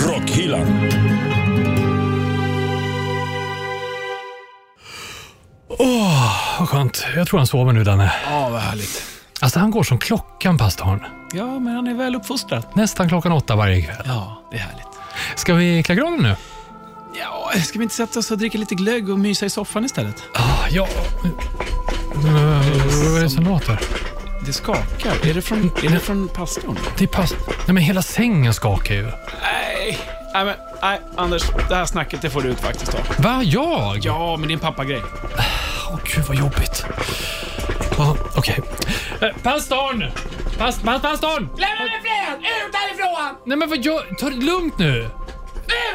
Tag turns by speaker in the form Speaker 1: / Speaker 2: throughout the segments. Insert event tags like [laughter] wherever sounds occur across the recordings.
Speaker 1: bilen.
Speaker 2: Vad skönt. Jag tror han sover nu, Danne.
Speaker 1: Ja, vad härligt.
Speaker 2: Alltså, han går som klockan, pastorn.
Speaker 1: Ja, men han är väl uppfostrad.
Speaker 2: Nästan klockan åtta varje kväll.
Speaker 1: Ja, det är härligt.
Speaker 2: Ska vi klä granen nu?
Speaker 1: Ja, ska vi inte sätta oss och alltså, dricka lite glögg och mysa i soffan istället?
Speaker 2: Ah, ja. Eh, Vad är det som låter?
Speaker 1: Det skakar. Är det från, är det från pastorn?
Speaker 2: Det är pass... Nej, men hela sängen skakar ju.
Speaker 1: Nej. Nej, men, nej, Anders. Det här snacket det får du ut faktiskt. Då.
Speaker 2: Va? Jag?
Speaker 1: Ja, men det är en pappagrej.
Speaker 2: Åh, gud vad jobbigt. Ja, Okej. Eh, Pastorn! Pas, pas, pastorn!
Speaker 3: Lämna mig fred! Ut härifrån!
Speaker 2: Nej men vad gör... Ta det lugnt nu!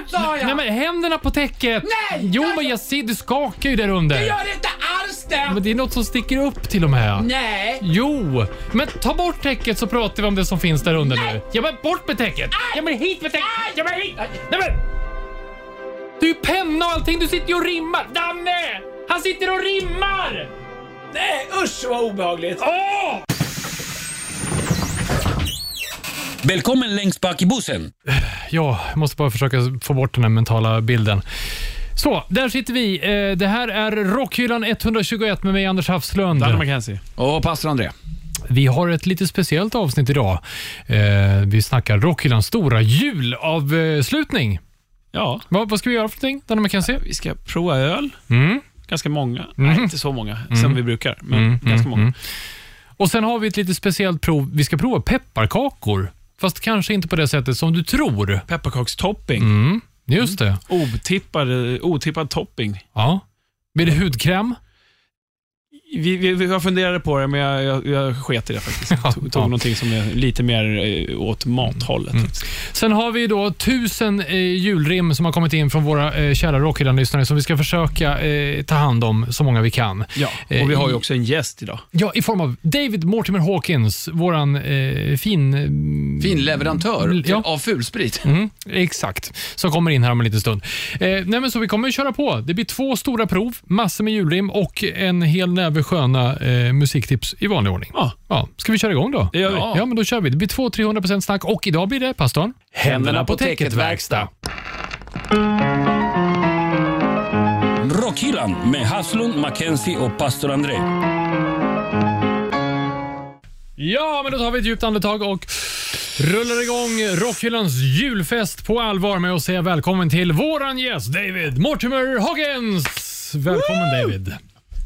Speaker 3: Ut sa jag!
Speaker 2: Nej men händerna på täcket!
Speaker 3: Nej!
Speaker 2: Jo
Speaker 3: Jag-
Speaker 2: men jag ser, du skakar ju där under.
Speaker 3: Gör det inte alls det!
Speaker 2: Men det är något som sticker upp till och med.
Speaker 3: Nej!
Speaker 2: Jo, men ta bort täcket så pratar vi om det som finns där under nu.
Speaker 3: Nej. Ah!
Speaker 2: Ja men bort med täcket! Ja men hit med täcket! Ja men hit! Nej men! Du är ju penna och allting, du sitter ju och rimmar. Danne! Han sitter och rimmar!
Speaker 1: Nej, usch vad obehagligt.
Speaker 2: Åh!
Speaker 4: Välkommen längst bak i bussen.
Speaker 2: Ja, jag måste bara försöka få bort den här mentala bilden. Så, där sitter vi. Eh, Det här är Rockhyllan 121 med mig Anders Hafslund.
Speaker 1: Danne McKenzie. Och pastor André.
Speaker 2: Vi har ett lite speciellt avsnitt idag. Eh, Vi snackar Rockhyllans stora julavslutning.
Speaker 1: Ja.
Speaker 2: Vad, vad ska vi göra för någonting, Danne McKenzie?
Speaker 1: Vi ska prova öl.
Speaker 2: Mm. Mm.
Speaker 1: Ganska många. Nej, inte så många som vi brukar, men ganska många.
Speaker 2: Och sen har vi ett lite speciellt prov. Vi ska prova pepparkakor. Fast kanske inte på det sättet som du tror.
Speaker 1: Pepparkakstopping.
Speaker 2: Mm, just det.
Speaker 1: Otippad, otippad topping.
Speaker 2: Ja. Blir det hudkräm?
Speaker 1: Vi, vi, vi- jag funderade på det, men jag, jag, jag sket i det faktiskt.
Speaker 2: Ja,
Speaker 1: Tog, tog
Speaker 2: ja. Mm.
Speaker 1: någonting som är lite mer eh, åt mathållet. faktiskt.
Speaker 2: Sen har vi då tusen eh, julrim som har kommit in från våra eh, kära Rockhyllan-lyssnare som vi ska försöka eh, ta hand om så många vi kan.
Speaker 1: Ja,
Speaker 2: Eh,
Speaker 1: och vi har
Speaker 2: i-
Speaker 1: ju också en gäst idag.
Speaker 2: Ja, i form av David Mortimer Hawkins, våran eh, fin... eh,
Speaker 5: Fin leverantör
Speaker 2: Ja.
Speaker 5: av fulsprit.
Speaker 2: Mm, exakt, som kommer in här om en liten stund. Eh, nej men så vi kommer att köra på. Det blir två stora prov, massor med julrim och en hel näve sköna eh, musiktips i vanlig ordning.
Speaker 1: Ja.
Speaker 2: Ja, ska vi köra igång då?
Speaker 1: gör vi.
Speaker 2: ja. ja, men då kör vi. Det blir 200-300% snack och idag blir det, pastorn?
Speaker 5: Händerna på täcket-verkstad.
Speaker 4: Rockhyllan med Haslund, Mackenzie och pastor André.
Speaker 2: Ja, men då tar vi ett djupt andetag och rullar igång Rockhyllans julfest på allvar med att säga välkommen till våran gäst David Mortimer Hawkins. Välkommen David.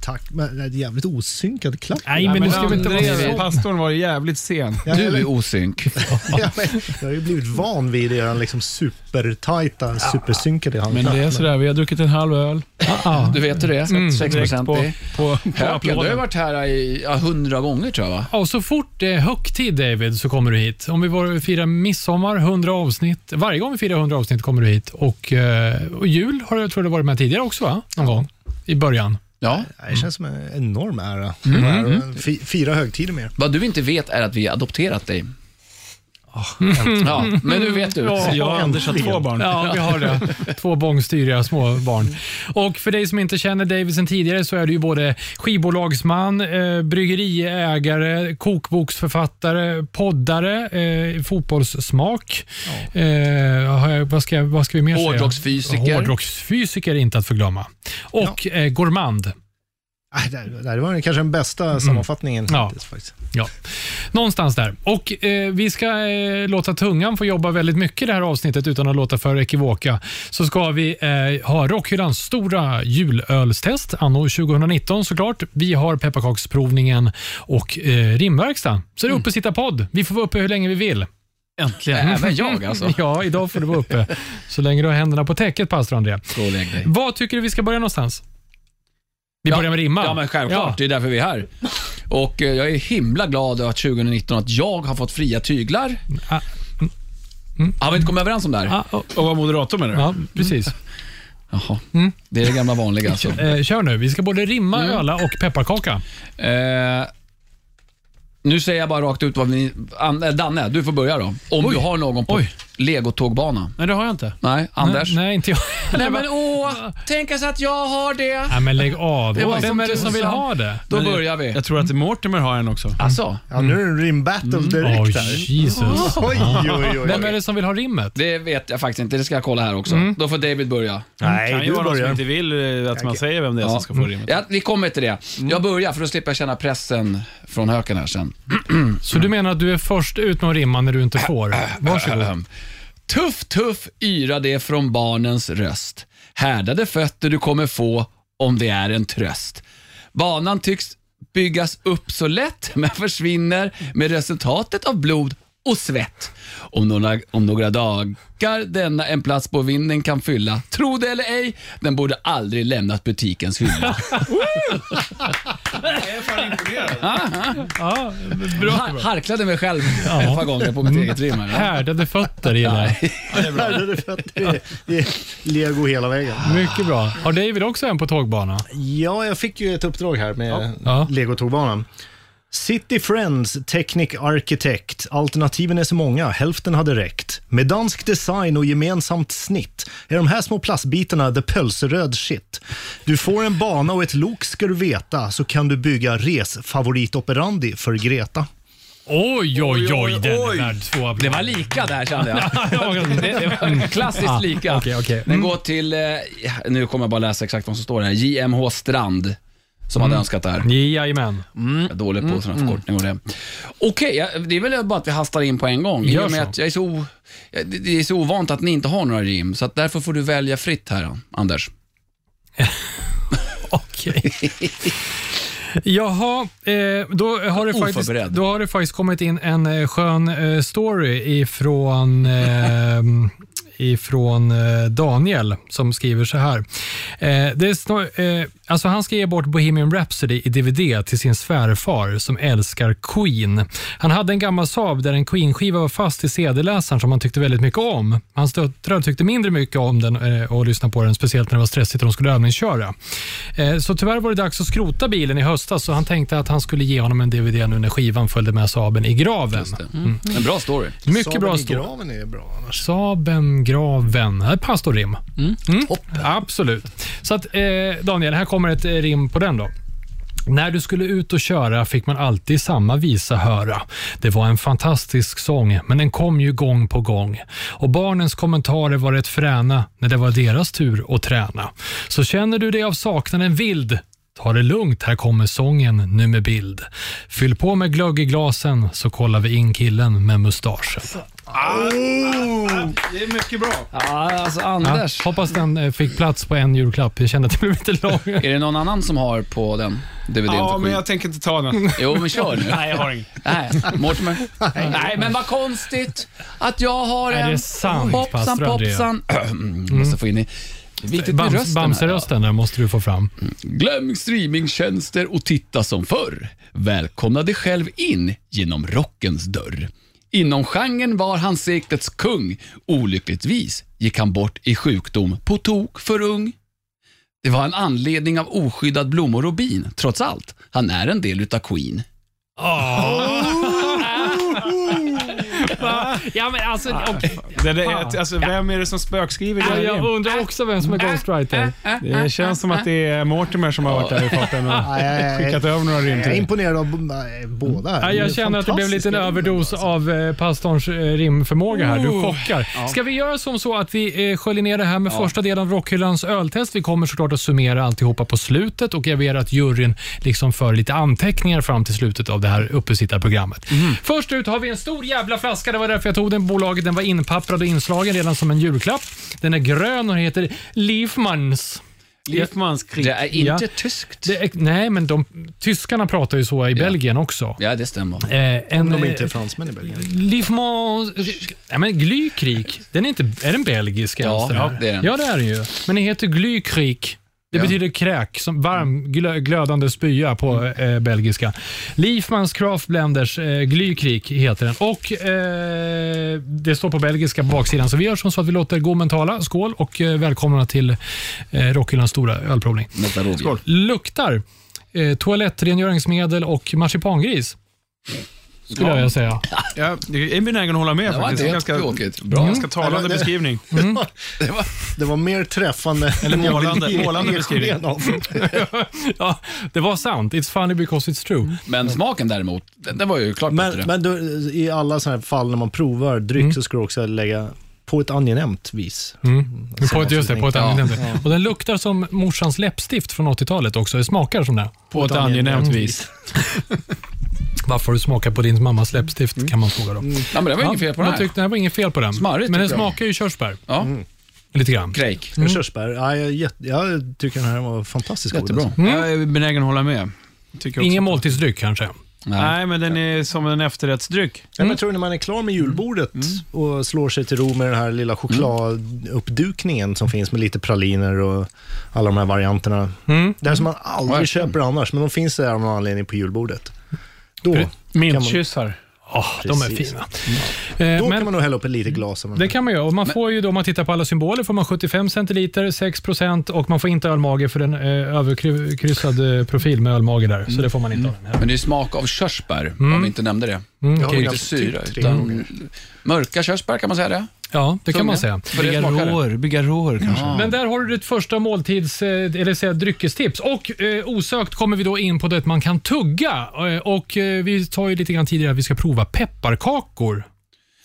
Speaker 6: Tack, men det är jävligt osynkad klapp.
Speaker 2: Nej, men nu ska vi inte vara
Speaker 1: André,
Speaker 2: så.
Speaker 1: pastorn var jävligt sen.
Speaker 5: Du är [laughs] osynk.
Speaker 6: Ja, men jag har ju blivit van vid den liksom supertajta, supersynkade
Speaker 1: Men
Speaker 6: handklappen.
Speaker 1: det är sådär, vi har druckit en halv öl.
Speaker 5: Du vet hur det är.
Speaker 1: Direkt på, på,
Speaker 5: 6%
Speaker 1: på
Speaker 5: på. Du har ju
Speaker 1: applåden.
Speaker 5: varit här i ja, hundra gånger tror jag va?
Speaker 2: Ja, och så fort det är högtid David så kommer du hit. Om vi var firar midsommar, 100 avsnitt. Varje gång vi firar 100 avsnitt kommer du hit. Och, eh, och jul har jag tror du varit med tidigare också va? Någon gång i början.
Speaker 5: Ja.
Speaker 6: Det känns som en enorm ära. Mm. Mm. Fyra högtider med er.
Speaker 5: Vad du inte vet är att vi har adopterat dig. Ah, Ja, men nu vet du.
Speaker 1: Jag och Anders har två
Speaker 2: [laughs]
Speaker 1: barn.
Speaker 2: Ja, vi har det. Två bångstyriga små barn. Och för dig som inte känner David sen tidigare så är du ju både skivbolagsman, eh, bryggeriägare, kokboksförfattare, poddare, eh, fotbollssmak. Eh, har jag- vad, ska, vad ska vi mer säga?
Speaker 5: Hårdrocksfysiker.
Speaker 2: Hårdrocksfysiker är inte att förglömma. Och eh, gourmand.
Speaker 6: Ah, Det, det var kanske den bästa
Speaker 1: Mm.
Speaker 6: sammanfattningen
Speaker 2: Ja.
Speaker 6: hittills. Faktiskt.
Speaker 2: Ja, någonstans där. Och eh, Vi ska eh, låta tungan få jobba väldigt mycket i det här avsnittet utan att låta för ekivoka. Så ska vi eh, ha Rockhyllans stora julölstest anno 2019 såklart. Vi har pepparkaksprovningen och eh, rimverkstan. Så det är uppe sitta podd. Vi får vara uppe hur länge vi vill.
Speaker 1: Äntligen.
Speaker 5: Även jag alltså.
Speaker 2: [laughs] Ja, idag får du vara uppe. Så länge du har händerna på täcket, pastor André.
Speaker 5: Gå och lägg dig.
Speaker 2: Vad tycker du vi ska börja någonstans? Vi börjar med rimma.
Speaker 5: Ja, men självklart. Det är därför vi är här. Och eh, jag är himla glad över att 2019 att jag har fått fria tyglar.
Speaker 2: Ah.
Speaker 5: Har vi inte kommit överens om det här?
Speaker 2: Ja, och-
Speaker 1: Och var moderator menar du?
Speaker 2: ja precis.
Speaker 5: Jaha. Det är det gamla vanliga alltså.
Speaker 2: Eh, kör nu. Vi ska både rimma,
Speaker 5: Mm.
Speaker 2: öla och pepparkaka.
Speaker 5: Eh, nu säger jag bara rakt ut vad ni... An, eh, Danne, du får börja då. Om du har någon på legotågbana.
Speaker 1: Nej, det har jag inte.
Speaker 5: Nej, Anders?
Speaker 2: Nej, nej, inte jag.
Speaker 5: [laughs] Nej, men åh, tänk sig att jag har det.
Speaker 2: Nej, men lägg av.
Speaker 5: Det var
Speaker 2: Vem
Speaker 5: som
Speaker 2: är det som vill
Speaker 5: tusan.
Speaker 2: ha det?
Speaker 5: Då
Speaker 1: Men jag-
Speaker 5: börjar vi.
Speaker 1: Jag tror att Mortimer har en också.
Speaker 5: Alltså,
Speaker 6: Ja, nu är det en rimbattle
Speaker 1: Mm.
Speaker 2: Åh,
Speaker 6: direkt här.
Speaker 2: Jesus.
Speaker 6: Oj, oj, oj. [laughs]
Speaker 2: Vem är det som vill ha rimmet?
Speaker 5: det vet jag faktiskt inte. Det ska jag kolla här också. Då får David börja.
Speaker 1: Det kan
Speaker 6: Nej,
Speaker 1: ju
Speaker 6: du
Speaker 1: vara någon som
Speaker 6: börjar.
Speaker 1: inte vill eh, att man säger vem det är som ska få rimmet.
Speaker 5: Ja, vi kommer till det. Jag börjar för då slipper jag känna pressen från höken här sen.
Speaker 2: Så du menar att du är först ut med att rimma när du inte får? Varsågod.
Speaker 5: Ahem. Tuff, tuff yra det från barnens röst. Härdade fötter du kommer få om det är en tröst. Banan tycks byggas upp så lätt [laughs] men försvinner med resultatet av blod och svett. Om några, om några dagar denna en plats på vinden kan fylla. Tro det eller ej, den borde aldrig lämnat butikens hylla.
Speaker 2: Ja,
Speaker 5: Har, harklade mig själv ett par gånger på mitt eget rim. här, ja.
Speaker 2: härdade fötter gillar jag.
Speaker 6: Värre det för att det är- det är lego hela vägen.
Speaker 2: Mycket bra. Har David också en på tågbana?
Speaker 6: Ja, jag fick ju ett uppdrag här med
Speaker 2: Ja.
Speaker 6: legotågbanan. City Friends Technic Architect. Alternativen är så många, hälften hade räckt. Med dansk design och gemensamt snitt är de här små plastbitarna the pölseröd shit. Du får en bana och ett lok ska du veta, så kan du bygga resfavorit operandi för Greta.
Speaker 2: Oj, oj, oj,
Speaker 5: oj,
Speaker 2: den är
Speaker 5: oj.
Speaker 2: värd två
Speaker 5: Det
Speaker 2: applåder.
Speaker 5: var lika där kände jag.
Speaker 2: Det
Speaker 5: Mm. Klassiskt lika.
Speaker 2: okej, okej.
Speaker 5: Den går till, eh, nu kommer jag bara läsa exakt vad som står här, JMH Strand. Som hade önskat det här.
Speaker 2: Jajamän.
Speaker 5: Jag är dålig på mm. sådana förkortningar och det. Okej, ja, det är väl bara att vi hastar in på en gång. I
Speaker 2: Gör
Speaker 5: och med
Speaker 2: så.
Speaker 5: att jag är så, o- det- det är så ovant att ni inte har några rim, så att därför får du välja fritt här, Anders.
Speaker 2: [laughs] Okej. Jaha, eh, då, har det faktiskt,
Speaker 5: Oförberedd.
Speaker 2: då har det faktiskt kommit in en eh, skön eh, story ifrån, eh, ifrån eh, Daniel som skriver så här. Eh, det är snar, eh, alltså han ska ge bort Bohemian Rhapsody i DVD till sin svärfar som älskar Queen. Han hade en gammal Saab där en Queen-skiva var fast i CD-läsaren som han tyckte väldigt mycket om. Hans döttrar tyckte mindre mycket om den eh, och lyssnade på den, speciellt när det var stressigt och de skulle övningsköra. Eh, Så tyvärr var det dags att skrota bilen i höstas så han tänkte att han skulle ge honom en DVD nu när skivan följde med Saaben i graven.
Speaker 5: En bra story.
Speaker 2: Mycket bra
Speaker 6: Saben i
Speaker 2: story.
Speaker 6: graven är bra annars.
Speaker 2: Saaben, graven. Här passar rim. Mm. Absolut. Så att, eh, Daniel, här kommer ett eh, rim på den då. När du skulle ut och köra fick man alltid samma visa höra. Det var en fantastisk sång, men den kom ju gång på gång. Och barnens kommentarer var rätt fräna när det var deras tur att träna. Så känner du dig av saknaden vild, ta det lugnt, här kommer sången nu med bild. Fyll på med glögg i glasen så kollar vi in killen med mustaschen.
Speaker 1: Det är mycket bra.
Speaker 5: Ja, alltså
Speaker 2: Ja,
Speaker 5: Anders.
Speaker 2: hoppas den eh, fick plats på en julklapp. Jag kände att det blev lite [laughs] lång.
Speaker 5: Är det någon annan som har på den DVDn?
Speaker 1: Ja,
Speaker 5: till
Speaker 1: men
Speaker 5: skyn?
Speaker 1: jag tänker inte ta den.
Speaker 5: Jo, men kör nu.
Speaker 1: [laughs] Nej, jag har ingen.
Speaker 5: Nej, Mortimer. Nej, men vad konstigt att jag har
Speaker 2: Är
Speaker 5: en...
Speaker 2: det sant,
Speaker 5: Hoppsan
Speaker 2: pastor André?
Speaker 5: popsan. [clears throat] Måste få in i... Viktigt med
Speaker 2: Bams,
Speaker 5: rösten. här.
Speaker 2: Bamserösten där måste du få fram.
Speaker 5: Glöm streamingtjänster och titta som förr. Välkomna dig själv in genom rockens dörr. Inom genren var han seklets kung. Olyckligtvis gick han bort i sjukdom på tok för ung. Det var en anledning av oskyddad blommor och bin. Trots allt, han är en del utav Queen.
Speaker 2: Ja, men alltså,
Speaker 1: Det, det, är- alltså, vem är det som spökskriver dina
Speaker 2: jag
Speaker 1: rim?
Speaker 2: undrar också vem som är ghostwriter.
Speaker 1: Det känns som att det är Mortimer som har varit där i farten och
Speaker 6: [laughs] Nej,
Speaker 1: skickat över några rim
Speaker 6: Jag är
Speaker 1: till dig.
Speaker 6: imponerad av b- nej, båda. här.
Speaker 2: Ja,
Speaker 6: Det är
Speaker 2: jag känner att det blev en liten
Speaker 6: fantastiska alltså.
Speaker 2: överdos av eh, pastorns eh, rimförmåga här. Du chockar. Ska vi göra som så att vi eh, sköljer ner det här med första delen av Rockhyllans öltest. Vi kommer såklart att summera alltihopa på slutet och jag ber att juryn liksom för lite anteckningar fram till slutet av det här uppesittarprogrammet. Först ut har vi en stor jävla flaska. Det var därför jag tog den. Bolaget den var inpapprad och inslagen redan som en julklapp. Den är grön och heter Liefmans.
Speaker 1: Liefmans krig.
Speaker 5: Det är inte
Speaker 2: Ja.
Speaker 5: tyskt.
Speaker 2: Det är, nej, men de, tyskarna pratar ju så i Belgien också.
Speaker 5: Ja, det stämmer.
Speaker 2: Eh, en,
Speaker 6: De är
Speaker 2: eh,
Speaker 6: inte fransmän i Belgien.
Speaker 2: Livmans... Nej, men Glykrik, den är, inte, är den belgisk?
Speaker 5: Ja,
Speaker 2: ens, den
Speaker 5: ja,
Speaker 2: här?
Speaker 5: det är den.
Speaker 2: Ja, det är den ju. Men den heter Glykrik. Det betyder kräk, som varm glö, glödande spya på
Speaker 5: Mm.
Speaker 2: eh, belgiska. Liefmans Craft Blenders eh, Glykrik heter den. Och eh, Det står på belgiska på baksidan, så vi gör som så att vi låter gommen tala. Skål och eh, välkomna till eh, Rockhyllans stora ölprovning.
Speaker 5: Nästa rovdjur.
Speaker 2: Luktar eh, toalettrengöringsmedel och marsipangris. skulle jag
Speaker 5: [laughs]
Speaker 2: säga.
Speaker 1: Ja, jag är benägen att hålla med
Speaker 5: Det Mm. var
Speaker 1: faktiskt.
Speaker 5: inte helt
Speaker 1: Ganska, Mm.
Speaker 5: tråkigt. Bra.
Speaker 1: ganska talande
Speaker 6: [laughs] Ja, det-
Speaker 1: beskrivning.
Speaker 6: Det var, det var mer träffande
Speaker 1: Eller
Speaker 6: än vad
Speaker 1: målande-
Speaker 6: vi ger-
Speaker 1: målande
Speaker 6: ger
Speaker 1: beskrivning.
Speaker 6: sken [laughs] av.
Speaker 2: ja, det var sant. It's funny because it's true.
Speaker 5: Men smaken däremot, den, den var ju klart bättre.
Speaker 6: Men, men du, i alla sådana här fall när man provar dryck så ska du också lägga på ett angenämt vis.
Speaker 2: Nu På ett, just det, på ett
Speaker 5: Ja,
Speaker 2: angenämt Och den luktar som morsans läppstift från 80-talet också. Det smakar som det.
Speaker 1: På ett angenämt vis.
Speaker 2: Varför du smakar på din mammas läppstift kan man fråga då.
Speaker 5: ja, men det var Mm. inget fel på den
Speaker 2: jag
Speaker 5: här.
Speaker 2: tyckte det här var inget fel på den.
Speaker 5: Smarrigt,
Speaker 2: men den
Speaker 5: tycker jag.
Speaker 2: smakar ju körsbär.
Speaker 5: Ja,
Speaker 2: Lite grann.
Speaker 5: Craig.
Speaker 6: Mm. Körsbär, ja, jag, är jätte- jag tycker den här var fantastiskt god.
Speaker 5: Jättebra.
Speaker 6: alltså.
Speaker 1: Jag är benägen att hålla med. Tycker jag
Speaker 2: Ingen
Speaker 1: också.
Speaker 2: måltidsdryck kanske.
Speaker 1: Nej, men den är som en efterrättsdryck.
Speaker 6: Ja, men Jag tror när man är klar med julbordet och slår sig till ro med den här
Speaker 5: Mm.
Speaker 6: lilla chokladuppdukningen som finns med lite praliner och alla de här varianterna. Det här som man aldrig
Speaker 5: Verkligen.
Speaker 6: köper annars, men de finns där av någon anledning på julbordet. Då,
Speaker 1: Mintkyssar.
Speaker 2: Oh, de är
Speaker 6: Precis.
Speaker 2: fina.
Speaker 6: då
Speaker 5: Mm.
Speaker 2: Eh,
Speaker 6: kan
Speaker 2: men
Speaker 6: man nog hälla upp ett litet glas av den.
Speaker 2: det kan man göra. Och man får ju då, om man tittar på alla symboler, får man 75 centiliter, 6 procent och man får inte ölmage för den eh, överkryssad eh, profil med ölmage där. Så det får man inte ha den här.
Speaker 5: Men det är smak av körsbär, om vi inte nämnde det.
Speaker 2: Mm,
Speaker 5: Och
Speaker 2: okej.
Speaker 5: inte syra,
Speaker 6: typ tre
Speaker 5: utan mörka körsbär kan man säga det.
Speaker 2: Ja, det kan man
Speaker 5: Tunga.
Speaker 2: säga.
Speaker 5: För det smakar det.
Speaker 1: bygga råor kanske.
Speaker 5: Ja.
Speaker 2: Men där har du ditt första måltids, eh, eller säga dryckestips. Och eh, osökt kommer vi då in på det man kan tugga. Eh, och eh, vi tar ju lite grann tidigare att vi ska prova pepparkakor.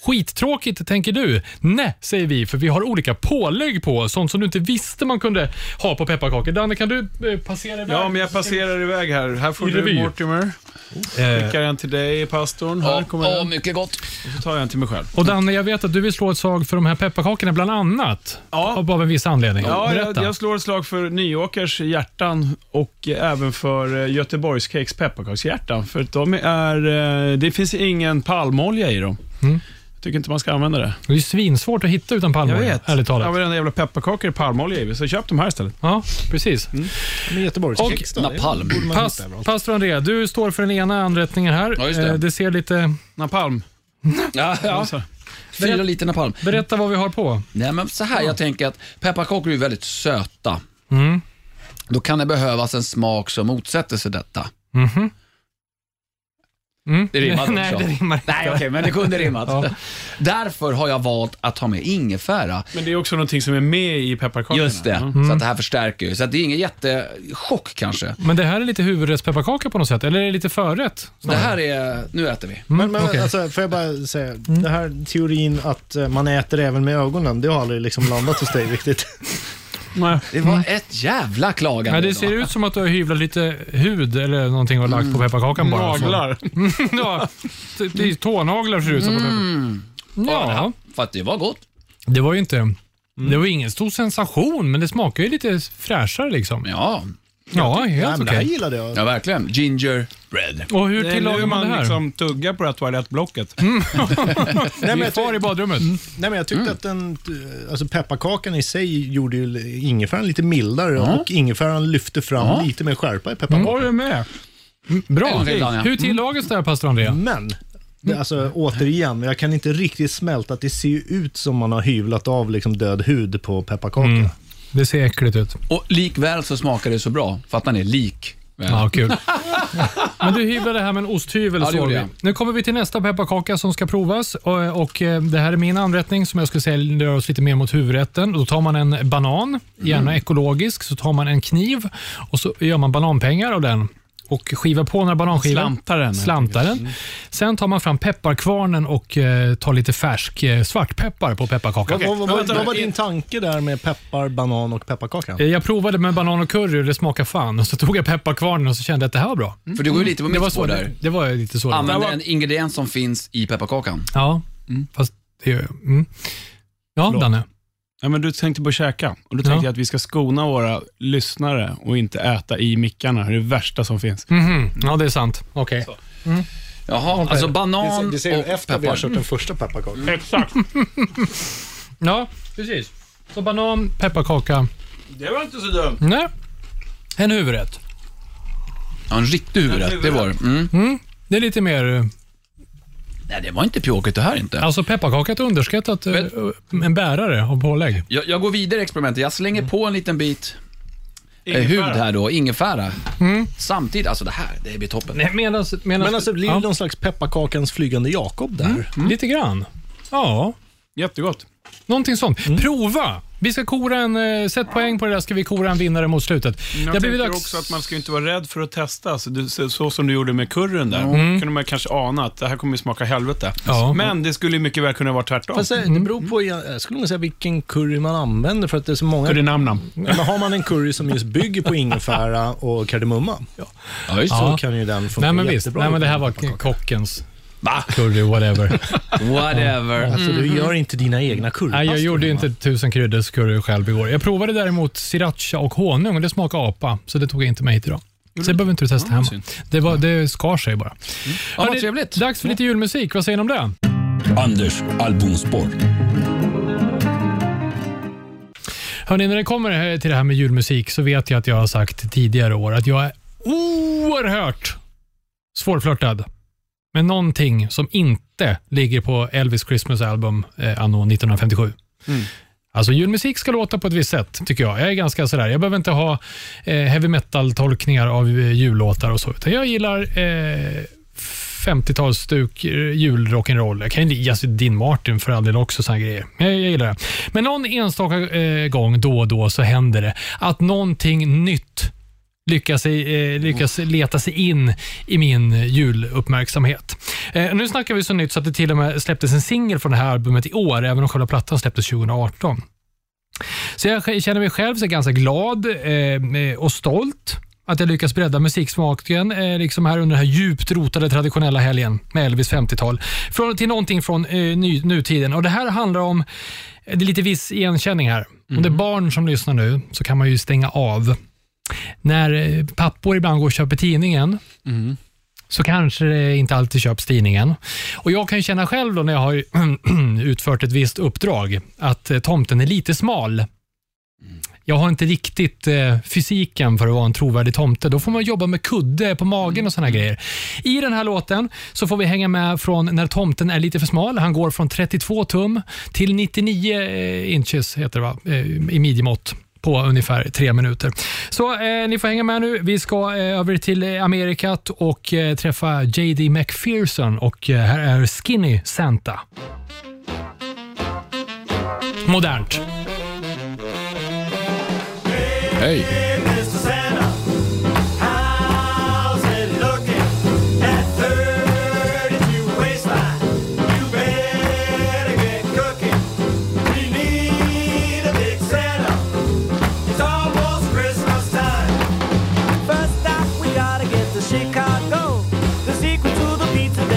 Speaker 2: Skittråkigt, tänker du? Nej, säger vi, för vi har olika pålägg på. Sånt som du inte visste man kunde ha på pepparkakor. Danne, kan du eh, passera iväg?
Speaker 1: Ja, men jag passerar iväg här. Här får
Speaker 2: I
Speaker 1: du
Speaker 2: revy.
Speaker 1: Mortimer.
Speaker 2: Eh,
Speaker 1: Skickar en till dig, pastorn. Här
Speaker 5: Ja,
Speaker 1: kommer
Speaker 5: ja,
Speaker 1: den.
Speaker 5: mycket gott.
Speaker 1: Så tar jag en till mig själv.
Speaker 2: och Danne, jag vet att du vill slå ett slag för de här pepparkakorna, bland annat.
Speaker 1: Ja.
Speaker 2: Av av en viss anledning.
Speaker 1: Ja, jag,
Speaker 2: Berätta.
Speaker 1: jag slår ett slag för Nyåkers hjärtan och eh, även för eh, Göteborgs Cakes pepparkakshjärtan. För att de är, eh, det finns ingen palmolja i dem.
Speaker 2: Mm.
Speaker 1: Jag tycker inte man ska använda det.
Speaker 2: Det är ju svinsvårt att hitta utan palmolja, ärligt
Speaker 1: Ja,
Speaker 2: talat.
Speaker 1: varenda jävla pepparkakor är palmolja i, så köp de här istället. Mm.
Speaker 2: Ja, precis.
Speaker 6: Med
Speaker 2: Och
Speaker 6: Göteborgskex då, det
Speaker 5: napalm.
Speaker 6: borde man
Speaker 2: Pass,
Speaker 6: hitta överallt.
Speaker 2: pastor André, du står för den ena anrättningen här.
Speaker 5: Ja, just det.
Speaker 2: Eh, det ser lite...
Speaker 1: Napalm.
Speaker 5: Ja, ja.
Speaker 1: Alltså.
Speaker 5: Fyra liter napalm.
Speaker 2: Berätta vad vi har på.
Speaker 5: Nej, men så här, jag tänker att pepparkakor är ju väldigt söta.
Speaker 6: Mm.
Speaker 5: Då kan det behövas en smak som motsätter sig detta.
Speaker 2: Mhm. Mm.
Speaker 5: Det
Speaker 2: [laughs]
Speaker 5: rimmade
Speaker 2: Nej,
Speaker 5: också.
Speaker 2: det rimmar inte.
Speaker 5: Nej, okej, men det kunde rimmat.
Speaker 2: Ja.
Speaker 5: Därför har jag valt att ta med ingefära.
Speaker 1: Men det är också någonting som är med i pepparkakorna.
Speaker 5: Just det,
Speaker 1: Ja.
Speaker 2: Mm.
Speaker 5: så att det här förstärker ju. Så att det är ingen jättechock kanske.
Speaker 2: Men det här är lite huvudrättspepparkaka på något sätt, eller är det lite förrätt? Mm,
Speaker 5: Det här är, nu äter vi.
Speaker 6: Men, men
Speaker 2: okej.
Speaker 6: alltså, får jag bara säga, den här teorin att eh, man äter även med ögonen, det har aldrig liksom landat hos dig riktigt.
Speaker 1: Nej.
Speaker 5: Det var ett jävla klagande.
Speaker 2: Mm. Ja, det ser ut som att du har hyvlat lite hud eller någonting och lagt på pepparkakan bara.
Speaker 1: Naglar.
Speaker 2: [laughs] ja, det- det är tånaglar ser det ut som. Mm. Ja,
Speaker 5: För att det var gott.
Speaker 2: det var ju inte... Det var ingen stor sensation, men det smakar ju lite fräschare liksom.
Speaker 5: Ja,
Speaker 2: Ja,
Speaker 6: [laughs] Nej,
Speaker 2: helt
Speaker 6: men det här
Speaker 2: okej.
Speaker 6: gillade jag.
Speaker 5: ja verkligen. Ginger bread.
Speaker 2: Och hur
Speaker 1: Det är nu
Speaker 2: tillagar man det
Speaker 1: man
Speaker 2: här?
Speaker 1: liksom tuggar på det här toalettblocket.
Speaker 6: Nej,
Speaker 2: Vi är
Speaker 6: men jag, tyck-
Speaker 2: kvar i badrummet.
Speaker 6: nej, men jag tyckte att den, eh, alltså pepparkakan i sig gjorde ju l- ingefäran lite mildare och ingefäran lyfte fram lite mer skärpa i pepparkakan.
Speaker 1: Var du med?
Speaker 2: Bra.
Speaker 5: En till, Daniel.
Speaker 2: Hur tillagas det här, pastor André?
Speaker 6: Men, det, alltså återigen, jag kan inte riktigt smälta att det ser ju ut som man har hyvlat av liksom död hud på pepparkakan.
Speaker 2: Det ser äckligt ut.
Speaker 5: Och likväl så smakar det så bra, för att man är lik.
Speaker 2: Ja, kul. Men du hyvlade det här med en osthyvel.
Speaker 5: Ja, det
Speaker 2: såg
Speaker 5: gjorde
Speaker 2: vi.
Speaker 5: jag.
Speaker 2: Nu kommer vi till nästa pepparkaka som ska provas. Och, och eh, Det här är min anrättning som jag skulle säga rör oss lite mer mot huvudrätten. Då tar man en banan, gärna ekologisk, så tar man en kniv och så gör man bananpengar av den och skivar på några bananskivor.
Speaker 1: Slantar den.
Speaker 2: Slantar den. Sen tar man fram pepparkvarnen och eh, tar lite färsk eh, svartpeppar på pepparkakan.
Speaker 6: Vad, vad,
Speaker 1: Men
Speaker 6: vad,
Speaker 1: vänta,
Speaker 6: vad var
Speaker 1: är-
Speaker 6: din tanke där med peppar, banan och pepparkaka?
Speaker 2: Eh, Jag provade med banan och curry och det smakade fan. Och så tog jag pepparkvarnen och så kände jag att det här var bra.
Speaker 5: För det går ju lite på
Speaker 2: Mm. Det var,
Speaker 5: mitt
Speaker 2: så,
Speaker 5: spår
Speaker 2: det,
Speaker 5: där.
Speaker 2: det var lite så. det var.
Speaker 5: Använda en ingrediens som finns i pepparkakan.
Speaker 2: Ja, fast det gör jag. Mm. Ja, Danne.
Speaker 1: Ja, men du tänkte på att käka och då tänkte
Speaker 2: Ja.
Speaker 1: jag att vi ska skona våra lyssnare och inte äta i mickarna. Det är det värsta som finns.
Speaker 2: Mhm. Ja, det är sant. Okej.
Speaker 5: Jaha, alltså banan och peppar.
Speaker 6: den första pepparkakan.
Speaker 1: Exakt.
Speaker 2: Ja, precis. Så banan, pepparkaka.
Speaker 1: Det var inte så dumt.
Speaker 2: Nej. En huvudrätt.
Speaker 5: Ja, en riktig huvudrätt, det var det. mm.
Speaker 2: Det är lite mer... eh,
Speaker 5: Nej, det var inte pjåkigt det här inte.
Speaker 2: Alltså pepparkaka är ett underskattat... eh, En bärare av pålägg.
Speaker 5: Jag, jag går vidare i experimentet. Jag slänger på en liten bit eh, hud
Speaker 1: Ingefära. Mm.
Speaker 5: här då, ingefära. Samtidigt, alltså det här, det blir toppen.
Speaker 2: Nej, medans, medans,
Speaker 7: Men alltså, det blir
Speaker 2: ja, Mm.
Speaker 7: någon slags pepparkakans flygande Jakob där.
Speaker 2: Lite grann. Ja,
Speaker 1: Jättegott.
Speaker 2: någonting sånt. Prova! Vi ska kora en, eh, sätt poäng på det där, ska vi kora en vinnare mot slutet.
Speaker 1: Jag
Speaker 2: Det har
Speaker 1: tänker
Speaker 2: blivit dags-
Speaker 1: också att man ska inte vara rädd för att testa. Så, du, så, så som du gjorde med kurren där, kunde man kanske ana att det här kommer ju smaka helvete.
Speaker 2: Mm. Ja.
Speaker 1: Men det skulle ju mycket väl kunna vara tvärtom.
Speaker 7: Fast eh, det, det
Speaker 2: Mm.
Speaker 7: beror på, jag skulle nog säga vilken curry man använder för att det är så många.
Speaker 1: Kurinamnam.
Speaker 7: Men har man en curry som just bygger
Speaker 2: [laughs]
Speaker 7: på ingefära och kardemumma,
Speaker 5: Ja, just
Speaker 7: så
Speaker 2: Ja.
Speaker 7: kan ju den funka
Speaker 2: Nej, men visst.
Speaker 7: jättebra.
Speaker 2: Nej, men det här var k- kockens. Va? Curry, whatever.
Speaker 5: Whatever.
Speaker 7: Alltså, du gör inte dina egna currypastor.
Speaker 2: Mm. Nej, jag gjorde ju
Speaker 7: hemma.
Speaker 2: inte tusen kryddors curry själv igår. Jag provade däremot sriracha och honung och det smakade apa, så det tog jag inte med hit idag. Så det behöver inte du testa hemma. Det, var, det skar sig bara.
Speaker 5: Ah, Mm. Ja, vad
Speaker 2: Hörni,
Speaker 5: trevligt. Mm.
Speaker 2: Dags för lite julmusik. Vad säger ni om det?
Speaker 4: Anders albumspår.
Speaker 2: Hörni, när det kommer här- till det här med julmusik så vet jag att jag har sagt tidigare år att jag är oerhört svårflörtad med någonting som inte ligger på Elvis Christmas album eh, anno 1957. Alltså julmusik ska låta på ett visst sätt, tycker jag. Jag är ganska sådär, jag behöver inte ha eh, heavy metal-tolkningar av eh, jullåtar och så, utan jag gillar eh, 50-talsstuk, eh, julrock'n'roll. Jag kan ju Jesse Dean Martin för all del också, såna här grejer. Jag, jag gillar det. Men någon enstaka eh, gång då och då så händer det att någonting nytt lyckas, sig- eh, lyckas leta sig in i min eh, juluppmärksamhet. Eh, nu snackar vi så nytt så att det till och med släpptes en singel från det här albumet i år, även om själva plattan släpptes 2018. Så jag känner mig själv så ganska glad eh, och stolt att jag lyckas bredda musiksmaken eh, liksom här under den här djupt rotade traditionella helgen med Elvis 50-tal från, till någonting från eh, ny, nutiden. Och Det här handlar om, det är lite viss igenkänning här. Om det är barn som lyssnar nu så kan man ju stänga av. När eh, pappor ibland går och köper tidningen så kanske det inte alltid köps tidningen. Och Jag kan ju [clears throat] känna själv då när jag har utfört ett visst uppdrag att eh, tomten är lite smal. Jag har inte riktigt eh, fysiken för att vara en trovärdig tomte. Då får man jobba med kudde på magen och såna här grejer. I den här låten så får vi hänga med från när tomten är lite för smal. Han går från 32 tum till 99 eh, inches heter det va? Eh, i midjemått på ungefär tre minuter. Så eh, ni får hänga med nu. Vi ska eh, över till eh, Amerikat och eh, träffa JD McPherson och eh, här är Skinny Santa. Modernt.
Speaker 5: Hej.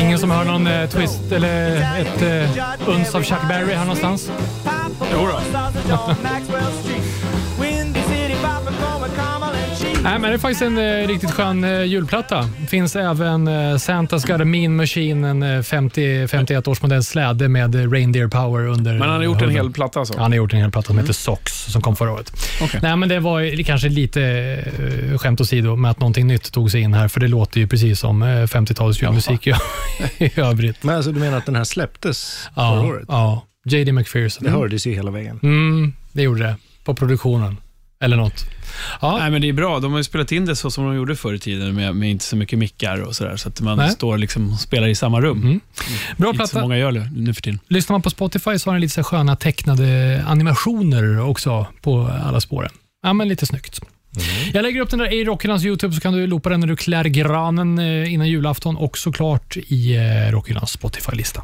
Speaker 2: Ingen som hör någon eh, twist eller ett eh, uns av Chuck Berry här någonstans?
Speaker 1: Jodå.
Speaker 2: Nej, men det är faktiskt en eh, riktigt skön eh, julplatta. Finns även eh, Santa's Got a Mean Machine, en eh, 50, 51-årsmodell släde med eh, Reindeer Power under
Speaker 1: Men han har gjort en
Speaker 2: huden.
Speaker 1: hel platta alltså?
Speaker 2: Han har gjort en hel platta som heter Socks som kom förra året. Nej, men det var ju kanske lite eh, skämt åsido med att någonting nytt tog sig in här, för det låter ju precis som eh, 50-talets julmusik i, [laughs] i övrigt.
Speaker 7: Men alltså, du menar att den här släpptes förra
Speaker 2: Ja,
Speaker 7: året?
Speaker 2: ja. JD McPherson.
Speaker 7: Det hördes ju hela vägen.
Speaker 2: Mm, det gjorde det. På produktionen. Eller något. Ja.
Speaker 1: Nej, men det är bra. De har ju spelat in det så som de gjorde förr i tiden med, med inte så mycket mickar och sådär. Så att man
Speaker 2: Nej.
Speaker 1: står liksom och spelar i samma rum.
Speaker 2: Bra
Speaker 1: Inte så
Speaker 2: platta.
Speaker 1: många gör det nu för tiden.
Speaker 2: Lyssnar man på Spotify så har den lite så här sköna tecknade animationer också på alla spåren. Ja, men lite snyggt. Jag lägger upp den där i Rockylands YouTube så kan du loopa den när du klär granen eh, innan julafton och såklart i eh, Rockylands Spotify-lista.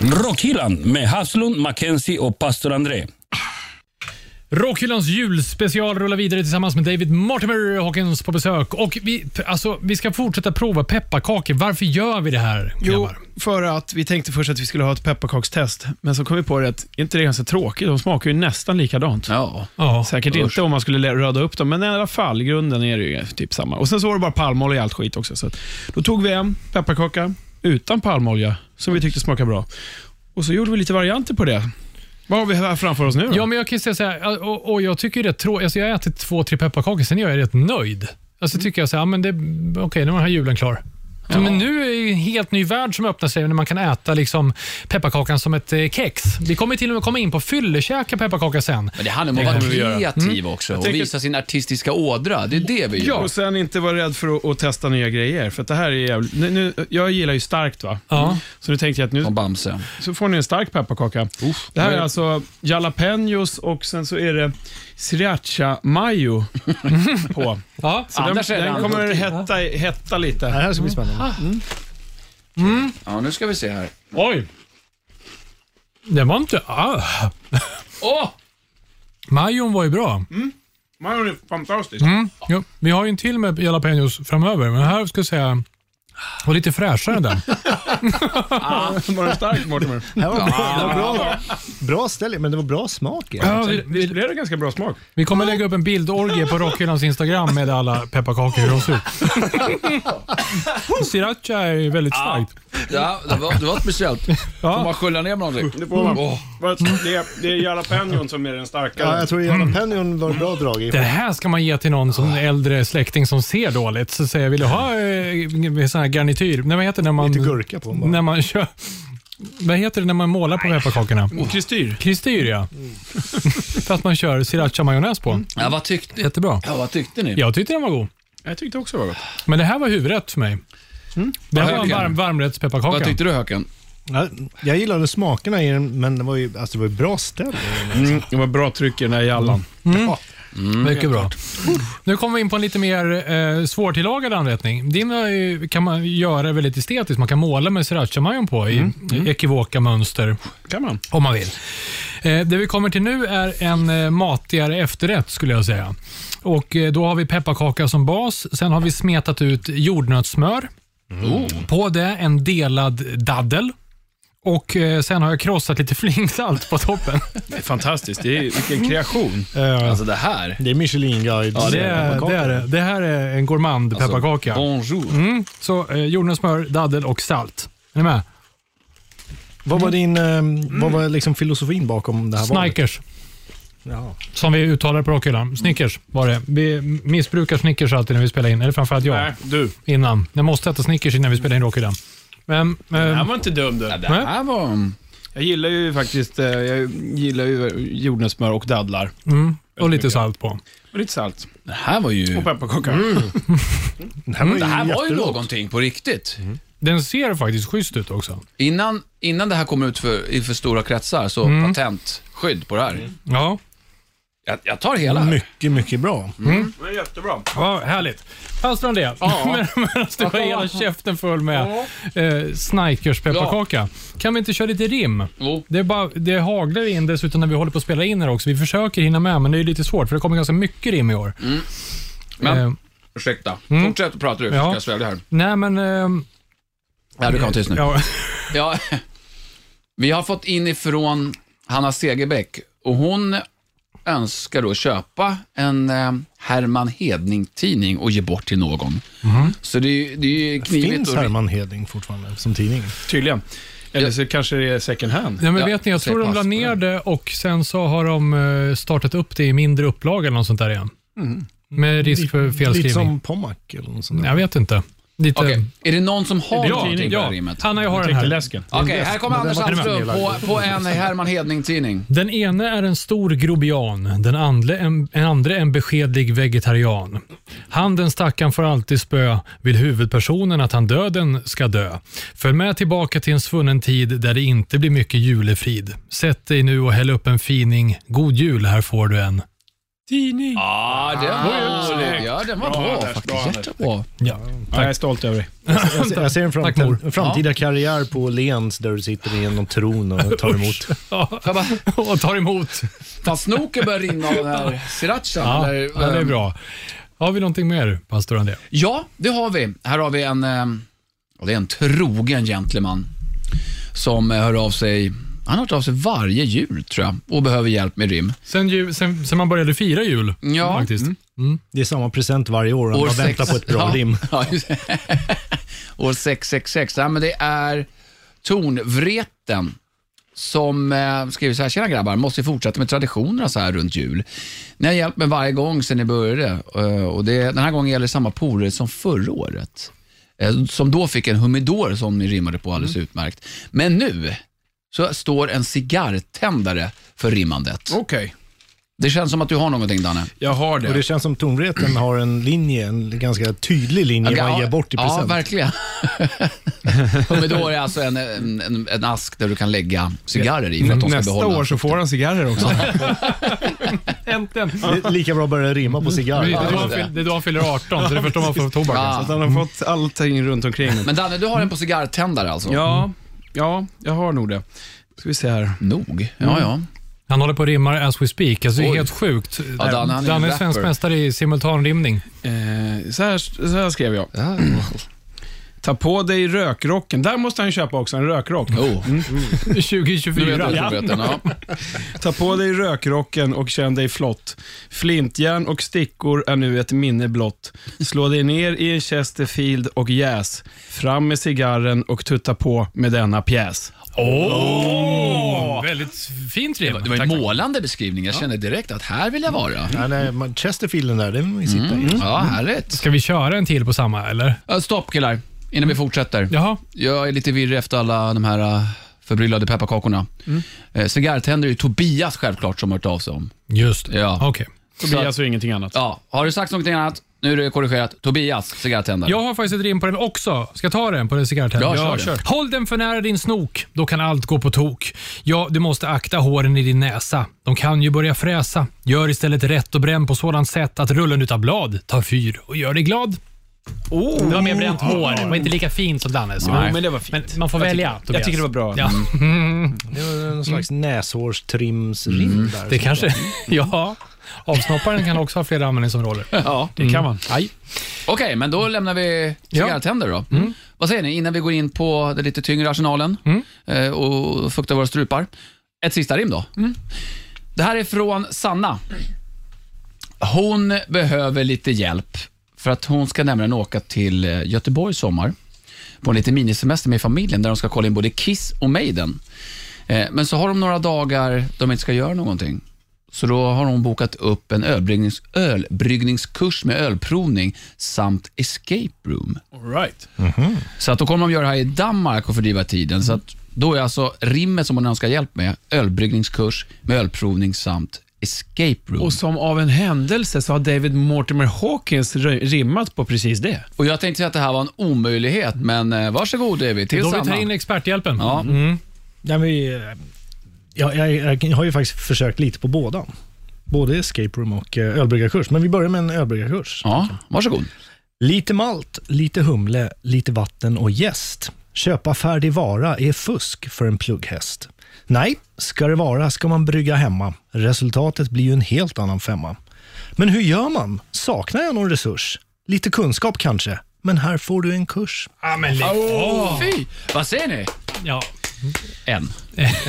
Speaker 4: Rockhyllan med Haslund, Mackenzie och pastor André.
Speaker 2: Rockhyllans julspecial rullar vidare tillsammans med David Mortimer Hawkins på besök. Och vi, alltså, vi ska fortsätta prova pepparkakor. Varför gör vi det här,
Speaker 1: Jo,
Speaker 2: grabbar?
Speaker 1: för att vi tänkte först att vi skulle ha ett pepparkakstest, men så kom vi på det att inte det är ganska tråkigt? De smakar ju nästan likadant.
Speaker 5: Ja.
Speaker 2: Ja.
Speaker 1: Säkert inte om man skulle lä- röda upp dem, men i alla fall, grunden är det ju typ samma. Och Sen så var det bara palmolja i allt skit också. Så att, då tog vi en pepparkaka utan palmolja, som vi tyckte smakade bra. Och så gjorde vi lite varianter på det. Vad har vi här framför oss nu då?
Speaker 2: Ja, men jag kan ju säga så här, och, och jag tycker ju det är trå- alltså, jag har ätit två, tre pepparkakor, sen är jag rätt nöjd. Alltså tycker jag så här, Mm. ja, men det, okej, nu var den här julen klar. Men nu är det ju en helt ny värld som öppnar sig när man kan äta liksom pepparkakan som ett eh, kex. Vi kommer till och med komma in på fyllekäka pepparkaka sen.
Speaker 5: Men det handlar om att vara kreativ
Speaker 1: Mm.
Speaker 5: också och visa sin artistiska ådra. Det är det vi gör.
Speaker 1: Och sen inte vara rädd för att, att testa nya grejer. För att det här är jävligt... Nu, nu, jag gillar ju starkt va?
Speaker 2: Ja.
Speaker 1: Så nu tänkte jag att nu
Speaker 5: Som Bamse.
Speaker 1: så får ni en stark pepparkaka. det här är alltså jalapenos och sen så är det sriracha [laughs] mayo på.
Speaker 2: Ja.
Speaker 1: Så den,
Speaker 5: Annars är det
Speaker 1: den
Speaker 5: alltid-
Speaker 1: kommer hetta, hetta
Speaker 7: Det
Speaker 1: lite.
Speaker 7: här ska bli
Speaker 2: Mm.
Speaker 7: spännande.
Speaker 5: Ja, nu ska vi se här.
Speaker 1: Oj!
Speaker 2: Den var inte... Ah. [laughs]
Speaker 5: Åh!
Speaker 2: Majon var ju bra.
Speaker 1: Mayon är fantastisk.
Speaker 2: Mm. Jo, vi har ju en till med jalapenos framöver, men här ska jag säga var lite fräschare än den.
Speaker 1: [laughs] Var den stark Mortimer?
Speaker 7: Det här var bra, det var bra, bra ställe, men det var bra smak. Ja.
Speaker 2: [laughs] Ja, vi,
Speaker 1: Visst
Speaker 2: vi,
Speaker 1: blev det ganska bra smak?
Speaker 2: vi kommer lägga upp en bildorgie på Rockhyllans Instagram med alla pepparkakor hur de ser ut. Sriracha är ju väldigt starkt.
Speaker 5: Ja, det var, det var speciellt. Får man skylla ner med någonting?
Speaker 1: Det får man. Det, är, det är jalapenon som är den starkare.
Speaker 7: jag tror
Speaker 2: Mm.
Speaker 7: jalapenon var bra drag i.
Speaker 2: Det här ska man ge till någon som äldre släkting som ser dåligt. Så säger jag, vill du ha eh, sån här garnityr? Nej, vad heter det när man...
Speaker 7: Lite gurka på bara.
Speaker 2: När man kör... Vad heter det när man målar på pepparkakorna?
Speaker 1: Kristyr.
Speaker 2: Kristyr, ja. Fast man kör sriracha-majonnäs på.
Speaker 5: Ja, vad tyckte,
Speaker 2: Jättebra.
Speaker 5: ja, vad tyckte ni?
Speaker 2: Jag tyckte den var god.
Speaker 1: Jag tyckte också det var gott.
Speaker 2: Men det här var huvudrätt för mig. Det här var en
Speaker 5: Verkligen.
Speaker 2: varm, varmrättspepparkaka.
Speaker 5: Vad tyckte du Höken?
Speaker 7: Ja, Jag gillade smakerna i den, men det var ju alltså, det var ju bra ställe.
Speaker 1: Mm, det var bra tryck i den här jallan.
Speaker 2: Mycket bra. [laughs] Nu kommer vi in på en lite mer eh, svårtillagad anrättning. Din är ju- kan man göra väldigt estetiskt. Man kan måla med srirachamajon på i ekivoka mönster
Speaker 1: Kan man?
Speaker 2: om man vill. Eh, det vi kommer till nu är en eh, matigare efterrätt skulle jag säga. Och eh, Då har vi pepparkaka som bas. Sen har vi smetat ut jordnötssmör. På det en delad daddel. Och eh, Sen har jag krossat lite [laughs] flingsalt på toppen.
Speaker 1: Det är fantastiskt. Det är, vilken kreation.
Speaker 5: Alltså det här.
Speaker 7: Det är Michelin-guide.
Speaker 2: Ja, det, är, Alltså, det, är, det. det här är en gourmand pepparkaka.
Speaker 5: Bonjour.
Speaker 2: Mm. Så eh, jordnötssmör, daddel och salt. Är ni med?
Speaker 7: Vad var, din, eh, vad var liksom filosofin bakom det här valet?
Speaker 2: Snickers,
Speaker 7: Ja.
Speaker 2: som vi uttalar på rockhyllan. Snickers var det. Vi missbrukar Snickers alltid när vi spelar in. Eller framförallt jag.
Speaker 1: Nej, Äh, du.
Speaker 2: Innan. Jag måste äta Snickers innan vi spelar in rockhyllan. Men,
Speaker 1: Det här
Speaker 2: eh,
Speaker 1: var inte dum du.
Speaker 5: Det här var...
Speaker 1: Jag gillar ju faktiskt eh, jag gillar ju jordnötssmör och dadlar.
Speaker 2: och lite salt på.
Speaker 1: Och lite salt.
Speaker 5: Det här var ju...
Speaker 1: Och pepparkaka.
Speaker 7: Det här var ju,
Speaker 5: Det här var ju
Speaker 7: jättegott.
Speaker 5: någonting på riktigt.
Speaker 2: Den ser faktiskt schysst ut också.
Speaker 5: Innan, innan det här kom ut för, i för stora kretsar så patentskydd på det här.
Speaker 2: Ja,
Speaker 5: Jag, jag tar hela. här.
Speaker 7: Mycket, mycket bra.
Speaker 1: Det är jättebra.
Speaker 2: ja härligt. Fast från det. [laughs] Ja. Medan du har hela käften full med eh, Snickers pepparkaka. Kan vi inte köra lite rim?
Speaker 5: Jo.
Speaker 2: Det, är bara, det haglar in dessutom när vi håller på att spela in här också. Vi försöker hinna med, men det är lite svårt för det kommer ganska mycket rim i år.
Speaker 5: Men,
Speaker 2: Eh,
Speaker 5: ursäkta. Fortsätt att prata du, så
Speaker 2: Ja.
Speaker 5: ska jag svälja här.
Speaker 2: nej, men... ehm,
Speaker 5: Ja, du kan vara tyst nu.
Speaker 2: ja,
Speaker 5: Ja, vi har fått inifrån Hanna Segerbäck och hon önskar då köpa en eh, Herman Hedning-tidning och ge bort till någon. Så det, är ju- det är ju knivigt.
Speaker 7: Finns
Speaker 5: och-
Speaker 7: Herman Hedling fortfarande som tidning?
Speaker 1: Tydligen. Eller så kanske det är second hand.
Speaker 2: nej, men
Speaker 5: Ja,
Speaker 2: vet ni, jag
Speaker 5: säg
Speaker 2: tror de
Speaker 5: pass
Speaker 2: la
Speaker 5: på
Speaker 2: ner
Speaker 5: den.
Speaker 2: det och sen så har de eh, startat upp det i mindre upplaga eller något sånt där igen. Med risk för
Speaker 7: Lite
Speaker 2: felskrivning.
Speaker 7: som Pommac eller något sånt där.
Speaker 2: Jag vet inte. Lite...
Speaker 5: Okej, är det någon som har
Speaker 2: Ja,
Speaker 5: någonting på det
Speaker 2: ja.
Speaker 5: här rimmet?
Speaker 2: Hanna, jag har den
Speaker 1: Tänkte
Speaker 2: här.
Speaker 1: läsken.
Speaker 5: Okej, här kommer Anders
Speaker 7: den var-
Speaker 5: Sandström
Speaker 7: den var
Speaker 5: på, på en Herman Hedning-tidning.
Speaker 2: Den ene är en stor grobian, den andre en, en andre en beskedlig vegetarian. Han den stackaren får alltid spö, vill huvudpersonen att han döden ska dö. Följ med tillbaka till en svunnen tid där det inte blir mycket julefrid. Sätt dig nu och häll upp en fining. God jul, här får du en. [laughs]
Speaker 1: Tidning.
Speaker 5: Ja, den var rolig. Ah, Ja, den var bra
Speaker 1: Anders, bra,
Speaker 5: faktiskt.
Speaker 1: Anders.
Speaker 5: Jättebra.
Speaker 2: Ja.
Speaker 1: Ja, jag är stolt över dig.
Speaker 7: Jag ser, jag ser en,
Speaker 2: Tack, mor.
Speaker 7: framtid, en framtida karriär på Lens där du sitter i en tron och tar emot.
Speaker 5: Får jag bara-
Speaker 2: Och tar emot.
Speaker 5: Fan, snoken börjar rinna av den här srirachan.
Speaker 2: Ja,
Speaker 5: eller,
Speaker 2: ja, det är
Speaker 5: ehm,
Speaker 2: bra. Har vi någonting mer, pastor André?
Speaker 5: Ja, det har vi. Här har vi en, eh, och det är en trogen gentleman som eh, hör av sig, han har hört av sig varje jul tror jag och behöver hjälp med rim.
Speaker 2: Sen, ju, sen, sen man började fira jul,
Speaker 5: Ja.
Speaker 2: faktiskt.
Speaker 8: Mm,
Speaker 7: Det är samma present varje år och man
Speaker 5: sex-
Speaker 7: väntar på ett bra
Speaker 5: ja,
Speaker 7: rim.
Speaker 5: [laughs] Ja, just det. År 666, ja, men det är Tornvreten som eh, skriver så här, tjena grabbar, måste ju fortsätta med traditionerna så här runt jul. Ni har hjälpt mig varje gång sedan ni började eh, och det, den här gången gäller samma polare som förra året. eh, som då fick en humidor som ni rimmade på alldeles
Speaker 7: Mm.
Speaker 5: utmärkt. Men nu så står en cigarrtändare för
Speaker 7: Oh.
Speaker 5: rimmandet.
Speaker 1: Okej,
Speaker 5: Det känns som att du har någonting, Danne.
Speaker 1: jag har
Speaker 6: Och
Speaker 1: det.
Speaker 6: det känns som tomvreten har en linje, en ganska tydlig linje
Speaker 5: Ja,
Speaker 6: man ger bort i
Speaker 5: Ja,
Speaker 6: present.
Speaker 5: verkligen. [laughs] Humidor är alltså en, en, en, en ask där du kan lägga cigarrer i för att de ska
Speaker 8: Nästa
Speaker 5: behålla.
Speaker 8: år så får han cigarrer också.
Speaker 2: Äntligen.
Speaker 6: Det är lika bra att börja rimma på cigarr.
Speaker 2: Det är då
Speaker 6: Ja.
Speaker 2: han fyller- det är då han fyller 18, så det är först om han får tobak.
Speaker 5: Ja.
Speaker 1: Han har fått allting runt omkring.
Speaker 5: Men Danne, du har en på cigarrtändare alltså?
Speaker 1: Ja, ja, jag har nog det. Ska vi se här.
Speaker 5: Nog? Ja, ja.
Speaker 2: Han håller på och rimmar as we speak. Alltså, det är
Speaker 5: Oj.
Speaker 2: helt sjukt.
Speaker 5: Ja, Danne, han är
Speaker 2: Danne
Speaker 5: en
Speaker 2: är svensk
Speaker 5: rapper.
Speaker 2: mästare i
Speaker 5: [laughs]
Speaker 2: simultanrimning.
Speaker 1: Eh, så, här så här skrev jag. Ta på dig rökrocken. Där måste han ju köpa också, en rökrock.
Speaker 5: Oh.
Speaker 2: 2024.
Speaker 5: Ja. Ja.
Speaker 1: Ta på dig rökrocken och känn dig flott. Flintjärn och stickor är nu ett minne blott. Slå dig ner i en Chesterfield och jäs. Fram med cigarren och tutta på med denna pjäs.
Speaker 2: Åh! Väldigt fint rim.
Speaker 5: Det var en målande beskrivning. Jag kände direkt att här vill jag vara.
Speaker 6: Ja, nej, man- Chesterfielden där, den vill man ju sitta i.
Speaker 5: Ja, härligt.
Speaker 2: Ska vi köra en till på samma, eller?
Speaker 5: Ja, Stopp killar, innan vi fortsätter.
Speaker 2: Jaha.
Speaker 5: Jag är lite virrig efter alla de här äh, förbryllade pepparkakorna. Mm. Cigarrtänder är ju Tobias självklart som har hört av sig om.
Speaker 2: Just det.
Speaker 5: Ja.
Speaker 2: Okej.
Speaker 1: Tobias och ingenting annat.
Speaker 5: Ja, har du sagt någonting annat? Nu är det korrigerat. Tobias, cigarrtändare.
Speaker 2: Jag har faktiskt ett rim på den också. Ska jag ta den på den cigarrtändaren?
Speaker 5: Ja, kör den.
Speaker 2: Håll den för nära din snok, då kan allt gå på tok. Ja, du måste akta håren i din näsa. De kan ju börja fräsa. Gör istället rätt och bränn på sådant sätt att rullen utav blad tar fyr och gör dig glad. Oh. Det var mer bränt hår. Det var inte lika fint som Dannes.
Speaker 1: Jo, men det var
Speaker 2: Men
Speaker 1: fint.
Speaker 2: man får välja.
Speaker 1: tycker- jag tycker det var bra. Mm.
Speaker 2: Ja,
Speaker 6: Det var någon slags näshårstrimsrim där.
Speaker 2: det kanske... [laughs] Ja. Avsnopparen kan också ha flera användningsområden.
Speaker 1: Mm.
Speaker 5: Ja.
Speaker 2: Det kan man. Aj.
Speaker 5: Okej, men då lämnar vi cigarrtändare då. Vad säger ni, innan vi går in på den lite tyngre arsenalen eh, och fuktar våra strupar. Ett sista rim då. Det här är från Sanna. Hon behöver lite hjälp för att hon ska nämligen åka till eh, Göteborg i sommar på en liten minisemester med familjen där de ska kolla in både Kiss och Maiden. Eh, Men så har de några dagar de inte ska göra någonting. Så då har hon bokat upp en ölbryggnings, ölbryggningskurs med ölprovning samt escape room.
Speaker 1: All right.
Speaker 5: Så att då kommer de göra det här i Danmark och fördriva tiden. Så att då är alltså rimmet som hon önskar hjälp med ölbryggningskurs med ölprovning samt escape room.
Speaker 1: Och
Speaker 5: Och,
Speaker 1: som av en händelse så har David Mortimer Hawkins ri- rimmat på precis det.
Speaker 5: jag tänkte säga att det här var en omöjlighet, men eh, varsågod David, till
Speaker 2: Då vi tar
Speaker 5: Sanna.
Speaker 2: in experthjälpen.
Speaker 5: Ja.
Speaker 6: Nej, men, eh, jag, jag, jag har ju faktiskt försökt lite på båda. Både escape room och eh, ölbryggarkurs. Men vi börjar med en ölbryggarkurs.
Speaker 5: ja, varsågod.
Speaker 6: Lite malt, lite humle, lite vatten och jäst. Köpa färdig vara är fusk för en plugghäst. Nej, ska det vara ska man brygga hemma. Resultatet blir ju en helt annan femma. Men hur gör man? Saknar jag någon resurs? Lite kunskap kanske, men här får du en kurs.
Speaker 2: Ja, men lägg av.
Speaker 5: Fy, vad säger ni?
Speaker 2: Ja.
Speaker 5: En.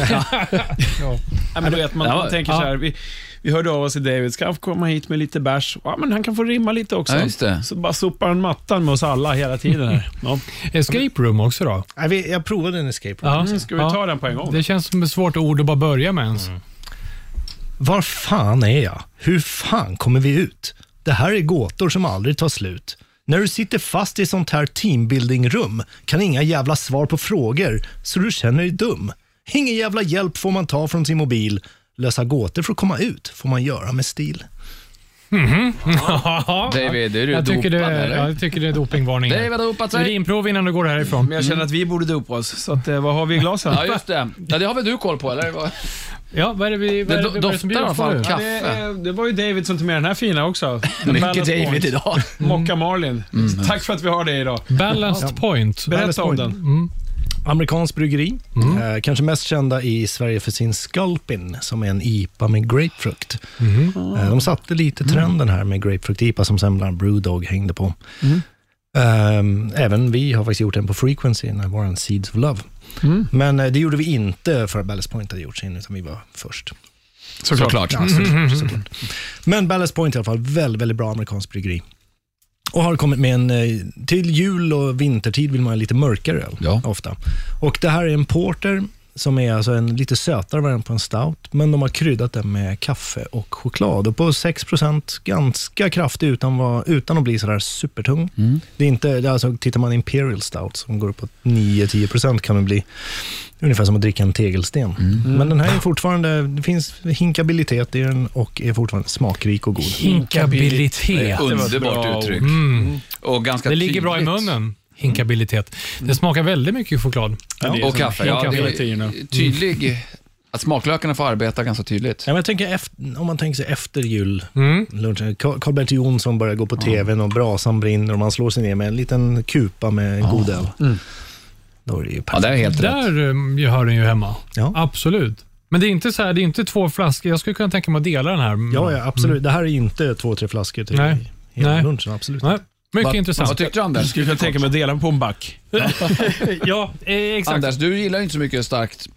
Speaker 1: Ja, men du vet, man,
Speaker 5: Ja,
Speaker 1: man tänker så här, vi, vi hörde av oss till David, ska han få komma hit med lite bärs? Ja, men han kan få rimma lite också.
Speaker 5: Ja, just det.
Speaker 1: Så bara sopar han mattan med oss alla hela tiden. Här. Ja.
Speaker 2: Escape room också då.
Speaker 6: Nej, vi- Jag provade en escape room.
Speaker 5: Mm,
Speaker 2: Ja.
Speaker 1: Mm, Ska vi ta den på en gång?
Speaker 2: Det känns som ett svårt ord att bara börja med
Speaker 5: [laughs]
Speaker 2: ens.
Speaker 6: Var fan är jag? Hur fan kommer vi ut? Det här är gåtor som aldrig tar slut. När du sitter fast i sånt här teambuilding-rum kan inga jävla svar på frågor, så du känner dig dum. Ingen jävla hjälp får man ta från sin mobil. Lösa gåtor för att komma ut får man göra med stil.
Speaker 5: David, är du
Speaker 2: jag tycker,
Speaker 5: dopad
Speaker 2: det,
Speaker 5: eller?
Speaker 2: ja, jag tycker det är dopingvarning.
Speaker 5: David har dopat sig.
Speaker 2: Urinprov innan du går härifrån.
Speaker 1: Men jag känner att vi borde dopa oss, så att, eh, vad har vi i glasen?
Speaker 5: Ja, just det. Ja, det har väl du koll på, eller? Vad-
Speaker 2: Ja, vad är det, vi, vad
Speaker 5: Det
Speaker 2: är det,
Speaker 5: do-
Speaker 2: vad är det som
Speaker 5: doftar i alla
Speaker 2: bjuds på
Speaker 5: fall
Speaker 2: nu?
Speaker 1: Ja, det,
Speaker 5: kaffe.
Speaker 1: eh, det var ju David som tog med den här fina också. The
Speaker 5: [laughs] Mycket
Speaker 1: Ballast
Speaker 5: David
Speaker 1: Point. Mm.
Speaker 5: idag. Mm.
Speaker 1: Mocka Marlin. Tack för att vi har det idag.
Speaker 2: Ballast point. Mm.
Speaker 6: Ballast
Speaker 1: Berätta om
Speaker 6: Point.
Speaker 1: den.
Speaker 6: Amerikanskt bryggeri, eh, kanske mest kända i Sverige för sin Sculpin, som är en IPA med grapefrukt. Eh, de satte lite trenden här med grapefrukt-IPA som sen bland Brewdog hängde på. Ehm, även vi har faktiskt gjort en på Frequency, när vår Seeds of Love. Men eh, det gjorde vi inte för att Ballast Point hade gjort sin, utan vi var först.
Speaker 5: [laughs] Såklart. Mm.
Speaker 6: Ja, såklart, såklart. Men Ballast Point i alla fall, väldigt, väldigt bra amerikanskt bryggeri. Och har kommit med en, eh, till jul och vintertid vill man ha lite mörkare öl
Speaker 5: Ja.
Speaker 6: ofta. Och det här är en porter som är alltså en lite sötare variant på en stout, men de har kryddat den med kaffe och choklad. Och på 6 ganska kraftig utan, vad- utan att bli sådär supertung. Det är inte, det är alltså, tittar man Imperial Stout som går upp på 9-10 kan det bli ungefär som att dricka en tegelsten. Men den här är fortfarande, det finns hinkabilitet i den och är fortfarande smakrik och god.
Speaker 2: Hinkabilitet.
Speaker 5: Underbart
Speaker 1: bra
Speaker 5: uttryck. Och ganska
Speaker 2: Mm. Det ligger bra i
Speaker 5: tydligt.
Speaker 2: munnen. Hinkabilitet. Det smakar väldigt mycket choklad.
Speaker 5: Och kaffe. Ja,
Speaker 2: kaffe.
Speaker 5: det är tydlig. Att smaklökarna får arbeta ganska tydligt.
Speaker 6: Ja, men jag tänker efter, om man tänker sig efter jul,
Speaker 2: Mm.
Speaker 6: lunchen, Carl- Carl-Bert Jonsson börjar gå på tvn och brasan brinner och man slår sig ner med en liten kupa med god öl. Då är det ju
Speaker 5: Mm. Ja,
Speaker 6: perfekt.
Speaker 5: det är helt rätt.
Speaker 2: Där eh, hör den ju hemma.
Speaker 6: Ja.
Speaker 2: Absolut. Men det är inte så här, det är inte två flaskor. Jag skulle kunna tänka mig att dela den här.
Speaker 6: Ja,
Speaker 5: Mm.
Speaker 6: ja, absolut. Det här är inte två, tre flaskor till
Speaker 2: Nej.
Speaker 6: hela
Speaker 2: Nej.
Speaker 6: lunchen. Absolut.
Speaker 2: Nej, mycket
Speaker 5: Vad- Vad
Speaker 2: intressant.
Speaker 5: tyckte du Anders?
Speaker 1: Skulle kunna tänka mig att dela på en back.
Speaker 2: Ja, eh, exakt.
Speaker 5: Anders, du gillar ju inte så mycket starkt,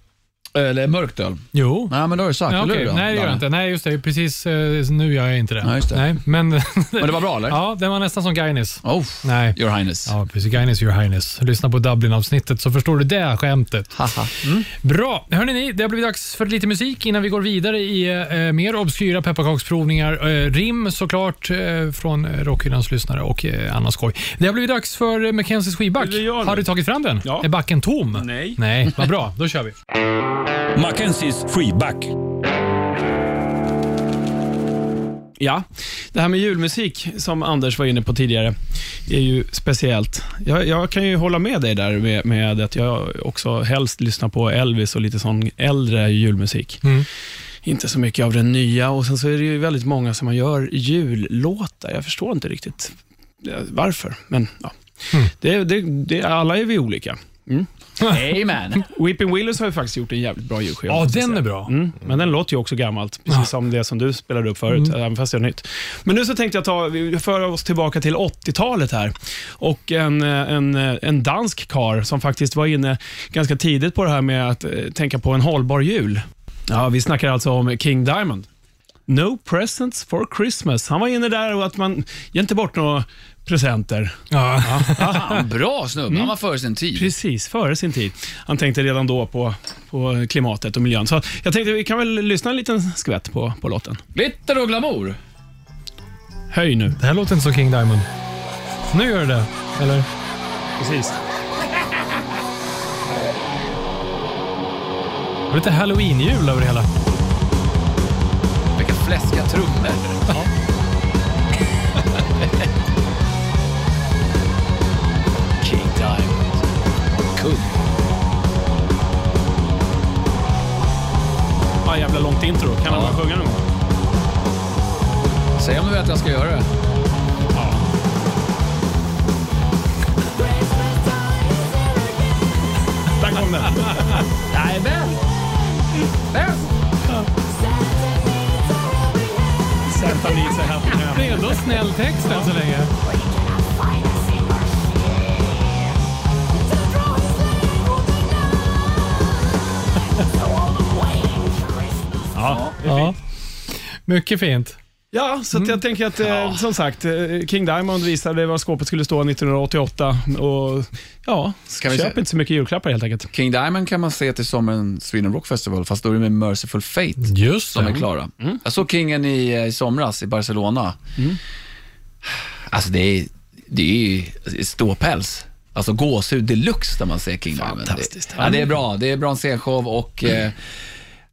Speaker 5: eller mörkt öl.
Speaker 2: Jo.
Speaker 5: Nej, men det har du sagt,
Speaker 2: Ja,
Speaker 5: eller
Speaker 2: okej.
Speaker 5: hur? då?
Speaker 2: Nej, det gör jag inte. Nej, just det. Precis eh, nu gör jag inte det.
Speaker 5: Nej, just det.
Speaker 2: men,
Speaker 5: Men det var bra,
Speaker 2: [laughs]
Speaker 5: eller?
Speaker 2: ja, den var nästan som Guinness.
Speaker 5: Oh,
Speaker 2: Nej.
Speaker 5: your highness.
Speaker 2: Ja, precis. Guinness your highness. Lyssna på Dublin-avsnittet så förstår du det skämtet.
Speaker 5: Haha.
Speaker 1: Mm.
Speaker 2: Bra. Hörrni, ni, det har blivit dags för lite musik innan vi går vidare i eh, mer obskyra pepparkaksprovningar. Eh, rim såklart eh, från eh, Rockhyllans lyssnare och eh, annan skoj. Det har blivit dags för eh, Mackenzies skivback.
Speaker 1: Det gör det.
Speaker 2: Har du tagit fram den?
Speaker 1: Ja.
Speaker 2: Är backen tom?
Speaker 1: Nej.
Speaker 2: Nej, vad bra. Då kör vi.
Speaker 4: Mackenzies freeback.
Speaker 1: Ja, det här med julmusik som Anders var inne på tidigare är ju speciellt. Jag, jag kan ju hålla med dig där med, med att jag också helst lyssnar på Elvis och lite sån äldre julmusik.
Speaker 2: Mm.
Speaker 1: Inte så mycket av den nya och sen så är det ju väldigt många som gör jullåtar. Jag förstår inte riktigt eh, varför, men ja.
Speaker 2: Mm.
Speaker 1: Det, det, det, alla är vi olika.
Speaker 5: Amen.
Speaker 1: Weeping Willows har ju faktiskt gjort en jävligt bra julskiva.
Speaker 2: Ja,
Speaker 1: måste [laughs] jag
Speaker 2: den
Speaker 1: säga.
Speaker 2: är bra.
Speaker 1: Mm, men den låter ju också gammalt, precis som det som du spelade upp förut, även fast det är nytt. Men nu så tänkte jag ta, vi föra oss tillbaka till 80-talet här. Och en, eh, en, eh, en dansk kar som faktiskt var inne ganska tidigt på det här med att eh, tänka på en hållbar jul. Ja, vi snackar alltså om King Diamond. No presents for Christmas. Han var inne där och att man ger inte bort några presenter.
Speaker 2: Ja.
Speaker 5: Fan, bra snubbe. Han var före sin tid.
Speaker 1: Precis, före sin tid. Han tänkte redan då på, på klimatet och miljön. Så jag tänkte vi kan väl lyssna en liten skvätt på, på låten.
Speaker 5: Glitter och glamour.
Speaker 1: Höj nu.
Speaker 2: Det här låter inte som King Diamond. Nu gör det det Eller?
Speaker 1: Precis.
Speaker 2: Det var lite halloween-jul över det hela.
Speaker 5: Vilka fläskiga trummor. King Diamond. Kung.
Speaker 1: Ja, jävla långt intro. Kan han
Speaker 5: Ja.
Speaker 1: bara sjunga någon gång?
Speaker 5: Säg om du vet att jag ska göra det.
Speaker 1: Där kom den.
Speaker 5: Jajamän. Där.
Speaker 1: Santa Lisa här.
Speaker 2: Det är ändå snäll text än så länge. Ja. Mycket fint.
Speaker 1: Ja, så att jag tänker att eh, som sagt, eh, King Diamond visade vad skåpet skulle stå 1988 och ja,
Speaker 5: Ska vi
Speaker 1: köp
Speaker 5: se-
Speaker 1: inte så mycket julklappar helt enkelt.
Speaker 5: King Diamond kan man se till sommaren Sweden Rock Festival, fast då är det med Merciful Fate
Speaker 2: Just
Speaker 5: som är klara. Jag såg Kingen i, eh, i somras i Barcelona. Alltså det är, det är ju det är ståpäls. Alltså gåshud deluxe när man ser King Diamond.
Speaker 1: Fantastiskt.
Speaker 5: Det, ja, det är bra. Det är bra scenshow och eh,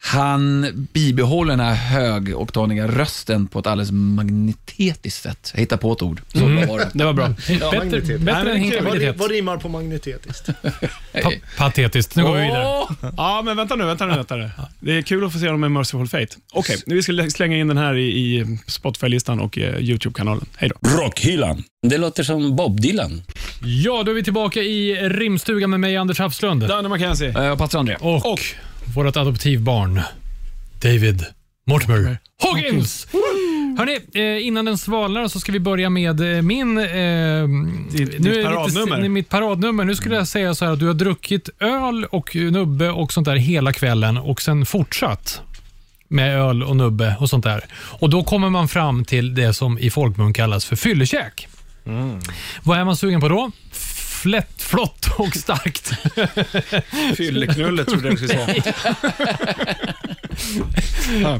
Speaker 5: han bibehåller den här högoktaniga rösten på ett alldeles magnetiskt sätt. Jag hittar på ett ord. Så var det.
Speaker 1: Det var bra.
Speaker 2: Bättre,
Speaker 6: magnitet.
Speaker 1: Nej,
Speaker 2: bättre
Speaker 1: men
Speaker 2: än
Speaker 1: det är kul.
Speaker 2: hinkabilitet.
Speaker 6: Vad rimmar på magnitetiskt?
Speaker 2: Pa- patetiskt. Nu går vi vidare.
Speaker 5: Åh!
Speaker 1: Ja, men vänta nu, vänta nu, vänta nu. Det är kul att få se dem med Merciful Fate. Okej, nu vi ska slänga in den här i, i Spotify-listan och eh, YouTube-kanalen. Hej då.
Speaker 4: Rockhyllan. Det låter som Bob Dylan.
Speaker 2: Ja, då är vi tillbaka i rimstugan med mig, Anders Hafslund.
Speaker 1: Danne Mackenzie.
Speaker 5: Eh, Patrik André.
Speaker 2: Och, vårt adoptivbarn, David Mortimer Hoggins. Hörni, eh, innan den svalnar så ska vi börja med eh, min... Eh,
Speaker 1: ditt
Speaker 2: är det
Speaker 1: paradnummer.
Speaker 2: Lite, mitt paradnummer. Nu skulle jag säga så här att du har druckit öl och nubbe och sånt där hela kvällen och sen fortsatt med öl och nubbe och sånt där. Och Då kommer man fram Mm. till det som i folkmun kallas för fyllekäk. Vad är man sugen på då? flätt, flott och starkt.
Speaker 1: Eh, Fylleknullet trodde jag du skulle säga.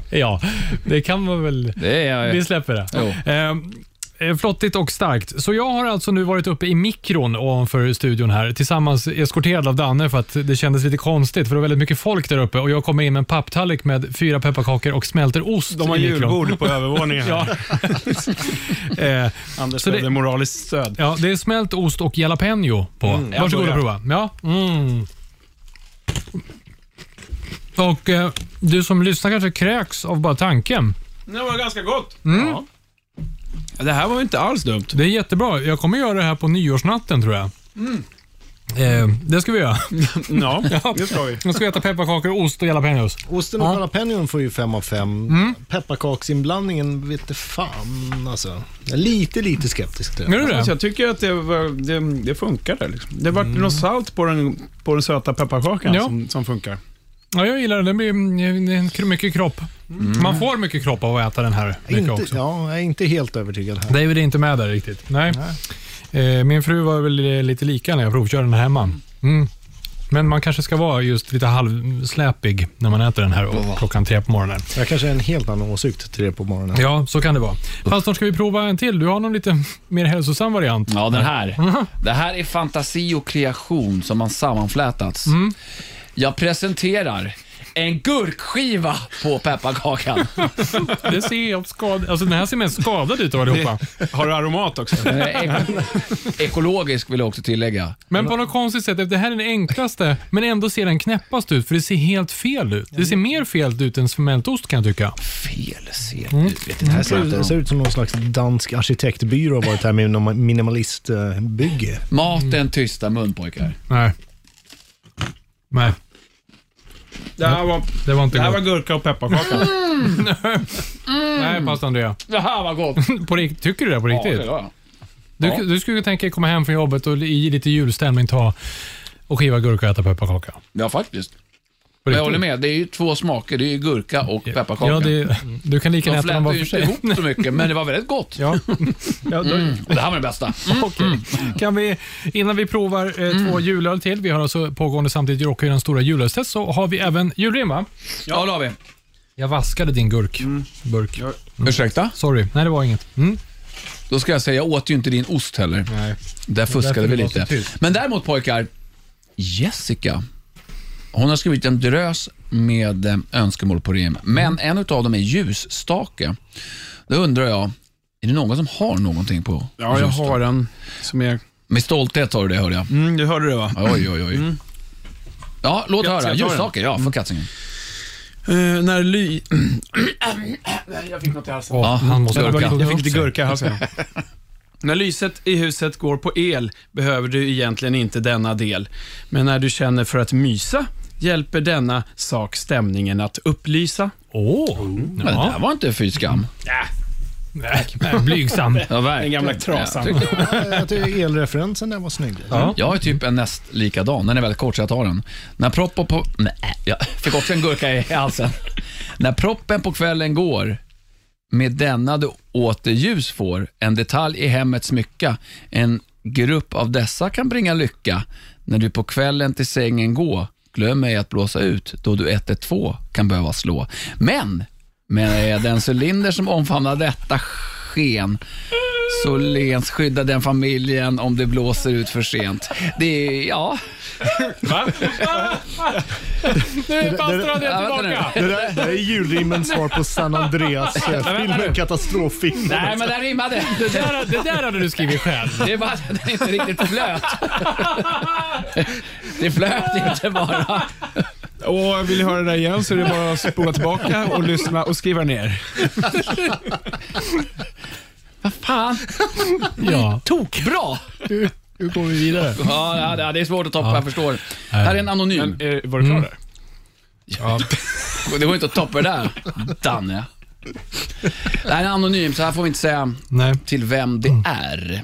Speaker 2: ja, det kan man väl...
Speaker 5: [laughs] Det är jag.
Speaker 2: Vi släpper det.
Speaker 5: Jo.
Speaker 2: Eh. Ehm, Eh, flottigt och starkt. Så jag har alltså nu varit uppe i mikron ovanför studion här, tillsammans eskorterad av Danne för att det kändes lite konstigt för det var väldigt mycket folk där uppe och jag kommer in med en papptallrik med fyra pepparkakor och smälter ost
Speaker 1: De har
Speaker 2: i mikron.
Speaker 1: julbord på övervåningen.
Speaker 2: Ja. [laughs] Eh,
Speaker 1: Anders
Speaker 2: Så det-
Speaker 1: behövde moraliskt stöd.
Speaker 2: ja, det är smält ost och jalapeno på. Varsågod och
Speaker 1: jag
Speaker 2: prova. Ja. Mm. Och eh, du som lyssnar kanske kräks av bara tanken.
Speaker 1: Det var ganska gott. Ja. Det här var ju inte alls dumt.
Speaker 2: Det är jättebra. Jag kommer göra det här på nyårsnatten tror jag. Mm. Eh, det ska vi göra.
Speaker 1: [laughs] Ja, det ska vi.
Speaker 2: Nu ska vi äta pepparkakor, ost och jalapenos.
Speaker 6: Osten och jalapenon får ju fem av fem.
Speaker 5: Mm.
Speaker 6: Pepparkaksinblandningen vet du fan alltså. Jag är lite, lite skeptisk till
Speaker 2: Gör
Speaker 6: den.
Speaker 2: du
Speaker 1: Alltså,
Speaker 2: det?
Speaker 1: jag tycker att det, var, det, det funkade. Liksom. Det var något salt på den, på den söta pepparkakan
Speaker 2: Ja.
Speaker 1: som, som funkar.
Speaker 2: Ja, jag gillar den. Det blir mm, det är mycket kropp. Man får mycket kropp av att äta den här. mycket
Speaker 6: Inte,
Speaker 2: också.
Speaker 6: ja, jag är inte helt övertygad här.
Speaker 2: David är inte med där riktigt. Nej. Eh, min fru var väl eh, lite lika när jag provkörde den här hemma. Mm. Men man kanske ska vara just lite halvsläpig när man äter den här och klockan tre på morgonen.
Speaker 6: Jag kanske är en helt annan åsikt till det på morgonen.
Speaker 2: Ja, så kan det vara. Fast snart ska vi prova en till. Du har någon lite mer hälsosam variant.
Speaker 5: Ja,
Speaker 2: [laughs]
Speaker 5: den här.
Speaker 2: Mm-hmm.
Speaker 5: Det här är fantasi och kreation som har sammanflätats.
Speaker 2: Mm-hmm.
Speaker 5: Jag presenterar en gurkskiva på
Speaker 2: [laughs]
Speaker 5: pepparkakan.
Speaker 2: Det ser jag skad... Alltså den här ser mest skadad ut av allihopa.
Speaker 1: Har du aromat också?
Speaker 5: Den är eko- Ekologisk vill jag också tillägga.
Speaker 2: Men på något konstigt sätt, det här är den enklaste, men ändå ser den knäppast ut för det ser helt fel ut. Det ser mer fel ut än smältost kan jag tycka.
Speaker 5: Fel ser det ut. Vet inte
Speaker 6: Det här
Speaker 5: vad jag pratar
Speaker 6: ser, Mm. det
Speaker 5: om.
Speaker 6: ser ut som någon slags dansk arkitektbyrå har varit här med någon minimalistbygge.
Speaker 2: Mm.
Speaker 5: Maten tysta mun pojkar.
Speaker 2: Nej. Nej,
Speaker 1: [laughs] Det här var,
Speaker 2: det var inte
Speaker 1: det här
Speaker 2: gott.
Speaker 1: var gurka och pepparkaka.
Speaker 2: Nej, fast Andrea.
Speaker 5: Det här var gott.
Speaker 2: På rikt... Tycker du det på riktigt?
Speaker 5: Ja,
Speaker 2: Du, du skulle tänka dig komma hem från jobbet och i lite julstämning ta och skiva gurka och äta pepparkaka. På
Speaker 5: ja faktiskt. Men
Speaker 2: riktigt.
Speaker 5: jag håller med. Det är ju två smaker. Det är ju gurka och pepparkaka. Mm.
Speaker 2: Ja, det, du kan lika gärna
Speaker 5: De
Speaker 2: äta dem
Speaker 5: flätar
Speaker 2: var
Speaker 5: ju
Speaker 2: för
Speaker 5: inte
Speaker 2: sig.
Speaker 5: ihop så mycket, men det var väldigt gott. [laughs]
Speaker 2: Ja. Mm.
Speaker 1: Ja, då,
Speaker 5: Och det här var det bästa.
Speaker 2: Okej. Kan vi, innan vi provar eh, två julöl till, vi har alltså pågående samtidigt Rockhyrans stora julölstest, så har vi även julrim va?
Speaker 5: Ja, då har vi.
Speaker 2: Mm. Jag vaskade din gurk. Burk.
Speaker 5: Ursäkta?
Speaker 2: Sorry, nej det var inget. Mm.
Speaker 5: Då ska jag säga, jag åt ju inte din ost heller.
Speaker 2: Nej.
Speaker 5: Där fuskade
Speaker 2: Därför
Speaker 5: vi
Speaker 2: det var så
Speaker 5: lite.
Speaker 2: tyst.
Speaker 5: Men däremot pojkar, Jessica, hon har skrivit en drös med eh, önskemål på rim, men
Speaker 1: Mm.
Speaker 5: en utav dem är ljusstake. Då undrar jag, är det någon som har någonting på
Speaker 1: ja, jag
Speaker 5: ljusstake?
Speaker 1: har en som är...
Speaker 5: Med stolthet har du det, hörde jag.
Speaker 1: Mm, du hörde det va?
Speaker 5: Oj, oj, oj. Ja, låt
Speaker 1: Jag- jag
Speaker 5: höra.
Speaker 1: tar den. Mm.
Speaker 5: Ljusstake, ja, för katsingen.
Speaker 1: Eh, när ly...
Speaker 3: Jag fick något i halsen.
Speaker 2: Åh,
Speaker 5: Ja,
Speaker 2: han måste
Speaker 5: gurka.
Speaker 2: gurka.
Speaker 1: Jag fick lite gurka i halsen. [laughs] När lyset i huset går på el behöver du egentligen inte denna del. Men när du känner för att mysa hjälper denna sak stämningen att upplysa.
Speaker 2: Åh!
Speaker 5: Men det där
Speaker 2: Ja.
Speaker 5: var inte fy skam.
Speaker 2: Nej, nej, Blygsam.
Speaker 5: Ja,
Speaker 1: Den gamla
Speaker 5: Jag,
Speaker 1: trasan.
Speaker 5: tycker-
Speaker 6: [laughs] Jag tycker elreferensen där var snygg.
Speaker 2: Ja.
Speaker 5: Jag är typ en näst likadan. Den är väldigt kort så jag tar den. När proppen på... Nej, jag fick också en gurka i halsen. När proppen på kvällen går, med denna du åter ljus får, en detalj i hemmets smycka, en grupp av dessa kan bringa lycka. När du på kvällen till sängen gå, glöm ej att blåsa ut, då du 112 kan behöva slå. Men, med den cylinder som omfamnar detta sken, så lens skydda den familjen om det blåser ut för sent. Det är, ja.
Speaker 2: Nu
Speaker 6: pastor
Speaker 2: pastor
Speaker 6: André
Speaker 2: André
Speaker 5: Ja, vänta nu.
Speaker 2: tillbaka.
Speaker 6: Det där det är julrimmens svar på San eh, Andreas-filmen, katastroffilmen.
Speaker 5: Nej, men den rimmade. Det där-
Speaker 2: Det där hade du skrivit själv.
Speaker 5: Det är bara att den inte riktigt flöt. Det flöt inte bara.
Speaker 1: Och vill ni höra det där igen så är det bara att spola tillbaka och lyssna och skriva ner.
Speaker 5: Fan,
Speaker 2: Ja.
Speaker 5: tokbra!
Speaker 2: Hur går vi vidare?
Speaker 5: Ja, ja, det är svårt att toppa, jag förstår. Här är en anonym.
Speaker 1: Eh, var du klar där?
Speaker 5: Det går inte att toppa det där,
Speaker 2: [laughs]
Speaker 5: Danne. Det här är en anonym, så här får vi inte säga
Speaker 2: Nej.
Speaker 5: till vem
Speaker 2: Mm.
Speaker 5: det är.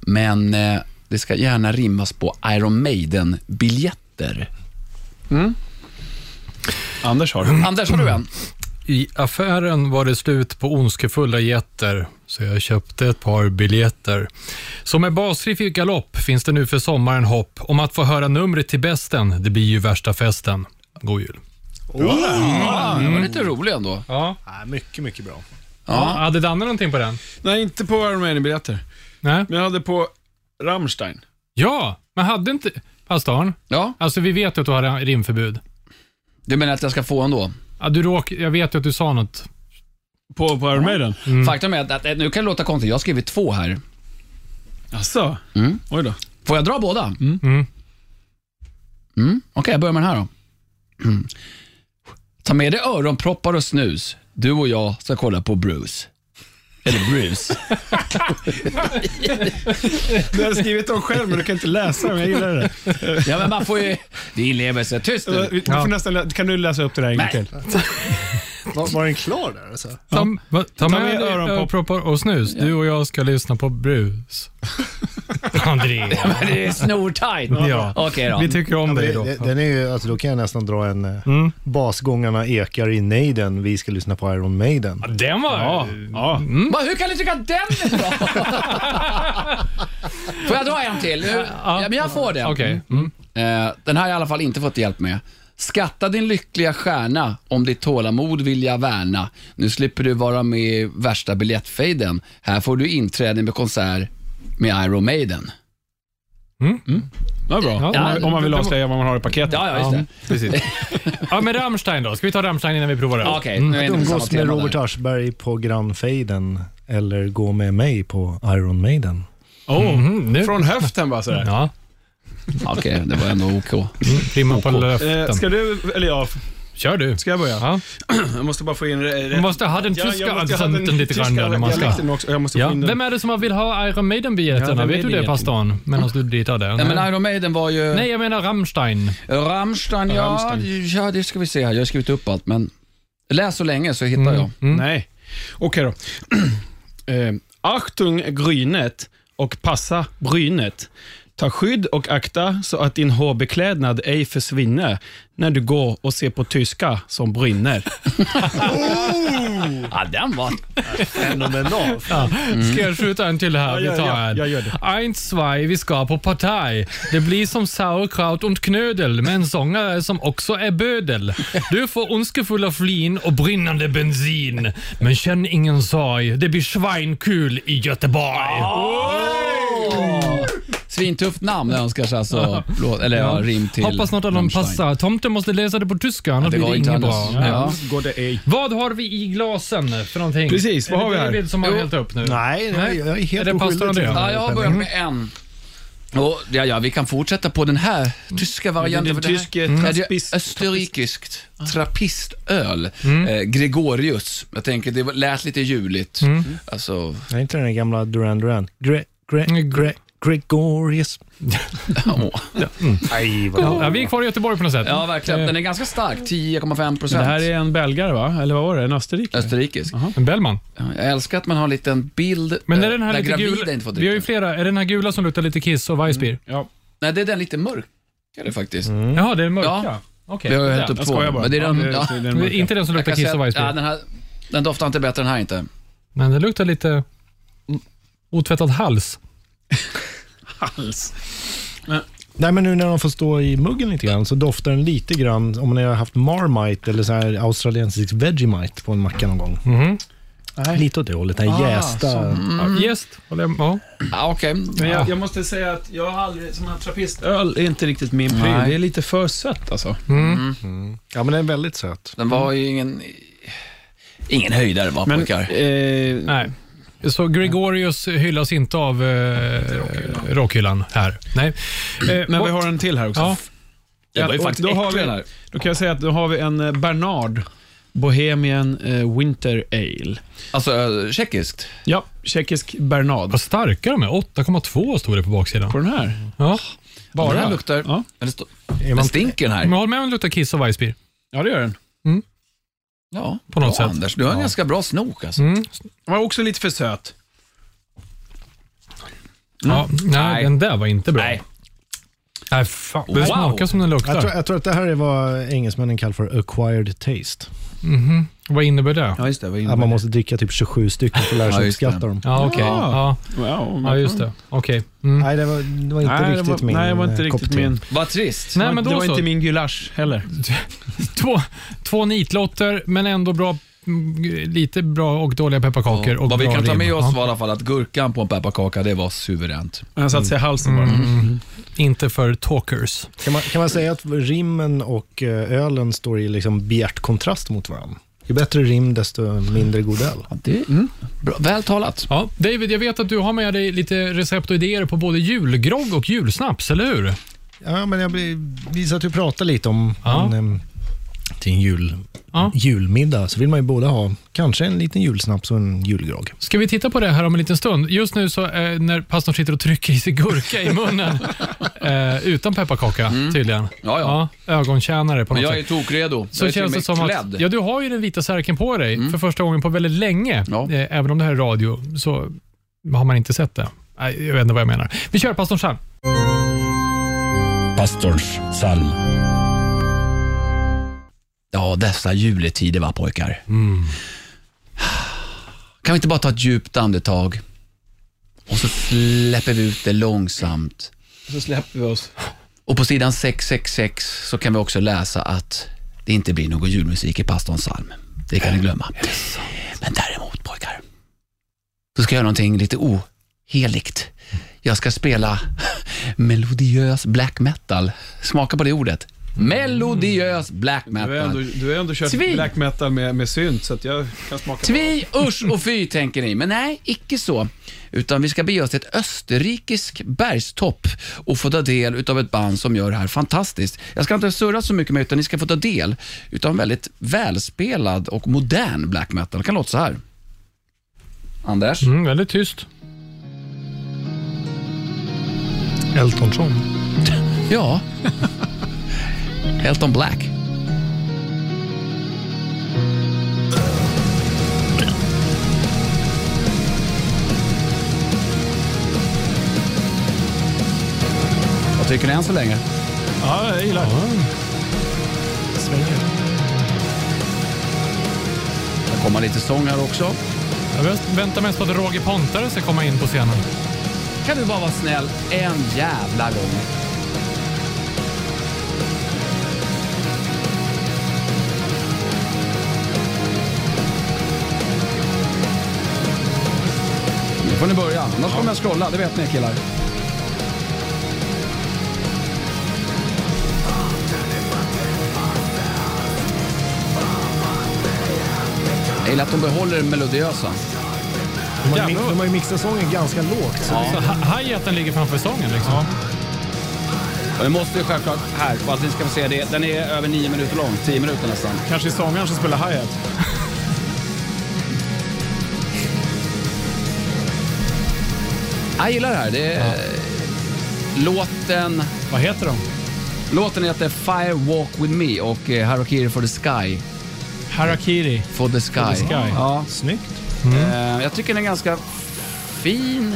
Speaker 5: Men eh, det ska gärna rimmas på Iron Maiden-biljetter.
Speaker 1: Anders har du.
Speaker 2: Mm.
Speaker 5: Anders, har du en?
Speaker 2: I affären var det slut på ondskefulla getter, så jag köpte ett par biljetter. Så med basriff i galopp finns det nu för sommaren hopp om att få höra numret till bästen. Det blir ju värsta festen. God jul.
Speaker 5: Den var
Speaker 2: Mm.
Speaker 5: lite rolig ändå.
Speaker 2: Ja.
Speaker 6: Nej, mycket, mycket bra.
Speaker 2: Hade Danne någonting på den?
Speaker 1: Nej, inte på Iron Maiden-biljetter.
Speaker 2: Nej.
Speaker 1: Men jag hade på Rammstein.
Speaker 2: Ja, men hade inte... Pastorn,
Speaker 5: Ja,
Speaker 2: alltså vi vet ju att du har rimförbud.
Speaker 5: du menar att jag ska få ändå?
Speaker 2: Ja, du råk, jag vet ju att du sa något.
Speaker 1: På, på Iron Maiden?
Speaker 2: Mm.
Speaker 5: Faktum är att, att nu kan det låta konstigt, jag har skrivit två här.
Speaker 1: Jaså?
Speaker 5: Mm.
Speaker 1: Oj då.
Speaker 5: Får jag dra båda? Mm.
Speaker 2: Mm.
Speaker 5: Mm. Okej, jag börjar med den här då. [clears throat] Mm. Ta med dig öronproppar och snus. Du och jag ska kolla på Bruce. Eller
Speaker 2: [laughs]
Speaker 5: Bruce.
Speaker 1: Du hade skrivit dem själv, men du kan inte läsa dem. Jag gillar det.
Speaker 5: ja, men man får ju... Det är inlevelse. Tyst
Speaker 1: Du
Speaker 5: nu.
Speaker 1: du får nästan, lä- kan du läsa upp det där en gång till?
Speaker 6: Var, var den klar där? Alltså?
Speaker 2: Ta, va, ta, med,
Speaker 1: med
Speaker 2: dig
Speaker 1: öronpropp-
Speaker 2: öronproppar och snus. Du och jag ska lyssna på
Speaker 1: [laughs]
Speaker 2: brus. André.
Speaker 5: Men det är snortajt.
Speaker 2: Ja.
Speaker 5: Okej då.
Speaker 2: Vi tycker om dig
Speaker 6: Det,
Speaker 2: då.
Speaker 6: det, den är ju, alltså, då kan jag nästan dra en eh, basgångarna ekar i nejden, vi ska lyssna på Iron Maiden.
Speaker 2: Den var...
Speaker 1: Ja. ja.
Speaker 5: Va, hur kan ni tycka att den är bra? får jag dra en till? Nu- Ja, men jag får den.
Speaker 2: Okej. Mm.
Speaker 5: Eh, den här har jag i alla fall inte fått hjälp med. Skatta din lyckliga stjärna, om ditt tålamod vill jag värna. Nu slipper du vara med i värsta biljettfejden. Här får du inträde med konsert med Iron Maiden. Mm.
Speaker 1: Det var bra. Om man, om man vill avslöja vad man har i paketet.
Speaker 5: Ja, ja, just det.
Speaker 2: Precis.
Speaker 1: [laughs]
Speaker 2: Ja, men Rammstein då. Ska vi ta Rammstein innan vi provar det?
Speaker 5: Okej, nu är det inte på samma
Speaker 6: Mm. Umgås med
Speaker 5: tema
Speaker 6: Robert
Speaker 5: där.
Speaker 6: Aschberg på Grand Faden eller gå med mig på Iron Maiden.
Speaker 1: Oh.
Speaker 2: Mhm, nu.
Speaker 1: Från höften bara sådär.
Speaker 2: Ja,
Speaker 5: Okej, det var ändå OK.
Speaker 2: rimma på
Speaker 1: Eh,
Speaker 2: löften.
Speaker 1: ska du, eller jag,
Speaker 2: Kör du.
Speaker 1: ska jag börja?
Speaker 2: Ja.
Speaker 1: Jag måste bara få in det
Speaker 2: Man
Speaker 1: rätt.
Speaker 2: måste ha den
Speaker 1: Ja, jag
Speaker 2: tyska
Speaker 1: måste ha den
Speaker 2: accenten lite grann
Speaker 1: tyska
Speaker 2: där när man ska.
Speaker 1: dialekten också. Jag måste
Speaker 2: Ja.
Speaker 1: få in den.
Speaker 2: Vem är det som vill ha Iron
Speaker 1: Ja,
Speaker 2: Maiden-biljetterna?
Speaker 1: vem är
Speaker 2: Vet du det,
Speaker 1: biljetten?
Speaker 2: pastorn? Medan du ditar där?
Speaker 5: Nej, men Iron Maiden var ju...
Speaker 2: Nej, jag menar Rammstein.
Speaker 5: Rammstein, ja,
Speaker 1: Rammstein.
Speaker 5: ja, det ska vi se här. Jag har skrivit upp allt, men läs så länge så hittar jag.
Speaker 2: Mm.
Speaker 1: Nej. Okej då. [clears throat] eh, Achtung grynet och passa brynet. Ta skydd och akta så att din hårbeklädnad ej försvinner när du går och ser på tyska som brinner.
Speaker 5: Ja, den var...
Speaker 6: Fenomenal.
Speaker 2: Ska jag skjuta en till här?
Speaker 1: Mm. Ja,
Speaker 2: Vi
Speaker 1: ja,
Speaker 2: tar
Speaker 1: ja.
Speaker 2: en.
Speaker 1: Ja, gör det.
Speaker 2: Eins, zwei, vi ska på partaj. Det blir som sauerkraut och knödel med en sångare som också är bödel. Du får ondskefulla flin och brinnande bensin. Men känn ingen sorg, det blir svinkul i Göteborg.
Speaker 1: Ah!
Speaker 5: Svintufft namn önskas alltså, plå- eller ja, rim till
Speaker 2: Hoppas något av dem
Speaker 5: Rammstein.
Speaker 2: passar. Tomten måste läsa det på tyska, annars
Speaker 5: det
Speaker 2: blir
Speaker 5: går
Speaker 2: det
Speaker 5: inte
Speaker 2: inget bra.
Speaker 5: annars.
Speaker 2: Nej.
Speaker 5: Ja.
Speaker 1: Går det ej.
Speaker 2: Vad har vi i glasen för någonting?
Speaker 1: Precis, vad
Speaker 2: Är det
Speaker 1: har vi här?
Speaker 2: David som har
Speaker 5: Jo.
Speaker 2: hällt upp nu?
Speaker 6: Nej,
Speaker 2: Nej.
Speaker 6: jag är
Speaker 2: Är
Speaker 6: helt
Speaker 2: det pastor
Speaker 6: oskyldig till
Speaker 2: Andrea?
Speaker 5: Ja,
Speaker 6: den
Speaker 5: jag har
Speaker 6: här
Speaker 5: börjat
Speaker 6: pennan.
Speaker 5: med en. Och, ja, ja, vi kan fortsätta på den här tyska
Speaker 1: Den
Speaker 5: varianten. för här- Mm.
Speaker 1: tyske
Speaker 5: Ja, det
Speaker 1: trappist-
Speaker 5: är österrikiskt trappistöl. Eh, Gregorius. Jag tänker, det lät lite juligt. Alltså,
Speaker 6: Nej, inte den där gamla Duran Duran. Gre, gre, gre, Gregorius.
Speaker 5: åh.
Speaker 6: Nej, vad
Speaker 2: Ja, vi är kvar i Göteborg på något sätt.
Speaker 5: ja, verkligen. Den är ganska stark, 10,5
Speaker 1: Det här
Speaker 5: procent.
Speaker 1: är en belgare, va? Eller vad var det? En österrikare?
Speaker 5: Österrikisk.
Speaker 2: Bellman.
Speaker 5: Ja, Jag älskar att man har en liten bild
Speaker 2: Men är
Speaker 5: eh,
Speaker 2: den här
Speaker 5: där
Speaker 2: lite
Speaker 5: gravida
Speaker 2: gula?
Speaker 5: inte får
Speaker 2: Vi har
Speaker 5: dricka.
Speaker 2: ju flera. Är det den här gula som luktar lite kiss och Weissbier?
Speaker 1: Ja.
Speaker 5: Nej, det är den lite mörkare faktiskt.
Speaker 1: Mm.
Speaker 2: Jaha, det är den mörka.
Speaker 5: Ja.
Speaker 2: Okej.
Speaker 5: Vi har ju hällt
Speaker 2: Den.
Speaker 5: upp
Speaker 1: Jag
Speaker 5: två.
Speaker 1: skojar bara.
Speaker 5: Men det är den, ja.
Speaker 1: det är
Speaker 2: Det
Speaker 1: den
Speaker 2: är
Speaker 1: mörka.
Speaker 2: Inte den som
Speaker 5: Jag
Speaker 2: luktar
Speaker 5: kan
Speaker 2: kiss
Speaker 5: säga
Speaker 2: och
Speaker 5: att- ja,
Speaker 2: Weissbier.
Speaker 5: den, här, den doftar inte bättre än här inte.
Speaker 2: Men den luktar lite otvättad hals.
Speaker 6: Nej, men nu när de får stå i muggen lite grann så doftar den lite grann om ni har haft Marmite eller så här australiensisk Vegemite på en macka någon gång.
Speaker 1: Mhm.
Speaker 6: Lite åt det hållet, den här
Speaker 5: Ah,
Speaker 6: jästa.
Speaker 2: Mm. Gäst. håller jag- Ja.
Speaker 5: Ja, Okej.
Speaker 1: Men jag, jag måste säga att jag har aldrig, sån här trappistöl är inte riktigt min pryl.
Speaker 5: Nej.
Speaker 1: Det är lite för sött alltså.
Speaker 6: Ja, men den är väldigt söt.
Speaker 5: Den var ju ingen... Ingen höjdare va,
Speaker 1: Men,
Speaker 5: pojkar?
Speaker 1: eh,
Speaker 2: Nej. Så Gregorius hyllas inte av eh, rockhyllan här. Nej. Eh,
Speaker 1: men
Speaker 2: och-
Speaker 1: vi har en till här också.
Speaker 2: Ja.
Speaker 5: Det var ju
Speaker 1: och
Speaker 5: faktiskt
Speaker 1: då har vi,
Speaker 5: äcklig den här.
Speaker 1: Då kan jag säga att då har vi en eh, Bernard Bohemian eh, Winter Ale.
Speaker 5: Alltså eh, tjeckiskt.
Speaker 1: Ja, tjeckisk Bernard.
Speaker 2: Vad starka de är. 8,2 står det på baksidan.
Speaker 1: På den här.
Speaker 2: Ja.
Speaker 5: Bara? Den
Speaker 1: Ja.
Speaker 5: här luktar...
Speaker 1: Ja.
Speaker 5: Men det stå... Den stinker den
Speaker 2: Men
Speaker 5: här.
Speaker 2: håll med om det luktar kiss och Weissbier.
Speaker 1: Ja, det gör den.
Speaker 5: Ja,
Speaker 2: På något
Speaker 5: bra,
Speaker 2: sätt.
Speaker 5: Anders, du har en ganska bra snok alltså.
Speaker 2: Mm.
Speaker 1: Den var också lite för söt.
Speaker 2: Ja, nej,
Speaker 5: Mm. Nej.
Speaker 2: den där var inte bra.
Speaker 5: Nej.
Speaker 2: Nej, fan. Det
Speaker 5: Wow.
Speaker 2: smakar som den luktar.
Speaker 6: Jag tror, jag tror att det här är vad engelsmännen kallar för acquired taste.
Speaker 2: Mhm. Vad innebär det?
Speaker 5: Ja, just det. Vad
Speaker 7: Att
Speaker 5: innebär
Speaker 7: man
Speaker 5: det?
Speaker 7: måste dricka typ 27 stycken för att lära
Speaker 5: Mm. Ja,
Speaker 7: sig
Speaker 5: just det. Mm.
Speaker 7: uppskatta dem.
Speaker 2: Ja, okej. Ja.
Speaker 1: Wow,
Speaker 2: ja, just det. Okej. Mm.
Speaker 7: Nej, det var, det var inte
Speaker 1: Nej, det
Speaker 7: riktigt
Speaker 1: var,
Speaker 7: min
Speaker 1: nej, det var inte
Speaker 7: eh, kopp
Speaker 1: riktigt
Speaker 7: te.
Speaker 1: min.
Speaker 5: Vad trist.
Speaker 2: Nej, men
Speaker 1: det
Speaker 2: då
Speaker 1: var inte
Speaker 2: så.
Speaker 1: min gulasch heller.
Speaker 2: Två, två nitlotter, men ändå bra, mm, lite bra och dåliga pepparkakor. och
Speaker 5: Vad vi
Speaker 2: bra
Speaker 5: kan ta
Speaker 2: rim.
Speaker 5: med
Speaker 2: Ja.
Speaker 5: oss var i alla fall att gurkan på en pepparkaka, det var suveränt.
Speaker 1: Han satte sig i halsen bara.
Speaker 2: Mm.
Speaker 5: Mm.
Speaker 2: Inte för talkers.
Speaker 7: Kan man, kan man säga att rimmen och eh, ölen står i liksom bjärt kontrast mot varandra? Ju bättre rim, desto mindre god öl.
Speaker 5: Det, mm. Bra, väl talat.
Speaker 2: Ja, David, jag vet att du har med dig lite recept och idéer på både julgrogg och julsnaps, eller hur?
Speaker 7: Ja, men jag blir, visar att du pratar lite om
Speaker 2: Ja.
Speaker 7: en, em, till en jul,
Speaker 2: Ja.
Speaker 7: julmiddag, så vill man ju båda ha kanske en liten julsnaps och en julgrogg.
Speaker 2: Ska vi titta på det här om en liten stund? Just nu så eh, när pastorn sitter och trycker i sig gurka i
Speaker 5: [laughs]
Speaker 2: munnen, eh, utan pepparkaka tydligen.
Speaker 5: Ja, Mm. ja.
Speaker 2: ögontjänare på
Speaker 5: Men
Speaker 2: något
Speaker 5: jag
Speaker 2: sätt.
Speaker 5: är tokredo.
Speaker 2: så
Speaker 5: jag är till och
Speaker 2: känns det
Speaker 5: med
Speaker 2: som
Speaker 5: klädd. Mm.
Speaker 2: att, ja, du har ju den vita särken på dig för första gången på väldigt länge.
Speaker 5: Ja.
Speaker 2: Eh, även om det här är radio så har man inte sett det. Nej, jag vet inte vad jag menar. Vi kör Pastorn Sam.
Speaker 4: Pastorns psalm.
Speaker 5: Ja, dessa juletider va pojkar.
Speaker 2: Mm.
Speaker 5: Kan vi inte bara ta ett djupt andetag och så släpper vi ut det långsamt.
Speaker 1: Så släpper vi oss.
Speaker 5: Och på sidan 666 så kan vi också läsa att det inte blir någon julmusik i pastorns psalm. Det kan ni glömma. Men däremot pojkar, då ska jag göra någonting lite oheligt. Jag ska spela [laughs] melodiös black metal. Smaka på det ordet. Melodiös black metal.
Speaker 1: Du har ändå, du har ändå kört
Speaker 5: Svin.
Speaker 1: black metal med, med synt, så att jag kan smaka.
Speaker 5: Tvi, usch och fy tänker ni, men nej, icke så. Utan vi ska bege oss till ett österrikisk bergstopp och få ta del utav ett band som gör det här fantastiskt. Jag ska inte surra så mycket med utan ni ska få ta del utav en väldigt välspelad och modern black metal. Det kan låta så här. Anders?
Speaker 2: Mm, väldigt tyst.
Speaker 7: Elton John.
Speaker 5: Ja. Elton Black. Vad tycker ni än så länge?
Speaker 1: Ja, jag gillar
Speaker 5: Det kommer lite sång här också.
Speaker 2: Jag väst- väntar mest på att Roger Pontare ska komma in på scenen.
Speaker 5: Kan du bara vara snäll en jävla gång? Nu får ni börja, annars kommer jag scrolla, det vet ni killar. Jag gillar att de behåller det melodiösa.
Speaker 7: De har, ju
Speaker 1: Jävlar.
Speaker 7: mi- de har ju mixat sången ganska lågt. Så
Speaker 2: Så hi- hi-haten ligger framför sången liksom.
Speaker 5: Vi måste ju självklart här, för att ni ska få se det. Den är över nio minuter lång, tio minuter nästan.
Speaker 1: Kanske sångaren som spelar hi-hat.
Speaker 5: Jag gillar det här. Det är... eh, Låten,
Speaker 1: Vad heter de?
Speaker 5: låten heter Fire Walk With Me och eh, Harakiri for the Sky.
Speaker 1: Harakiri.
Speaker 5: For the Sky.
Speaker 1: Sky.
Speaker 5: Ja.
Speaker 7: Snyggt.
Speaker 5: Eh, Jag tycker den är ganska fin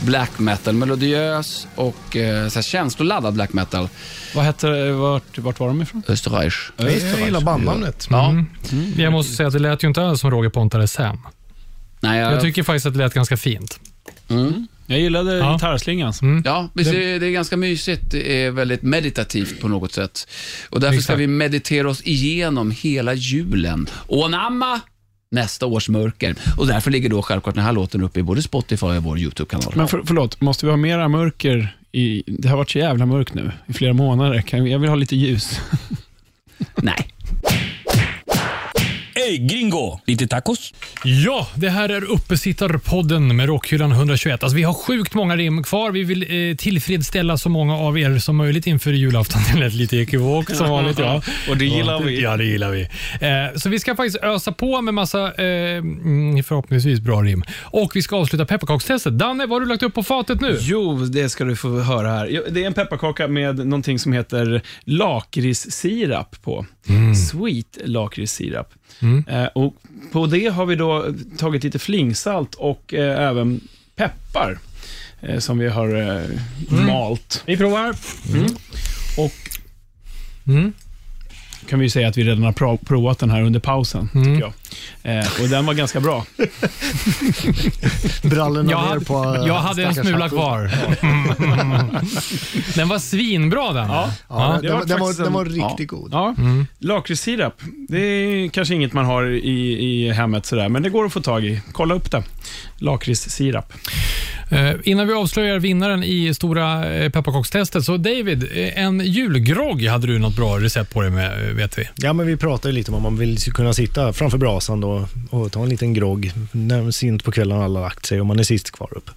Speaker 5: black metal. Melodiös och eh, så här känsloladdad black metal.
Speaker 1: Vad heter, vart, vart var de ifrån?
Speaker 5: Österreich.
Speaker 7: Jag gillar bandnamnet.
Speaker 2: Mm.
Speaker 5: Ja.
Speaker 2: Jag måste säga att det lät ju inte alls som Roger Pontare Sam.
Speaker 5: Nej, jag,
Speaker 2: Jag tycker faktiskt att det lät ganska fint.
Speaker 1: Jag gillade
Speaker 2: Ja.
Speaker 1: gitarrslingan.
Speaker 5: Ja, visst, det, det är ganska mysigt. Det är väldigt meditativt på något sätt. Och därför ska
Speaker 2: Exakt.
Speaker 5: vi meditera oss igenom hela julen. Ånamma nästa års mörker. Och därför ligger då självklart den här låten uppe i både Spotify och vår YouTube-kanal.
Speaker 1: Men för, förlåt, måste vi ha mera mörker? I, det har varit så jävla mörkt nu i flera månader. Kan, jag vill ha lite ljus.
Speaker 5: Nej.
Speaker 4: Ey gringo, lite tacos?
Speaker 2: Ja, det här är Uppesittarpodden med Rockhyllan 121. Alltså, vi har sjukt många rim kvar. Vi vill eh, tillfredsställa så många av er som möjligt inför julafton. [laughs] Det lät lite ekivokt som vanligt. Ja.
Speaker 1: [laughs] Och det gillar
Speaker 2: ja,
Speaker 1: vi.
Speaker 2: Ja, det gillar vi. Eh, så vi ska faktiskt ösa på med massa eh, mm, förhoppningsvis bra rim. Och vi ska avsluta pepparkakstestet. Danne, vad har du lagt upp på fatet nu?
Speaker 1: Jo, det ska du få höra här. Jo, Det är en pepparkaka med någonting som heter lakritssirap på. Sweet lakritssirap. Eh, och på det har vi då tagit lite flingsalt och eh, även peppar eh, som vi har eh, malt. Mm.
Speaker 2: Vi provar.
Speaker 1: Och kan vi ju säga att vi redan har pro- provat den här under pausen, tycker jag. Eh, och den var ganska bra.
Speaker 6: Brallorna
Speaker 2: Jag
Speaker 6: ner
Speaker 2: hade,
Speaker 6: på eh,
Speaker 2: jag hade en
Speaker 6: stackars
Speaker 2: smula
Speaker 6: Hasse. [laughs]
Speaker 2: kvar. [laughs] den var svinbra den.
Speaker 1: Ja.
Speaker 6: Ja,
Speaker 1: Det
Speaker 6: den,
Speaker 1: var
Speaker 6: den, var,
Speaker 1: faktiskt en-
Speaker 6: den var riktigt god.
Speaker 1: Ja, lakritssirap. Det är kanske inget man har i, i hemmet, sådär, men det går att få tag i. Kolla upp det. Lakritssirap.
Speaker 2: Eh, Innan vi avslöjar vinnaren i stora eh, pepparkakstestet, så David, eh, en julgrogg hade du något bra recept på det med, eh, vet vi.
Speaker 6: Ja, men vi pratade ju lite om om man vill kunna sitta framför brasan då och ta en liten grogg när sent på kvällen har alla lagt sig och man är sist kvar upp.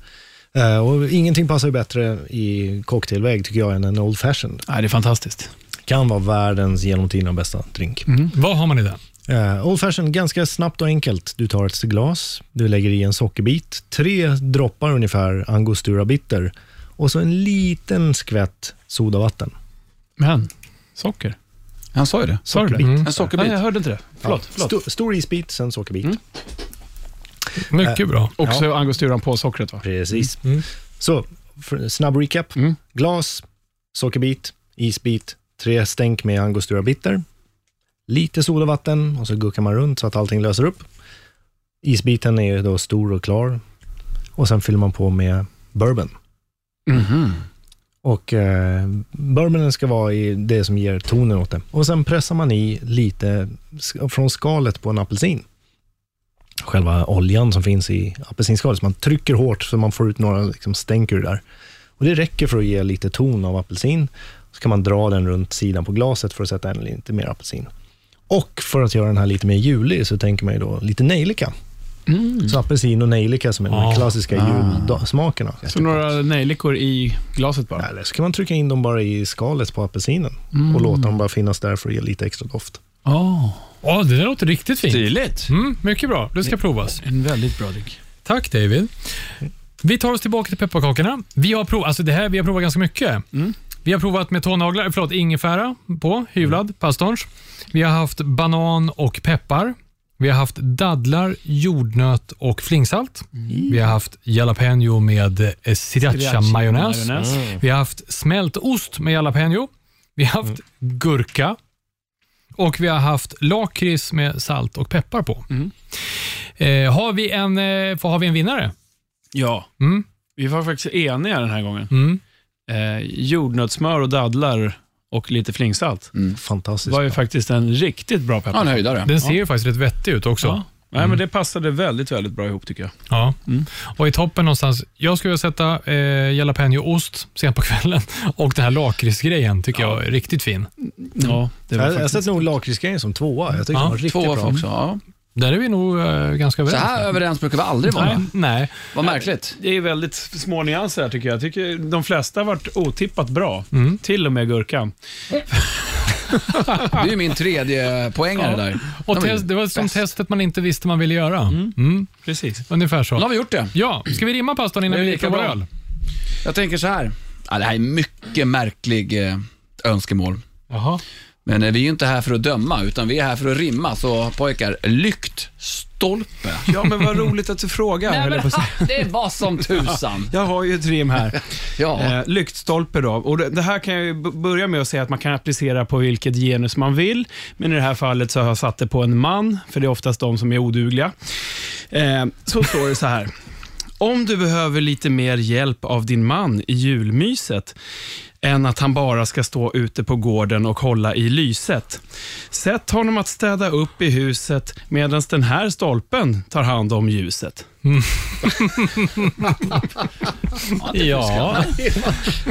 Speaker 6: Eh, och ingenting passar ju bättre i cocktailväg tycker jag än en Old Fashioned.
Speaker 2: Nej, det är fantastiskt.
Speaker 6: Kan vara världens genom tiderna bästa drink.
Speaker 1: Mm.
Speaker 2: Mm. Vad har man i den?
Speaker 6: Eh, old Fashioned, ganska snabbt och enkelt. Du tar ett glas, du lägger i en sockerbit, tre droppar ungefär angostura bitter och så en liten skvätt sodavatten.
Speaker 1: Men, socker.
Speaker 5: Han sa ju det.
Speaker 1: Sa du det? Mm.
Speaker 5: En sockerbit.
Speaker 1: Nej, jag hörde inte det. Förlåt. förlåt. Mm.
Speaker 6: Stor, stor isbit, sen sockerbit.
Speaker 2: Mycket bra.
Speaker 1: Och så angosturan på sockret, va?
Speaker 6: Precis. Så, för, snabb recap. Glas, sockerbit, isbit, tre stänk med angostura bitter, lite sodavatten och så guckar man runt så att allting löser upp. Isbiten är ju då stor och klar och sen fyller man på med bourbon.
Speaker 5: Mhm.
Speaker 6: Och eh, Bourbonen ska vara i det som ger tonen åt det. Och sen pressar man i lite sk- från skalet på en apelsin. Själva oljan som finns i apelsinskalet. Så man trycker hårt så man får ut några liksom, stänk ur det där. Och det räcker för att ge lite ton av apelsin. Så kan man dra den runt sidan på glaset för att sätta en lite mer apelsin. Och för att göra den här lite mer julig så tänker man ju då lite nejlika. Så apelsin och nejlika som är de
Speaker 2: Ah.
Speaker 6: här klassiska julsmakerna.
Speaker 1: Så några nejlikor i glaset bara.
Speaker 6: Eller så kan man trycka in dem bara i skalet på apelsinen och låta dem bara finnas där för att ge lite extra doft.
Speaker 2: Ja, det där låter riktigt fint.
Speaker 5: Tydligt.
Speaker 2: Mm, mycket bra. Det ska provas.
Speaker 1: En väldigt bra drink.
Speaker 2: Tack David. Vi tar oss tillbaka till pepparkakorna. Vi har, prov, alltså det här, vi har provat ganska mycket. Vi har provat med tånaglar, förlåt, ingefära på, hyvlad, pastorns. Vi har haft banan och peppar. Vi har haft dadlar, jordnöt och flingsalt. Vi har haft jalapeno med eh, sriracha-majonnäs.
Speaker 1: Majonnäs.
Speaker 2: Vi har haft smält ost med jalapeno. Vi har haft
Speaker 5: Mm.
Speaker 2: gurka. Och vi har haft lakrits med salt och peppar på.
Speaker 5: Mm.
Speaker 2: Eh, har, vi en, eh, har vi en vinnare?
Speaker 1: Ja.
Speaker 2: Mm.
Speaker 1: Vi var faktiskt eniga den här gången. Eh, jordnötssmör och dadlar och lite flingsalt. Mm, Det
Speaker 6: Fantastiskt.
Speaker 1: var ju
Speaker 6: bra.
Speaker 1: faktiskt en riktigt bra
Speaker 5: Ja, en
Speaker 1: peppar.
Speaker 5: höjdare.
Speaker 2: Den ser ju faktiskt rätt vettig ut också.
Speaker 1: Ja.
Speaker 2: Ja.
Speaker 1: Nej, men det passade väldigt, väldigt bra ihop tycker jag.
Speaker 5: Mm.
Speaker 2: Och i toppen någonstans, jag skulle vilja sätta eh, jalapeno-ost sent på [laughs] kvällen och den här lakritsgrejen tycker jag är riktigt fin.
Speaker 1: Mm. Ja, det
Speaker 6: Jag, jag
Speaker 1: faktiskt-
Speaker 6: sätter nog lakritsgrejen som tvåa. Jag
Speaker 2: Ja,
Speaker 6: tycker den var riktigt
Speaker 5: Tvåa
Speaker 6: bra.
Speaker 5: för också. Ja.
Speaker 2: Där är vi nog eh, ganska
Speaker 5: Så
Speaker 2: överens.
Speaker 5: här överens brukar vi aldrig
Speaker 2: Nej.
Speaker 5: vara.
Speaker 2: Nej.
Speaker 5: Vad märkligt.
Speaker 1: Det är väldigt små nyanser här tycker jag. Jag tycker de flesta har varit otippat bra. Till och med gurkan.
Speaker 5: Det är ju min tredje poängare där.
Speaker 2: Och
Speaker 5: Den var ju
Speaker 2: test, det var som
Speaker 5: bäst.
Speaker 2: testet man inte visste man ville göra. Mm.
Speaker 1: Precis.
Speaker 2: Ungefär
Speaker 5: Nu
Speaker 2: så.
Speaker 5: har vi gjort det.
Speaker 2: Ja, ska vi rimma pastan innan
Speaker 5: Det är
Speaker 2: vi
Speaker 5: lika
Speaker 2: provar
Speaker 5: bra.
Speaker 2: öl?
Speaker 5: Jag tänker så här. Ja, det här är mycket märklig eh, önskemål.
Speaker 2: Jaha.
Speaker 5: Men eh, vi är ju inte här för att döma, utan vi är här för att rimma. Så pojkar, lyktstolpe.
Speaker 1: Ja, men vad roligt att du frågar. höll jag på att säga.
Speaker 5: [laughs] det var som tusan.
Speaker 1: Jag har ju ett rim här.
Speaker 5: Ja,
Speaker 1: Eh, lyktstolpe då. Och det, det här kan jag ju b- börja med att säga att man kan applicera på vilket genus man vill. Men i det här fallet så har jag satt det på en man, för det är oftast de som är odugliga. Eh, så står det så här. Om du behöver lite mer hjälp av din man i julmyset än att han bara ska stå ute på gården och hålla i lyset. Sätt honom att städa upp i huset medan den här stolpen tar hand om ljuset.
Speaker 2: Ja,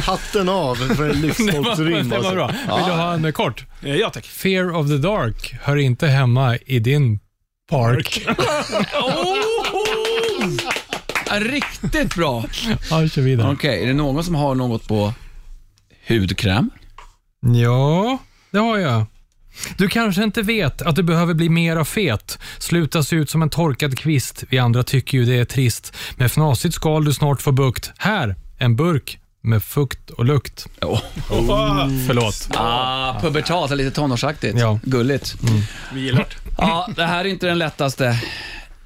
Speaker 6: Hatten av för [laughs]
Speaker 2: [laughs] det var,
Speaker 6: en lyxstolpsrim.
Speaker 2: det var bra. Vill du ha en eh, kort?
Speaker 1: Eh, ja, tack.
Speaker 2: Fear of the dark hör inte hemma i din park.
Speaker 5: riktigt bra.
Speaker 2: [laughs] Ja, vi kör vidare.
Speaker 5: Okej, är det någon som har något på hudkräm?
Speaker 2: Ja, det har jag. Du kanske inte vet att du behöver bli mera fet, sluta se ut som en torkad kvist. Vi andra tycker ju det är trist. Med fnasigt skal du snart får bukt. Här, en burk med fukt och lukt.
Speaker 5: Oh.
Speaker 2: Förlåt.
Speaker 5: Ah, pubertalt, lite tonårsaktigt.
Speaker 2: Ja.
Speaker 5: Gulligt.
Speaker 1: Vi gillar
Speaker 5: Ja, det här är inte den lättaste.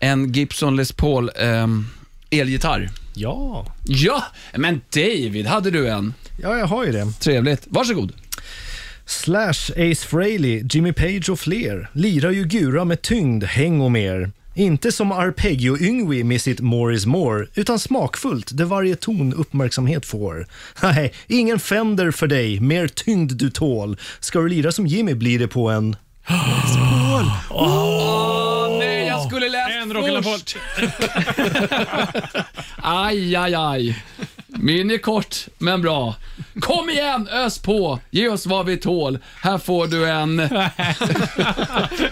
Speaker 5: En Gibson Les Paul ehm, elgitarr.
Speaker 6: Ja.
Speaker 5: Ja, men David, hade du en?
Speaker 6: ja, jag har ju det.
Speaker 5: Trevligt. Varsågod.
Speaker 6: Slash, Ace Frehley, Jimmy Page och fler lirar ju Gura med tyngd, häng och mer. Inte som Arpeggio Yngwie med sitt More is more, utan smakfullt där varje ton uppmärksamhet får. [laughs] Nej, ingen Fender för dig, mer tyngd du tål. Ska du lira som Jimmy blir det på en...
Speaker 5: Nej, jag skulle läst
Speaker 2: En Rocky
Speaker 5: först.
Speaker 2: Laporte.
Speaker 5: Aj, aj, aj. Min är kort, men bra. Kom igen, ös på. Ge oss vad vi tål. Här får du en...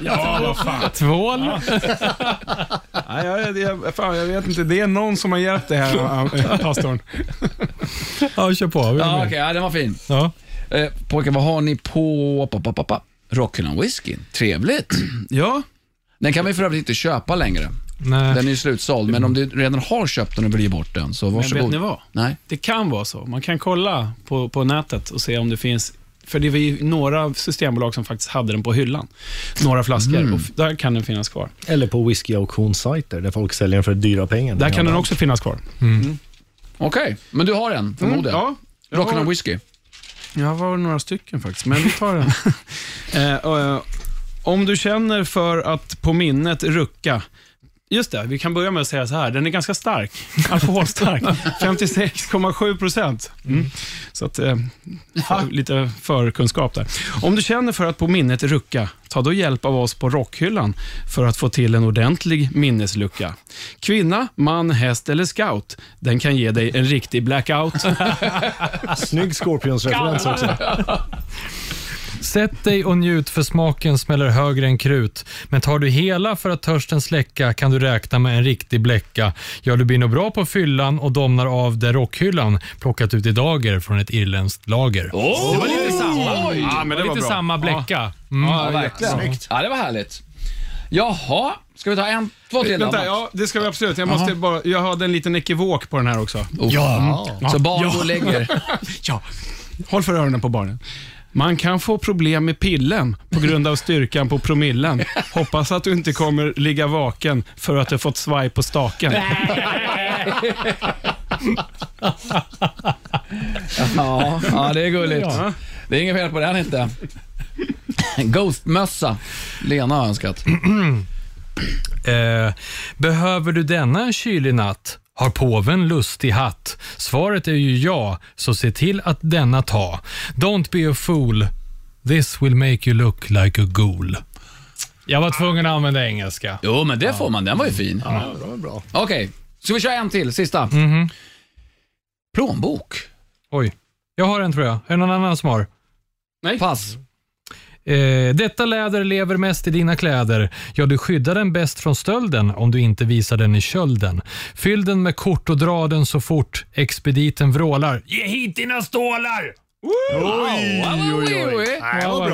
Speaker 1: Ja, vad fan.
Speaker 2: Tvål.
Speaker 1: Nej, jag, jag, fan, jag vet inte. Det är någon som har hjälpt det här, pastorn.
Speaker 2: Ja, kör på.
Speaker 5: Ja, okej, ja, den var fin.
Speaker 2: Ja.
Speaker 5: Eh, pojkar, vad har ni på... Pa, pa, pa, pa. Rockhyllan whisky. Trevligt.
Speaker 1: Ja,
Speaker 5: Den kan vi för övrigt inte köpa längre.
Speaker 2: Nej.
Speaker 5: Den är ju slutsåld, men om du redan har köpt den och vill ge bort den, så
Speaker 1: men
Speaker 5: varsågod.
Speaker 1: vet ni vad?
Speaker 5: Nej.
Speaker 1: Det kan vara så. Man kan kolla på, på nätet och se om det finns för det var ju några systembolag som faktiskt hade den på hyllan. Några flaskor. Och f- där kan den finnas kvar.
Speaker 7: Eller på whisky-auktionssajter där folk säljer den för dyra pengar.
Speaker 1: Där kan den också finnas kvar.
Speaker 5: Okej, men du har en, förmodligen.
Speaker 1: Mm, Ja, jag
Speaker 5: Rockhyllan
Speaker 1: har,
Speaker 5: whisky.
Speaker 1: jag har några stycken faktiskt, men vi tar [laughs] den. eh, eh, om du känner för att på minnet rucka Just det, vi kan börja med att säga så här. Den är ganska [laughs] stark. [laughs] Alkoholstark. 56,7 procent. Mm. Så att, eh, för, lite förkunskap där. Om du känner för att på minnet rucka, ta då hjälp av oss på Rockhyllan för att få till en ordentlig minneslucka. Kvinna, man, häst eller scout. Den kan ge dig en riktig blackout.
Speaker 7: Snygg Scorpions-referens också.
Speaker 2: Sätt dig och njut för smaken smäller högre än krut. Men tar du hela för att törsten släcka kan du räkna med en riktig bläcka. Ja, du blir nog bra på fyllan och domnar av där rockhyllan plockat ut i dager från ett irländskt lager.
Speaker 5: Det var lite samma.
Speaker 1: Ja, men
Speaker 2: det var lite samma bläcka. Mm.
Speaker 5: Ja, verkligen. Ja, det var härligt. Jaha, ska vi ta en, två till?
Speaker 1: Vänta,
Speaker 5: då?
Speaker 1: ja, det ska vi absolut. Jag, måste bara, jag hade en liten ekivok på den här också.
Speaker 5: Ja. Oh. Mm. Så barn går och lägger.
Speaker 1: Ja, håll för öronen på barnen. Man kan få problem med pillen på grund av styrkan på promillen. Hoppas att du inte kommer ligga vaken för att du fått svaj på staken.
Speaker 5: [laughs] Ja, ja, det är gulligt. Det är inget fel på den inte. [laughs] Ghostmössa. Lena har önskat.
Speaker 2: Eh, behöver du denna en kylig natt? Har påven lustig hatt? Svaret är ju ja, så se till att denna ta. Don't be a fool. This will make you look like a ghoul. Jag var tvungen att använda engelska.
Speaker 5: Jo, men det får man. Den var Mhm. ju fin. Okej, ska vi köra en till? Sista. Plånbok.
Speaker 2: Oj. Jag har en tror jag. Är det någon annan som har?
Speaker 5: Pass.
Speaker 2: Eh, detta läder lever mest i dina kläder. Ja, du skyddar den bäst från stölden om du inte visar den i kölden. Fyll den med kort och dra den så fort expediten vrålar. Ge hit dina stålar!
Speaker 5: Oj, oj, oj.
Speaker 2: vad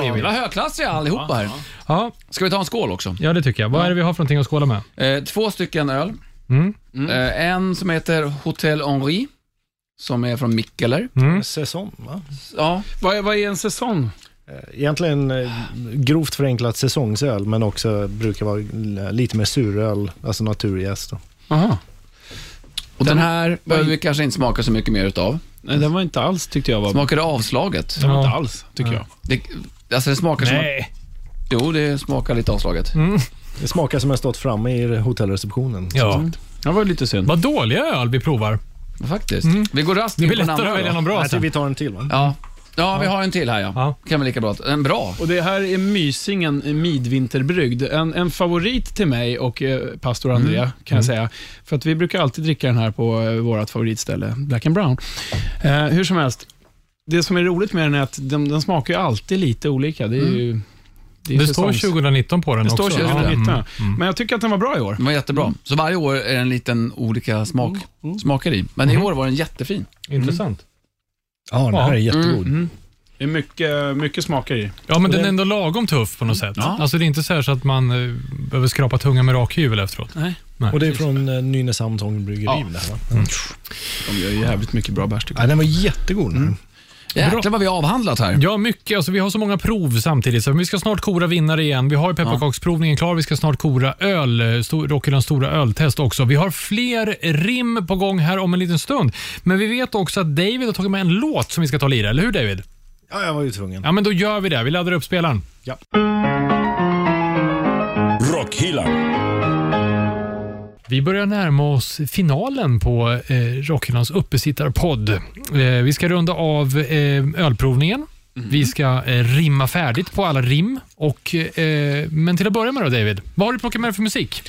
Speaker 2: ni
Speaker 5: Vi
Speaker 2: vill.
Speaker 5: var högklassiga allihopa här.
Speaker 2: Ja,
Speaker 5: Ska vi ta en skål också?
Speaker 2: ja, det tycker jag. Vad är det vi har för någonting att skåla med?
Speaker 5: Eh, två stycken öl.
Speaker 2: Mm.
Speaker 5: Eh, en som heter Hotel Henri, som är från Mikkeler.
Speaker 2: Mm.
Speaker 7: Mm. Säsong, va?
Speaker 5: Ja,
Speaker 1: Vad är, vad är en säsong?
Speaker 7: Egentligen eh, grovt förenklat säsongsöl, men också brukar vara l- lite mer suröl, alltså naturjäst. Då.
Speaker 1: Aha.
Speaker 5: och den här behöver vi kanske inte smaka så mycket mer utav.
Speaker 1: Nej, den var inte alls, tyckte jag. Var,
Speaker 5: Smakade avslaget.
Speaker 1: den var inte alls, tycker jag.
Speaker 5: Det, alltså det smakar som... att- Jo, det smakar lite avslaget.
Speaker 2: Mm.
Speaker 7: Det smakar som jag stått framme i hotellreceptionen.
Speaker 2: Ja.
Speaker 1: Det var lite synd.
Speaker 2: Vad dåliga öl vi provar.
Speaker 5: Faktiskt. Vi går raskt
Speaker 2: Mm. Det blir
Speaker 5: in på den
Speaker 2: lättare
Speaker 5: andra
Speaker 2: att välja
Speaker 5: då.
Speaker 2: någon bra
Speaker 7: Jag tror
Speaker 2: sen.
Speaker 7: vi tar en till, va?
Speaker 5: Ja. ja, vi har en till här ja.
Speaker 2: Ja.
Speaker 5: Kan vi lika bra... En bra.
Speaker 1: Och Det här är Mysingen eh, Midvinterbryggd. En, en favorit till mig och eh, pastor Andrea, kan jag säga. För att vi brukar alltid dricka den här på eh, vårt favoritställe, Black and Brown. Eh, hur som helst, det som är roligt med den är att den, den smakar ju alltid lite olika. Det, är ju, Mm. det, är
Speaker 2: Det står
Speaker 1: säsongs-
Speaker 2: 2019 på den
Speaker 1: Det står
Speaker 2: också.
Speaker 1: 2019.
Speaker 2: Ja, mm.
Speaker 1: Men jag tycker att den var bra i år.
Speaker 5: Den var jättebra. Så varje år är det en liten olika smak,
Speaker 2: Mm.
Speaker 5: smaker i. Men i år var den jättefin.
Speaker 1: Mm.
Speaker 2: Intressant.
Speaker 7: Ja, den här är jättegod.
Speaker 1: Det är mycket, mycket smaker i.
Speaker 2: Ja, men den är ändå lagom tuff på något sätt. Alltså Det är inte så, här så att man eh, behöver skrapa tungan med rakhyvel efteråt.
Speaker 7: Och det är från eh, Nynäshamns Ångbryggeri.
Speaker 5: Ja.
Speaker 7: det här, va?
Speaker 1: De gör ju jävligt mycket bra bärs tycker
Speaker 7: Ja, den var jättegod. Mm.
Speaker 5: Jäklar vad vi har avhandlat här.
Speaker 2: Ja, mycket. Alltså, vi har så många prov samtidigt. Så vi ska snart kora vinnare igen. Vi har ju pepparkaksprovningen klar. Vi ska snart kora öl, eh, sto- Rockhyllans stora öltest också. Vi har fler rim på gång här om en liten stund. Men vi vet också att David har tagit med en låt som vi ska ta och lira. Eller hur David?
Speaker 6: Ja, jag var ju tvungen.
Speaker 2: Ja, men då gör vi det. Vi laddar upp spelaren.
Speaker 4: Rockhyllan.
Speaker 2: Vi börjar närma oss finalen på eh, Rockhyllans uppesittarpodd. Eh, vi ska runda av eh, ölprovningen. Vi ska eh, rimma färdigt på alla rim. Och, eh, men till att börja med då David, vad har du plockat med dig för musik?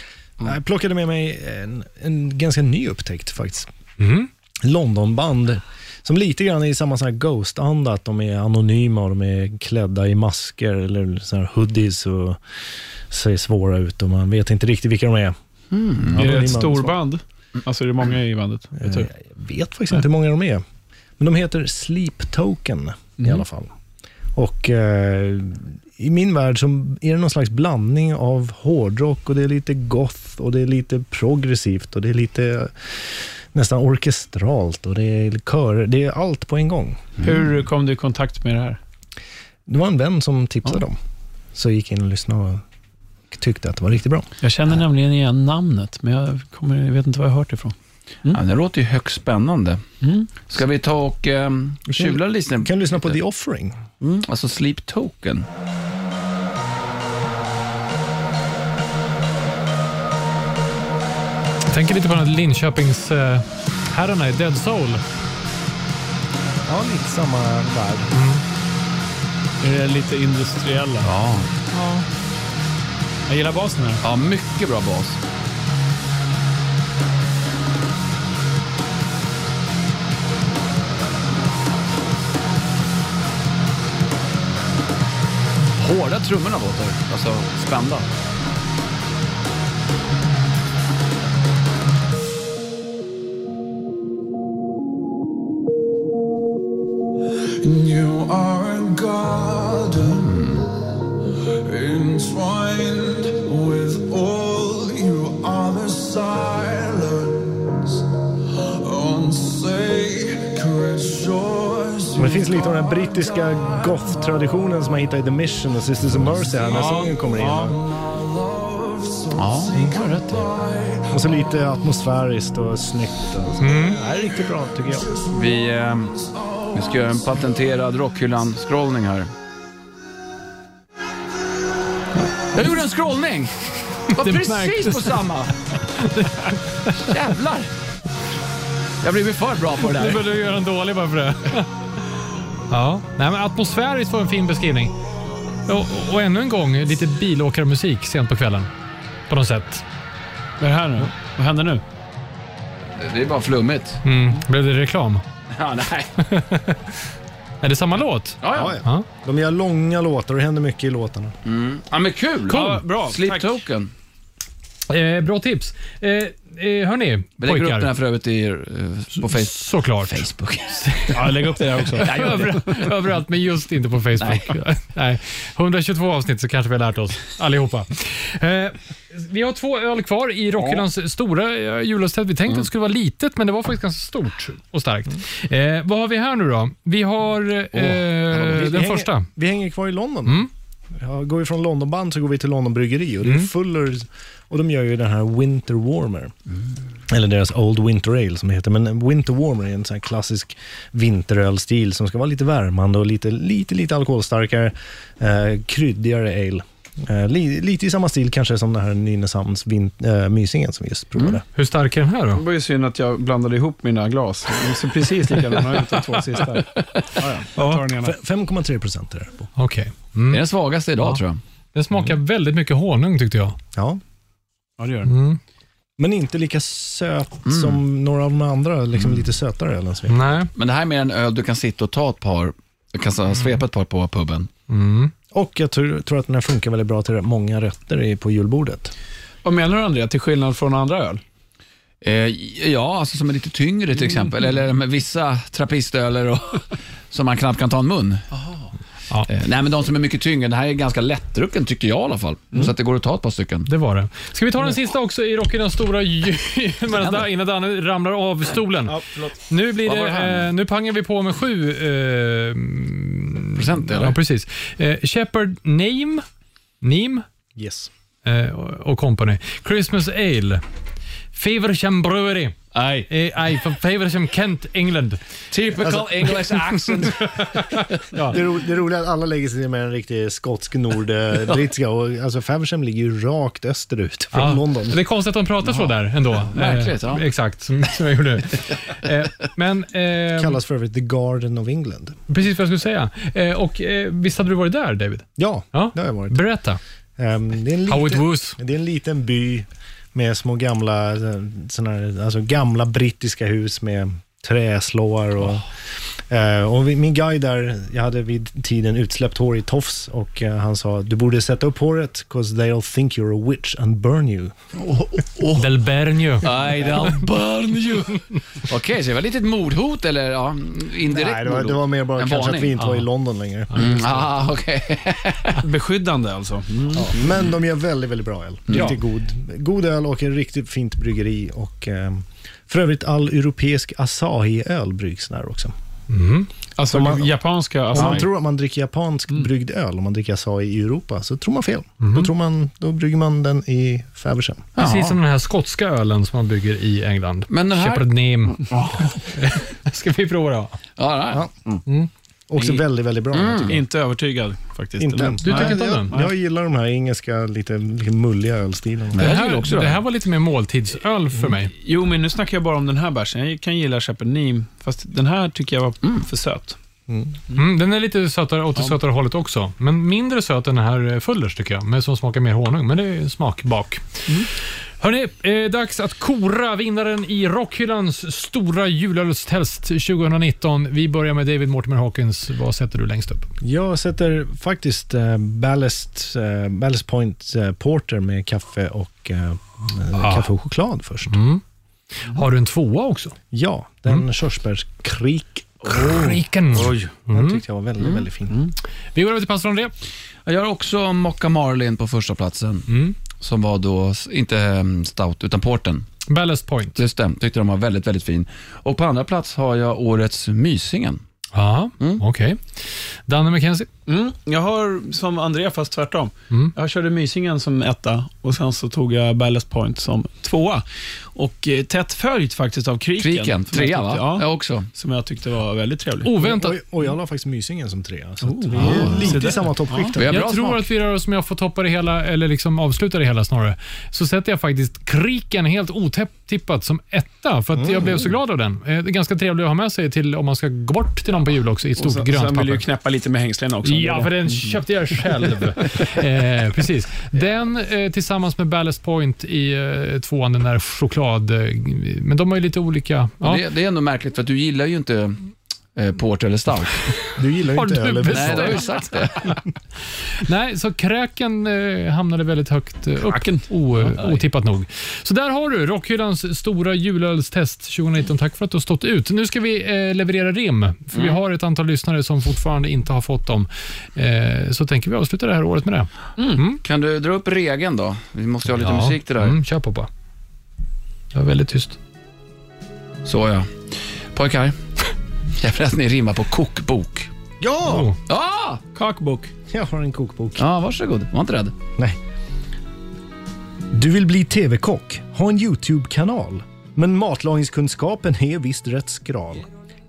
Speaker 6: Jag plockade med mig en, en ganska ny upptäckt faktiskt.
Speaker 2: Mhm.
Speaker 6: Londonband som lite grann är i samma sån här Ghost-anda, att de är anonyma och de är klädda i masker eller sån här hoodies och ser svåra ut och man vet inte riktigt vilka de är.
Speaker 1: är det
Speaker 6: Anonyma
Speaker 1: ett
Speaker 6: ansvar.
Speaker 1: storband? Alltså är det många i bandet? Vet du?
Speaker 6: Eh, Jag vet faktiskt inte hur många de är. Men de heter Sleep Token i alla fall. Och eh, i min värld så är det någon slags blandning av hårdrock och det är lite goth och det är lite progressivt och det är lite eh, nästan orkestralt och det är körer. Det är allt på en gång.
Speaker 1: Hur kom du i kontakt med det här?
Speaker 6: Det var en vän som tipsade om. Så jag gick in och lyssnade och tyckte att det var riktigt bra.
Speaker 1: Jag känner nämligen igen namnet, men jag, kommer, jag vet inte var jag hört det ifrån.
Speaker 5: Ja, det låter ju högst spännande.
Speaker 1: Mm.
Speaker 5: Ska vi ta och um, tjula lite?
Speaker 6: Kan du lyssna på The Offering?
Speaker 5: Mm, alltså Sleep Token.
Speaker 2: Jag tänker lite på den här Linköpings eh, herrarna i Dead Soul.
Speaker 6: Ja, lite samma värld.
Speaker 1: Är det lite industriella?
Speaker 5: Ja.
Speaker 1: Jag gillar basen här.
Speaker 5: ja, mycket bra bas. Hårda trummorna låter, alltså spända.
Speaker 8: You are a garden entwined with all you are the silence on sacred shores.
Speaker 6: Men det finns lite av den här brittiska goth-traditionen som man hittar i The Mission och Sisters of Mercy här när sången kommer in.
Speaker 5: Ja, det har rätt i.
Speaker 6: Och så lite atmosfäriskt och snyggt. Och så.
Speaker 2: Mm.
Speaker 6: Det här är riktigt bra tycker jag.
Speaker 5: Vi, ehm, vi ska göra en patenterad Rockhyllan-scrollning här. Jag gjorde en scrollning! Det var
Speaker 2: Det
Speaker 5: precis
Speaker 2: märktes.
Speaker 5: på samma! Jävlar! Jag blev för bra på det
Speaker 2: Nu
Speaker 5: där.
Speaker 2: började du göra en dålig bara för
Speaker 1: [laughs]
Speaker 2: det. ja, nej, men atmosfäriskt var en fin beskrivning. Och, och ännu en gång, lite bilåkarmusik sent på kvällen. På något sätt.
Speaker 1: Vad är det här nu? Vad händer nu?
Speaker 5: Det är bara flummigt.
Speaker 2: Mm. Blev det reklam?
Speaker 5: [laughs] Ja, nej.
Speaker 2: Är det samma låt?
Speaker 5: Ja, ja.
Speaker 2: Ja.
Speaker 6: De gör långa låtar och det händer mycket i låtarna.
Speaker 5: ja men kul!
Speaker 1: Ja, bra,
Speaker 5: Sleep
Speaker 1: tack.
Speaker 5: Token.
Speaker 2: Eh, bra tips. Eh, eh, hörni,
Speaker 5: Vi lägger upp den här
Speaker 2: pojkar.
Speaker 5: för övrigt i, eh, på Facebook.
Speaker 2: Såklart.
Speaker 5: Facebook.
Speaker 1: Ja, lägg upp det
Speaker 2: [laughs]
Speaker 1: där också.
Speaker 2: Över, överallt, men just inte på Facebook. [laughs] Nej. 122 avsnitt så kanske vi har lärt oss allihopa. Eh, vi har två öl kvar i Rockhyllans stora eh, julölstället. Vi tänkte
Speaker 1: Mm.
Speaker 2: att det skulle vara litet, men det var faktiskt ganska stort och starkt. Eh, vad har vi här nu då? Vi har eh,
Speaker 6: Vi
Speaker 2: den
Speaker 6: hänger,
Speaker 2: första. Mm.
Speaker 6: Vi hänger kvar i London. Ja, går vi från Londonband så går vi till London Bryggeri och det är Fullers och de gör ju den här Winter Warmer. Eller deras Old Winter Ale som det heter. Men Winter Warmer är en sån här klassisk vinterölstil som ska vara lite värmande och lite, lite, lite alkoholstarkare, eh, kryddigare ale. Eh, li, lite i samma stil kanske som den här Nynäshamns vin, eh, mysingen som vi just provade.
Speaker 2: Hur stark är den här
Speaker 1: Det
Speaker 2: då?
Speaker 1: var ju synd att jag blandade ihop mina glas. De ser precis likadana ut de två [laughs] sista. Ja, ja. Jag tar den ena.
Speaker 6: F- 5,3 procent är det på.
Speaker 2: Okej. Mm.
Speaker 5: Det är den svagaste idag tror jag.
Speaker 2: Den smakar
Speaker 1: Mm.
Speaker 2: väldigt mycket honung tyckte jag. Mm.
Speaker 6: Ja.
Speaker 1: Ja, det gör den.
Speaker 6: Men inte lika söt som några av de andra, liksom lite sötare ölen som vi
Speaker 2: Nej.
Speaker 5: Men det här är mer en öl du kan sitta och ta ett par, du kan så- svepa ett par på puben.
Speaker 6: Och jag tror, tror att den här funkar väldigt bra till många rätter i- på julbordet.
Speaker 1: Vad menar du, André? Till skillnad från andra öl? Mm.
Speaker 5: Eh, ja, alltså som är lite tyngre till exempel, eller med vissa trappistöler och, [laughs] som man knappt kan ta en mun.
Speaker 2: Ja.
Speaker 5: Eh, nej, men de som är mycket tyngre, det här är ganska lättdrucken tycker jag i alla fall.
Speaker 1: Mm.
Speaker 5: Så att det går att ta ett par stycken.
Speaker 2: Det var det. Ska vi ta den sista också i Rocky den stora ju- medan Dan- [laughs] innan Danne ramlar av stolen. nu, blir
Speaker 5: Vad var det
Speaker 2: det,
Speaker 5: här?
Speaker 2: eh, nu pangar vi på med sju... Eh,
Speaker 5: Procent eller?
Speaker 2: ja, precis. Eh, Shepard Name, Neem
Speaker 6: Yes.
Speaker 2: eh, och- och company. Christmas Ale. Feversham Brewery.
Speaker 5: Nej.
Speaker 2: Eh, Aj, från Faversham, Kent, England.
Speaker 5: Typical
Speaker 6: Alltså,
Speaker 5: English accent.
Speaker 2: Ja.
Speaker 6: Det, ro, det roliga är att alla lägger sig ner med en riktig skotsk [laughs] nordbrittiska. och alltså Faversham ligger ju rakt österut från
Speaker 2: Ja,
Speaker 6: London.
Speaker 2: Det är konstigt att de pratar så där ändå. Eh,
Speaker 5: märkligt, ja.
Speaker 2: Exakt, som, som jag
Speaker 5: [laughs]
Speaker 2: gjorde. eh, men, eh,
Speaker 6: Kallas för övrigt The Garden of England.
Speaker 2: precis vad jag skulle säga. Eh, och eh, visst hade du varit där, David?
Speaker 6: Ja,
Speaker 2: Ja.
Speaker 6: det har jag varit.
Speaker 2: Berätta.
Speaker 6: Ehm, det, är en
Speaker 2: How it
Speaker 6: liten,
Speaker 2: was.
Speaker 6: det är en liten by med små gamla, eh, såna här, alltså gamla brittiska hus med träslåar och... Eh, och vi- min guide där, jag hade vid tiden utsläppt hår i tofs och eh, han sa du borde sätta upp håret, 'cause they'll think you're a witch and burn you.
Speaker 2: Del Bernio.
Speaker 5: I don't
Speaker 1: [laughs]
Speaker 5: burn you. Okej, så det var lite ett mordhot eller ja, indirekt
Speaker 6: Nej, det var,
Speaker 5: mordhot.
Speaker 6: det var mer bara
Speaker 5: En
Speaker 6: kanske
Speaker 5: varning.
Speaker 6: att vi inte var i
Speaker 5: Ja.
Speaker 6: London längre.
Speaker 5: Mm, ah, [laughs] okej.
Speaker 1: Beskyddande alltså.
Speaker 6: Ja, men de gör väldigt, väldigt bra öl. Riktigt god, god öl och en riktigt fint bryggeri. Och, eh, för övrigt, all europeisk Asahi-öl bryggs där också.
Speaker 2: Mm.
Speaker 1: Alltså
Speaker 6: man-
Speaker 1: japanska alltså,
Speaker 6: Om man
Speaker 1: Asahi.
Speaker 6: tror att man dricker japansk bryggd öl, om man dricker Asahi i Europa, så tror man fel. Då, tror man, då brygger man den i Faversham.
Speaker 2: Precis som den här skotska ölen som man bygger i England.
Speaker 5: Men den här-
Speaker 2: Shepherd Neem. [laughs] Ska vi prova då?
Speaker 5: Ja, där.
Speaker 6: Också väldigt, väldigt bra. jag tycker.
Speaker 1: Inte övertygad faktiskt.
Speaker 6: Inte.
Speaker 1: Eller?
Speaker 6: Du
Speaker 2: tycker inte om den?
Speaker 6: jag, Jag gillar de här engelska, lite, lite mulliga ölstilarna.
Speaker 2: Det
Speaker 5: Jag tycker
Speaker 2: här,
Speaker 5: också det.
Speaker 2: det här var lite mer måltidsöl för mig.
Speaker 1: Jo, men nu snackar jag bara om den här bärsen. Jag kan gilla Shepherd Neem, fast den här tycker jag var för söt.
Speaker 2: Mm, den är lite sötare, åt det sötare hållet också. Men mindre söt än den här eh, Fullers tycker jag, men som smakar mer honung. Men det är smakbak. Hörrni, eh, dags att kora vinnaren i Rockhyllans stora julölstest 2019. Vi börjar med David Mortimer Hawkins. Vad sätter du längst upp?
Speaker 6: Jag sätter faktiskt eh, Ballast, eh, Ballast Point eh, Porter med kaffe och, eh, kaffe och choklad först.
Speaker 2: Har du en tvåa också?
Speaker 6: Ja, den körsbärskrik.
Speaker 2: Riken.
Speaker 6: Oh. Den tyckte jag var väldigt, väldigt fin.
Speaker 2: Mm. Vi går över till pastor André.
Speaker 5: Jag har också Mocca Marlin på första platsen
Speaker 2: Mm.
Speaker 5: Som var då, s- inte ehm, stout, utan porten.
Speaker 2: Ballast Point.
Speaker 5: Just det, tyckte de var väldigt, väldigt fin. Och på andra plats har jag årets Mysingen.
Speaker 2: Ja, Ah, okej. Danne McKenzie.
Speaker 1: Mm. Jag har som André, fast tvärtom.
Speaker 2: Mm.
Speaker 1: Jag körde Mysingen som etta och sen så tog jag Ballast Point som tvåa. Och eh, tätt följt faktiskt av Kriken.
Speaker 5: Kriken,
Speaker 1: som jag
Speaker 5: trea va?
Speaker 1: tyckte- Ja,
Speaker 5: Jag också.
Speaker 1: som jag tyckte var väldigt trevlig.
Speaker 2: Oväntat.
Speaker 6: Och, och jag la faktiskt Mysingen som trea, så att vi är lite i samma toppskikt.
Speaker 5: Vi
Speaker 6: där.
Speaker 5: har bra
Speaker 2: Jag tror
Speaker 5: smak.
Speaker 2: att vi rör oss, om jag får toppa det hela, eller liksom avsluta det hela snarare, så sätter jag faktiskt Kriken helt otippat som etta, för att jag blev så glad av den. Eh, Det är ganska trevligt att ha med sig till om man ska gå bort till någon på jul också, i ett stort
Speaker 1: Och sen,
Speaker 2: grönt
Speaker 1: sen vill
Speaker 2: papper.
Speaker 1: du knäppa lite med hängslena också.
Speaker 2: Ja, för den köpte jag själv. eh, precis. Den eh, tillsammans med Ballast Point i eh, tvåan, den där choklad... Eh, men de har ju lite olika... Ja.
Speaker 5: Det, det är ändå märkligt för att du gillar ju inte eh, Porter
Speaker 2: [laughs]
Speaker 5: eller Stout.
Speaker 6: Du gillar ju
Speaker 2: Har
Speaker 6: inte
Speaker 2: du
Speaker 6: öl
Speaker 2: bestämt?
Speaker 5: Nej, det har
Speaker 6: överhuvudtaget.
Speaker 5: ju sagt det.
Speaker 2: Nej, så kräken eh, hamnade väldigt högt eh, upp. O, otippat nog. Så där har du Rockhyllans stora julölstest 2019. Tack för att du har stått ut. Nu ska vi eh, leverera rim, för
Speaker 5: Mm.
Speaker 2: vi har ett antal lyssnare som fortfarande inte har fått dem. Eh, så tänker vi avsluta det här året med det.
Speaker 5: Kan du dra upp regeln då? Vi måste ju ha lite musik till det här.
Speaker 2: Mm, kör på bara. Jag är väldigt tyst.
Speaker 5: Så ja. Pojkar, jag vill att ni rimmar på kokbok.
Speaker 6: Ja!
Speaker 2: Oh.
Speaker 5: Ja!
Speaker 1: Kakbok.
Speaker 6: Jag har en kokbok.
Speaker 5: Ja, varsågod. Var inte rädd.
Speaker 6: Nej. Du vill bli tv-kock, ha en YouTube-kanal. Men matlagningskunskapen är visst rätt skral.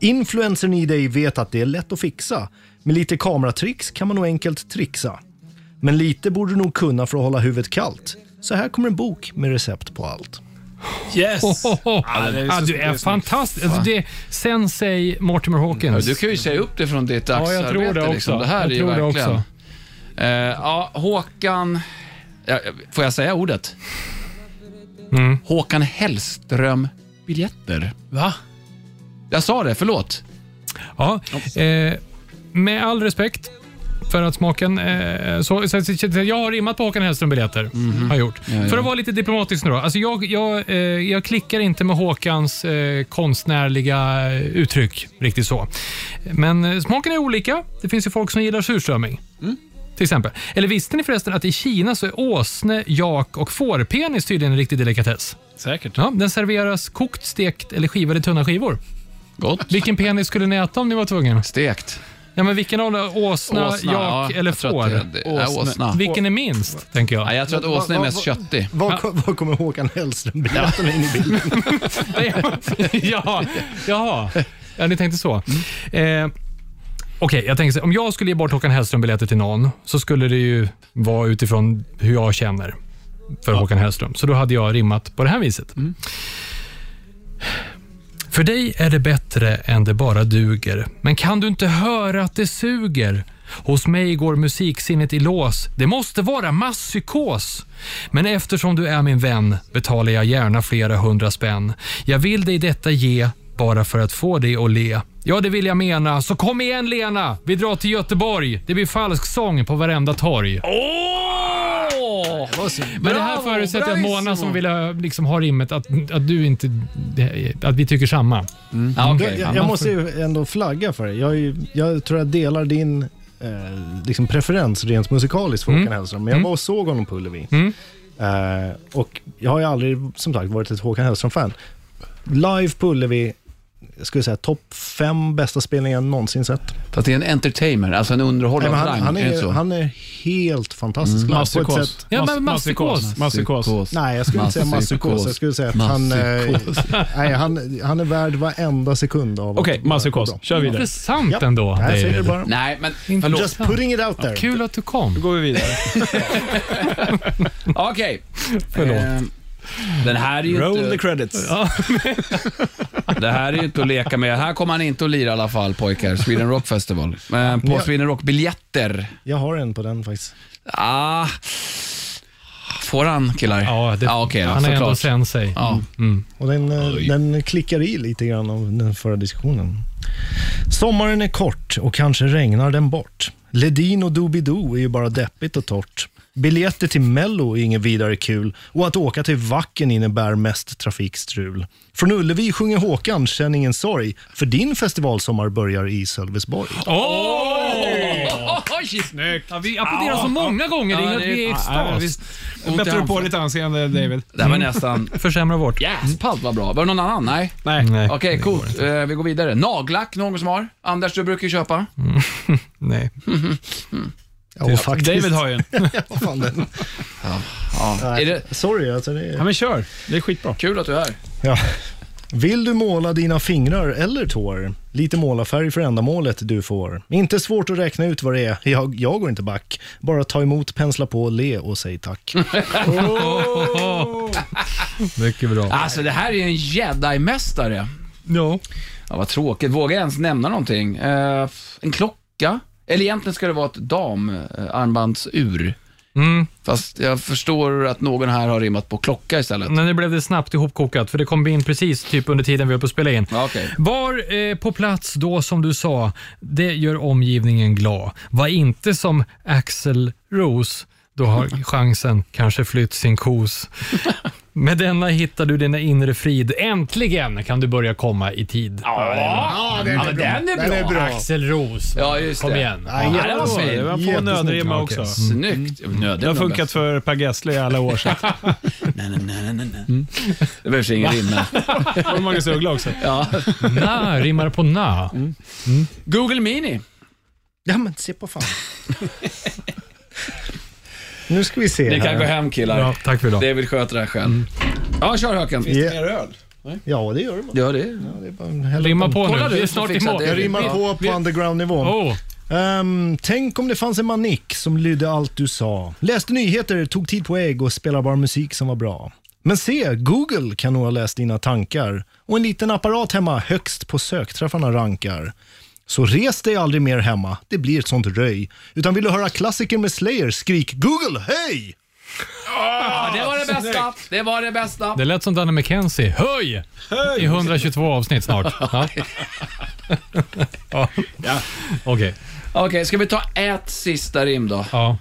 Speaker 6: Influencern i dig vet att det är lätt att fixa. Med lite kameratricks kan man nog enkelt trixa. Men lite borde du nog kunna för att hålla huvudet kallt. Så här kommer en bok med recept på allt.
Speaker 2: Ja,
Speaker 1: Yes! det är så-
Speaker 2: du
Speaker 1: det
Speaker 2: är
Speaker 1: är så-
Speaker 2: fantastisk. Alltså, det är sensei Mortimer Hawkins.
Speaker 5: Du kan ju säga upp det från ditt
Speaker 2: ja,
Speaker 5: dagsarbete.
Speaker 2: jag tror det också.
Speaker 5: Liksom. Det här
Speaker 2: jag
Speaker 5: är ju
Speaker 2: tror det
Speaker 5: verkligen...
Speaker 2: också.
Speaker 5: Eh, ja, Håkan... Ja, får jag säga ordet?
Speaker 2: Mm.
Speaker 5: Håkan Hellström-biljetter.
Speaker 1: Va?
Speaker 5: Jag sa det, förlåt.
Speaker 2: Ja, eh, med all respekt för att smaken... Eh, så, så, så, så, jag har rimmat på Håkan Hellström-biljetter. Har jag gjort.
Speaker 5: Mhm. ja.
Speaker 2: För att vara lite diplomatisk nu då. Alltså jag, jag, eh, jag klickar inte med Håkans eh, konstnärliga eh, uttryck riktigt så. Men eh, smaken är olika. Det finns ju folk som gillar surströmming.
Speaker 5: Mm.
Speaker 2: Till exempel. Eller visste ni förresten att i Kina så är åsne, jak och fårpenis tydligen en riktig delikatess?
Speaker 1: Säkert.
Speaker 2: Ja, den serveras kokt, stekt eller skivad i tunna skivor.
Speaker 5: Gott.
Speaker 2: Vilken penis skulle ni äta om ni var tvungna?
Speaker 5: Stekt.
Speaker 2: Ja, men vilken av dem? Åsna,
Speaker 5: Åsna,
Speaker 2: jak
Speaker 5: ja,
Speaker 2: eller
Speaker 5: jag tror
Speaker 2: får?
Speaker 5: att det- det är åsna.
Speaker 2: Vilken är minst, tänker jag.
Speaker 5: Nej, jag tror att åsnan är mest köttig.
Speaker 6: Vad, ko- vad kommer Håkan Hellström berätta in i bilden?
Speaker 2: [laughs] ja, jaha. Ja, ni tänkte så. Eh, Okej, jag tänker så här, om jag skulle ge bort Håkan Hellström-biljetter till någon så skulle det ju vara utifrån hur jag känner för Håkan Hellström. Så då hade jag rimmat på det här viset. För dig är det bättre än det bara duger. Men kan du inte höra att det suger? Hos mig går musiksinnet i lås. Det måste vara masspsykos. Men eftersom du är min vän betalar jag gärna flera hundra spänn. Jag vill dig detta ge bara för att få dig att le. Ja, det vill jag mena. Så kom igen Lena! Vi drar till Göteborg. Det blir falsk sång på varenda torg.
Speaker 5: Åh!
Speaker 2: Men det här förutsätter att Mona som vill ha- liksom, ha rimmet, att, att du inte... Att vi tycker samma.
Speaker 5: Ja, okej.
Speaker 6: Mm. Jag, jag, jag måste ju ändå flagga för det. Jag, är ju- jag tror jag delar din eh, liksom preferens rent musikaliskt för Håkan Hellström, men jag var och såg honom på Ullevi. Eh, och jag har ju aldrig, som sagt, varit ett Håkan Hellström-fan. Live på Ullevi, jag skulle säga topp fem bästa spelningar jag någonsin sett.
Speaker 5: Fast det är en entertainer, alltså en
Speaker 6: Nej,
Speaker 5: underhållande
Speaker 6: men
Speaker 5: rang.
Speaker 6: han, han,
Speaker 5: är, det
Speaker 6: är,
Speaker 5: så?
Speaker 6: han är helt fantastisk. Mm. På ett sätt,
Speaker 2: Ja,
Speaker 1: Mass-
Speaker 2: men masspsykos.
Speaker 1: Masspsykos.
Speaker 6: nej, jag skulle inte säga masspsykos. Jag skulle säga att han, eh, nej, han, han är värd varenda sekund av att
Speaker 1: Okej,
Speaker 6: vara
Speaker 1: masspsykos.
Speaker 6: bra.
Speaker 1: Kör vidare.
Speaker 2: Intressant
Speaker 6: Japp.
Speaker 2: ändå,
Speaker 6: Nej, jag säger det
Speaker 2: David.
Speaker 6: bara.
Speaker 5: Nej, men förlåt.
Speaker 6: Just putting it out there.
Speaker 2: Kul att du
Speaker 1: Då
Speaker 2: kom.
Speaker 1: går vi vidare.
Speaker 5: Okej.
Speaker 2: Förlåt.
Speaker 5: Ehm, Den här är ju
Speaker 1: Roll the
Speaker 5: inte,
Speaker 1: credits.
Speaker 5: det här är ju inte att leka med. Här kommer han inte att lira i alla fall pojkar. Sweden Rock Festival. Men på
Speaker 6: Ja.
Speaker 5: Sweden Rock-biljetter.
Speaker 6: Jag har en på den faktiskt.
Speaker 5: Ah. Får han killar?
Speaker 2: Ja, det,
Speaker 5: ja okej då,
Speaker 2: han är ändå Mm.
Speaker 5: såklart.
Speaker 2: sensei.
Speaker 5: Ja.
Speaker 6: Och den, eh, den klickar i lite grann av den förra diskussionen. Sommaren är kort och kanske regnar den bort. Ledin och Doobidoo är ju bara deppigt och torrt. Biljetter till Mello är inget vidare kul och att åka till Vacken innebär mest trafikstrul. Från Ullevi sjunger Håkan Känn ingen sorg, för din festivalsommar börjar i Sölvesborg.
Speaker 5: Oj!
Speaker 2: Ja, vi applåderar så många gånger. det är
Speaker 5: Ja,
Speaker 2: inget
Speaker 5: det är-
Speaker 2: vi är i
Speaker 1: Ja,
Speaker 2: extas.
Speaker 1: visst. Bättre på ditt anseende, David.
Speaker 5: Det
Speaker 6: Mm.
Speaker 5: här var nästan...
Speaker 2: Försämrar Mm. vårt.
Speaker 5: Jäspalt vad bra. Var det någon annan? Nej.
Speaker 1: Nej.
Speaker 2: Nej.
Speaker 5: Okej, coolt. Eh, vi går vidare. Nagellack, någon som har? Anders, du brukar ju köpa.
Speaker 2: Nej.
Speaker 6: Ja, och faktiskt.
Speaker 1: David har ju en.
Speaker 6: Vad fan, den-
Speaker 5: Ja. Är det
Speaker 6: Sorry, alltså det är...
Speaker 1: Ja, men kör. Det är skitbra.
Speaker 5: kul att du är här?
Speaker 6: Ja. Vill du måla dina fingrar eller tår? Lite målarfärg för ändamålet du får. Inte svårt att räkna ut vad det är. Jag, jag går inte back. Bara ta emot, pensla på, le och säg tack.
Speaker 2: Mycket bra.
Speaker 5: Alltså det här är ju en jedi-mästare.
Speaker 2: Ja.
Speaker 5: Ja, vad tråkigt. Vågar jag ens nämna någonting? Eh, en klocka? Eller egentligen ska det vara ett damarmbandsur.
Speaker 2: Mm.
Speaker 5: Fast jag förstår att någon här har rimmat på klocka istället.
Speaker 2: Men nu blev det snabbt ihopkokat, för det kom in precis typ under tiden vi höll på att spela in.
Speaker 5: Ja, okej.
Speaker 2: Var eh, på plats då, som du sa. Det gör omgivningen glad. Var inte som Axel Rose. Då har
Speaker 5: [laughs]
Speaker 2: chansen kanske flytt sin kos. Med denna hittar du dina inre frid. Äntligen kan du börja komma i tid.
Speaker 5: Ja, den är bra. Den är bra.
Speaker 2: Axel Rose.
Speaker 5: Ja, just
Speaker 2: Kom
Speaker 5: det.
Speaker 2: igen.
Speaker 5: Ja, det var
Speaker 1: Det
Speaker 5: fint.
Speaker 1: var på
Speaker 6: Jättesnyggt.
Speaker 1: nödrimma
Speaker 6: Ja,
Speaker 1: också.
Speaker 6: okej.
Speaker 5: Snyggt. Nödigt.
Speaker 1: Det har funkat för Per Gessle i alla år. så att-
Speaker 5: [laughs] Nej, nej, nej, nej, nej. Det behövs ingen rim men-
Speaker 1: Och Magnus Uggla också.
Speaker 5: ja.
Speaker 2: Na rimmar på na.
Speaker 5: Mm. Google Mini.
Speaker 6: Ja, men se på fan. [laughs] nu ska vi se
Speaker 5: Ni kan
Speaker 6: här.
Speaker 5: gå hem killar.
Speaker 2: Ja, tack för idag.
Speaker 5: David sköter det här själv.
Speaker 1: Mm.
Speaker 5: Ja, kör Höken.
Speaker 6: Ja,
Speaker 1: öl?
Speaker 6: ja, det gör det. bara.
Speaker 5: Ja, det.
Speaker 6: Ja, det är bara en helvete.
Speaker 2: Rimma på
Speaker 5: Kolla
Speaker 2: nu.
Speaker 5: du,
Speaker 2: Vi är
Speaker 5: du
Speaker 2: snart i
Speaker 5: fixar
Speaker 2: mål.
Speaker 5: det.
Speaker 6: Jag rimmar på på underground-nivån.
Speaker 2: Oh.
Speaker 6: Ehm, tänk om det fanns en manik som lydde allt du sa. Läste nyheter, tog tid på ägg och spelade bara musik som var bra. Men se, Google kan nog ha läst dina tankar och en liten apparat hemma högst på sökträffarna rankar. Så res dig aldrig mer hemma, det blir ett sånt röj. Utan vill du höra klassiker med Slayer, skrik Google, hej!
Speaker 5: Ja, det var det bästa. Det var det bästa.
Speaker 2: Det lät som Danny McKenzie. Höj! I 122 avsnitt snart. [laughs] Ja. ja. [laughs] Okej.
Speaker 5: Okej, ska vi ta ett sista rim då?
Speaker 2: Ja.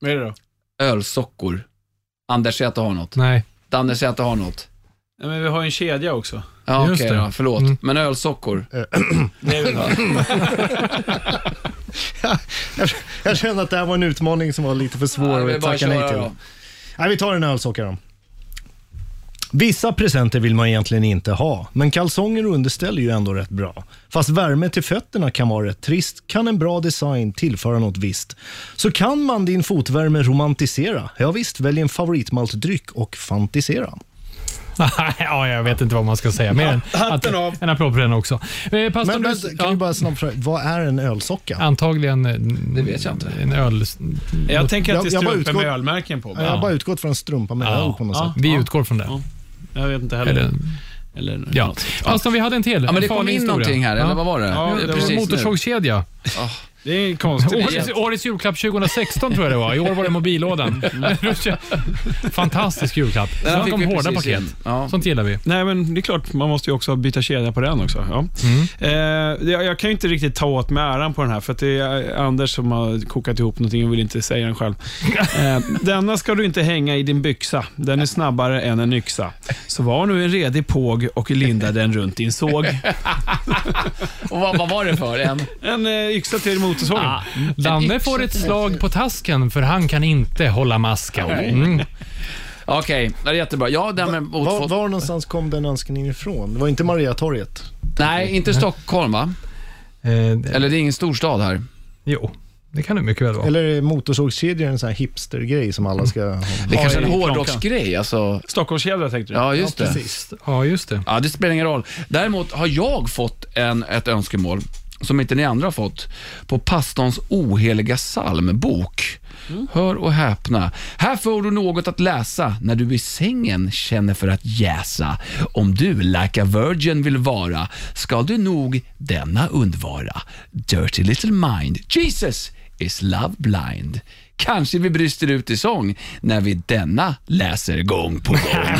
Speaker 1: Vad är det då?
Speaker 5: Ölsockor. Anders säger att du har något.
Speaker 2: Nej. [laughs]
Speaker 5: Danne säger att du har något.
Speaker 1: Nej, men vi har ju en kedja också.
Speaker 5: Ja,
Speaker 2: Just
Speaker 5: okej
Speaker 2: det.
Speaker 5: då. Förlåt.
Speaker 2: Mm.
Speaker 5: Men ölsockor.
Speaker 6: [laughs] Jag kände att det här var en utmaning som var lite för svår
Speaker 5: det är
Speaker 6: att
Speaker 5: bara att
Speaker 6: tacka nej
Speaker 5: köra
Speaker 6: till.
Speaker 5: då.
Speaker 6: Nej, vi tar en ölsocka då. Vissa presenter vill man egentligen inte ha, men kalsonger och underställ är ju ändå rätt bra. Fast värme till fötterna kan vara rätt trist, kan en bra design tillföra något visst. Så kan man din fotvärme romantisera? Ja visst, välj en favoritmaltdryck och fantisera.
Speaker 2: ja, jag vet inte vad man ska säga. Men
Speaker 1: Hatten av.
Speaker 2: En applåd för den också. Eh, pastor,
Speaker 6: Men, men
Speaker 2: du,
Speaker 6: kan
Speaker 2: ja,
Speaker 6: vi bara snabbt fråga, vad är en ölsocka?
Speaker 2: antagligen eh,
Speaker 5: Det vet jag inte.
Speaker 2: en öl...
Speaker 1: Jag tänker att det
Speaker 6: Jag-
Speaker 1: är
Speaker 6: jag bara
Speaker 1: strumpor med
Speaker 6: utgår-
Speaker 1: ölmärken på.
Speaker 6: Jag har
Speaker 1: Ja.
Speaker 6: bara utgått från strumpa med öl på något
Speaker 1: ja.
Speaker 6: sätt.
Speaker 2: Vi utgår från det.
Speaker 1: Ja. Jag vet inte heller.
Speaker 2: Eller,
Speaker 1: Eller
Speaker 2: ja.
Speaker 1: något sånt.
Speaker 2: Pastor, vi hade en till.
Speaker 5: Ja, men
Speaker 2: En
Speaker 5: det kom
Speaker 2: farlig
Speaker 5: in
Speaker 2: historia.
Speaker 5: någonting här, eller
Speaker 2: Ja.
Speaker 5: vad var det?
Speaker 1: Ja, det var
Speaker 5: precis nu.
Speaker 2: Motorsågskedja.
Speaker 1: Det
Speaker 2: [laughs]
Speaker 1: är konstigt.
Speaker 2: Årets, årets julklapp 2016 tror jag det var. I år var det mobillådan. [laughs] Fantastisk julklapp.
Speaker 5: Den här
Speaker 2: Snacka
Speaker 5: fick
Speaker 2: om
Speaker 5: vi
Speaker 2: hårda
Speaker 5: precis
Speaker 2: paket.
Speaker 5: in. Ja.
Speaker 2: Sånt gillar vi.
Speaker 1: Nej, men det är klart, man måste ju också byta kedja på den också. Ja.
Speaker 5: Mm.
Speaker 1: Eh, jag, jag kan ju inte riktigt ta åt mig äran på den här, för att det är Anders som har kokat ihop någonting och vill inte säga den
Speaker 5: [laughs]
Speaker 1: själv. Eh, denna ska du inte hänga i din byxa. Den är snabbare än en yxa. Så var nu en redig påg och linda den runt din såg.
Speaker 5: Och vad, vad var det för en?
Speaker 1: En eh, yxa till motorsågen.
Speaker 5: Ah.
Speaker 2: Danne får ett slag på tasken för han kan inte hålla masken. Mm.
Speaker 5: Okej, det är jättebra. Ja, den med
Speaker 6: Var,
Speaker 5: motorfot.
Speaker 6: var någonstans kom den önskningen ifrån? Det var inte Mariatorget?
Speaker 5: Nej, inte Stockholm va?
Speaker 2: Eh,
Speaker 5: Eller det är ingen storstad här.
Speaker 2: jo, det kan du mycket väl vara.
Speaker 6: Eller är motorsågskedjor en sån här hipstergrej som alla ska ha?
Speaker 5: Det är kanske en
Speaker 1: i Kronka.
Speaker 5: hårdrocksgrej alltså.
Speaker 1: Stockholmskedja tänkte du?
Speaker 5: Ja, just det.
Speaker 2: Ja, just det.
Speaker 5: Ja, det spelar ingen roll. Däremot har jag fått en, ett önskemål som inte ni andra har fått på pastorns oheliga psalmbok. Hör och häpna. Här får du något att läsa när du i sängen känner för att jäsa. Om du like a virgin vill vara ska du nog denna undvara. Dirty little mind. Jesus is love blind. Kanske vi brister ut i sång när vi denna läser gång på gång.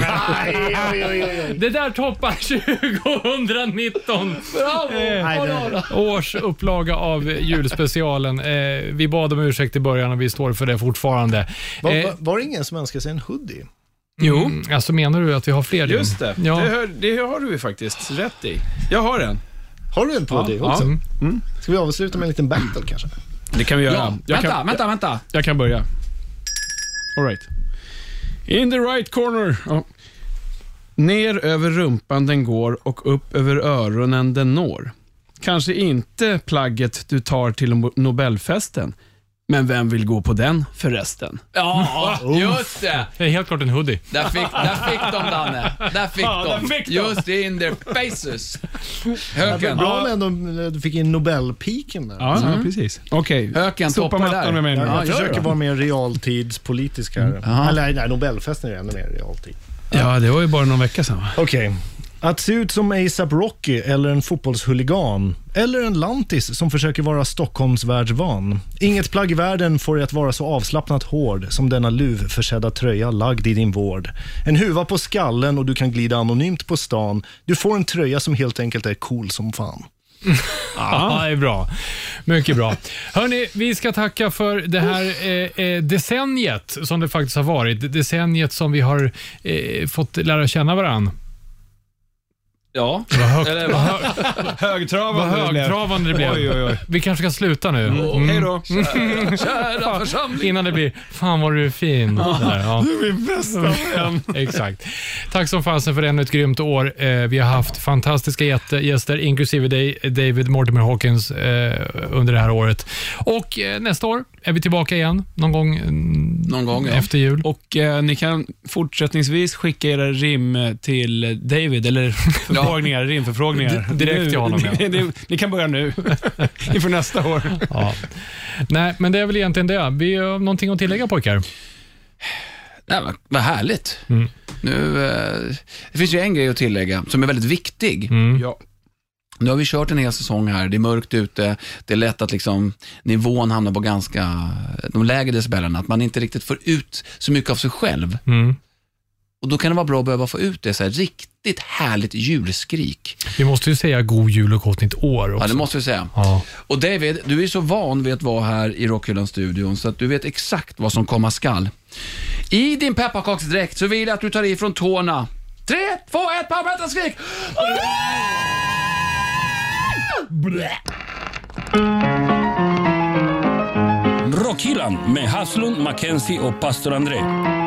Speaker 2: Det där toppar 2019. Års upplaga Eh, av julspecialen. Eh, vi bad om ursäkt i början och vi står för det fortfarande.
Speaker 6: Var,
Speaker 2: Eh,
Speaker 6: var, var det ingen som önskade sig en hoodie?
Speaker 2: Jo.
Speaker 5: Mm.
Speaker 2: Alltså menar du att vi har fler? Jim?
Speaker 1: Just det.
Speaker 2: Ja.
Speaker 1: Det, hör, det har du ju faktiskt rätt i. Jag har en.
Speaker 6: Har du en på dig också?
Speaker 2: Mm.
Speaker 6: Ska vi avsluta med en liten battle kanske?
Speaker 1: Det kan vi göra.
Speaker 5: Ja,
Speaker 1: jag,
Speaker 5: vänta,
Speaker 1: kan,
Speaker 5: vänta, vänta.
Speaker 1: jag kan börja. All right. In the right corner. Ja. Ner över rumpan den går och upp över öronen den når. Kanske inte plagget du tar till Nobelfesten, men vem vill gå på den förresten?
Speaker 5: Ja,
Speaker 1: [laughs]
Speaker 5: just det.
Speaker 2: Det är helt klart en hoodie.
Speaker 5: Där fick, där fick de Danne. Där fick, de.
Speaker 1: där fick de.
Speaker 5: Just in their faces. Höken.
Speaker 6: Bra om ändå eh, du fick in Nobelpiken där.
Speaker 1: Ja, ja precis. Okej,
Speaker 5: Höken
Speaker 1: sopa
Speaker 5: Mm. toppar där.
Speaker 1: mattan med mig nu.
Speaker 6: Jag,
Speaker 5: Ja,
Speaker 6: jag
Speaker 5: gör
Speaker 6: försöker
Speaker 5: det.
Speaker 6: vara mer realtidspolitisk här. Eller nej, Nobelfesten är ännu mer realtid.
Speaker 1: Ja, det var ju bara någon vecka sedan. va?
Speaker 6: Okej. Att se ut som ASAP Rocky eller en fotbollshuligan eller en lantis som försöker vara Stockholmsvärldsvan. Inget plagg i världen får dig att vara så avslappnat hård som denna luvförsedda tröja lagd i din vård. En huva på skallen och du kan glida anonymt på stan. Du får en tröja som helt enkelt är cool som fan.
Speaker 2: Ja, det är bra. Mycket bra. Hörni, vi ska tacka för det här eh, eh, decenniet som det faktiskt har varit. Det Decenniet som vi har eh, fått lära känna varandra.
Speaker 5: Ja.
Speaker 2: Vad, högt,
Speaker 5: Eller-
Speaker 2: vad, hö, vad
Speaker 1: Högtravande det blev.
Speaker 2: högtravande det blev.
Speaker 1: Oj, oj, oj.
Speaker 2: Vi kanske ska sluta nu. Mm.
Speaker 1: Hej då.
Speaker 5: Kära församling.
Speaker 2: Innan det blir “Fan vad du är fin”. Där, ja. Du är min bästa vän. [laughs] Exakt. Tack som fasen för ännu ett grymt år. Eh, vi har haft fantastiska jätte- gäster, inklusive dig, David Mortimer Hawkins, eh, under det här året. Och eh, nästa år är vi tillbaka igen, någon gång mm,
Speaker 5: Någon gång, ja.
Speaker 2: efter jul.
Speaker 1: Och eh, ni kan fortsättningsvis skicka era rim eh, till
Speaker 2: [laughs]
Speaker 1: David, eller förfrågningar, rimförfrågningar.
Speaker 2: Di- direkt
Speaker 1: Nu.
Speaker 2: till honom, ja.
Speaker 1: [laughs] Ni, ni, ni kan
Speaker 2: [laughs]
Speaker 1: börja nu, inför nästa år.
Speaker 2: Ja. Nej, men det är väl egentligen det. Vi har någonting att tillägga pojkar?
Speaker 5: Nej, vad, vad härligt.
Speaker 1: Mm.
Speaker 5: Nu, eh, det finns ju en grej att tillägga som är väldigt viktig.
Speaker 2: Mm.
Speaker 1: Ja.
Speaker 5: Nu har vi kört en hel säsong här, det är mörkt ute, det är lätt att liksom, nivån hamnar på ganska, de lägre decibelerna, att man inte riktigt får ut så mycket av sig själv.
Speaker 2: Mm.
Speaker 5: Och då kan det vara bra att behöva få ut det, så här, riktigt härligt julskrik.
Speaker 2: Vi måste ju säga god jul och gott nytt år också.
Speaker 5: Ja, det måste vi säga.
Speaker 2: Ja.
Speaker 5: Och David, du är så van vid att vara här i Rockhyllan-studion så att du vet exakt vad som komma skall. I din pepparkaksdräkt så vill jag att du tar i från tårna. Tre, två, ett, pepparkakan skrik!
Speaker 4: Rockhyllan med Haslund, Mackenzie och pastor André.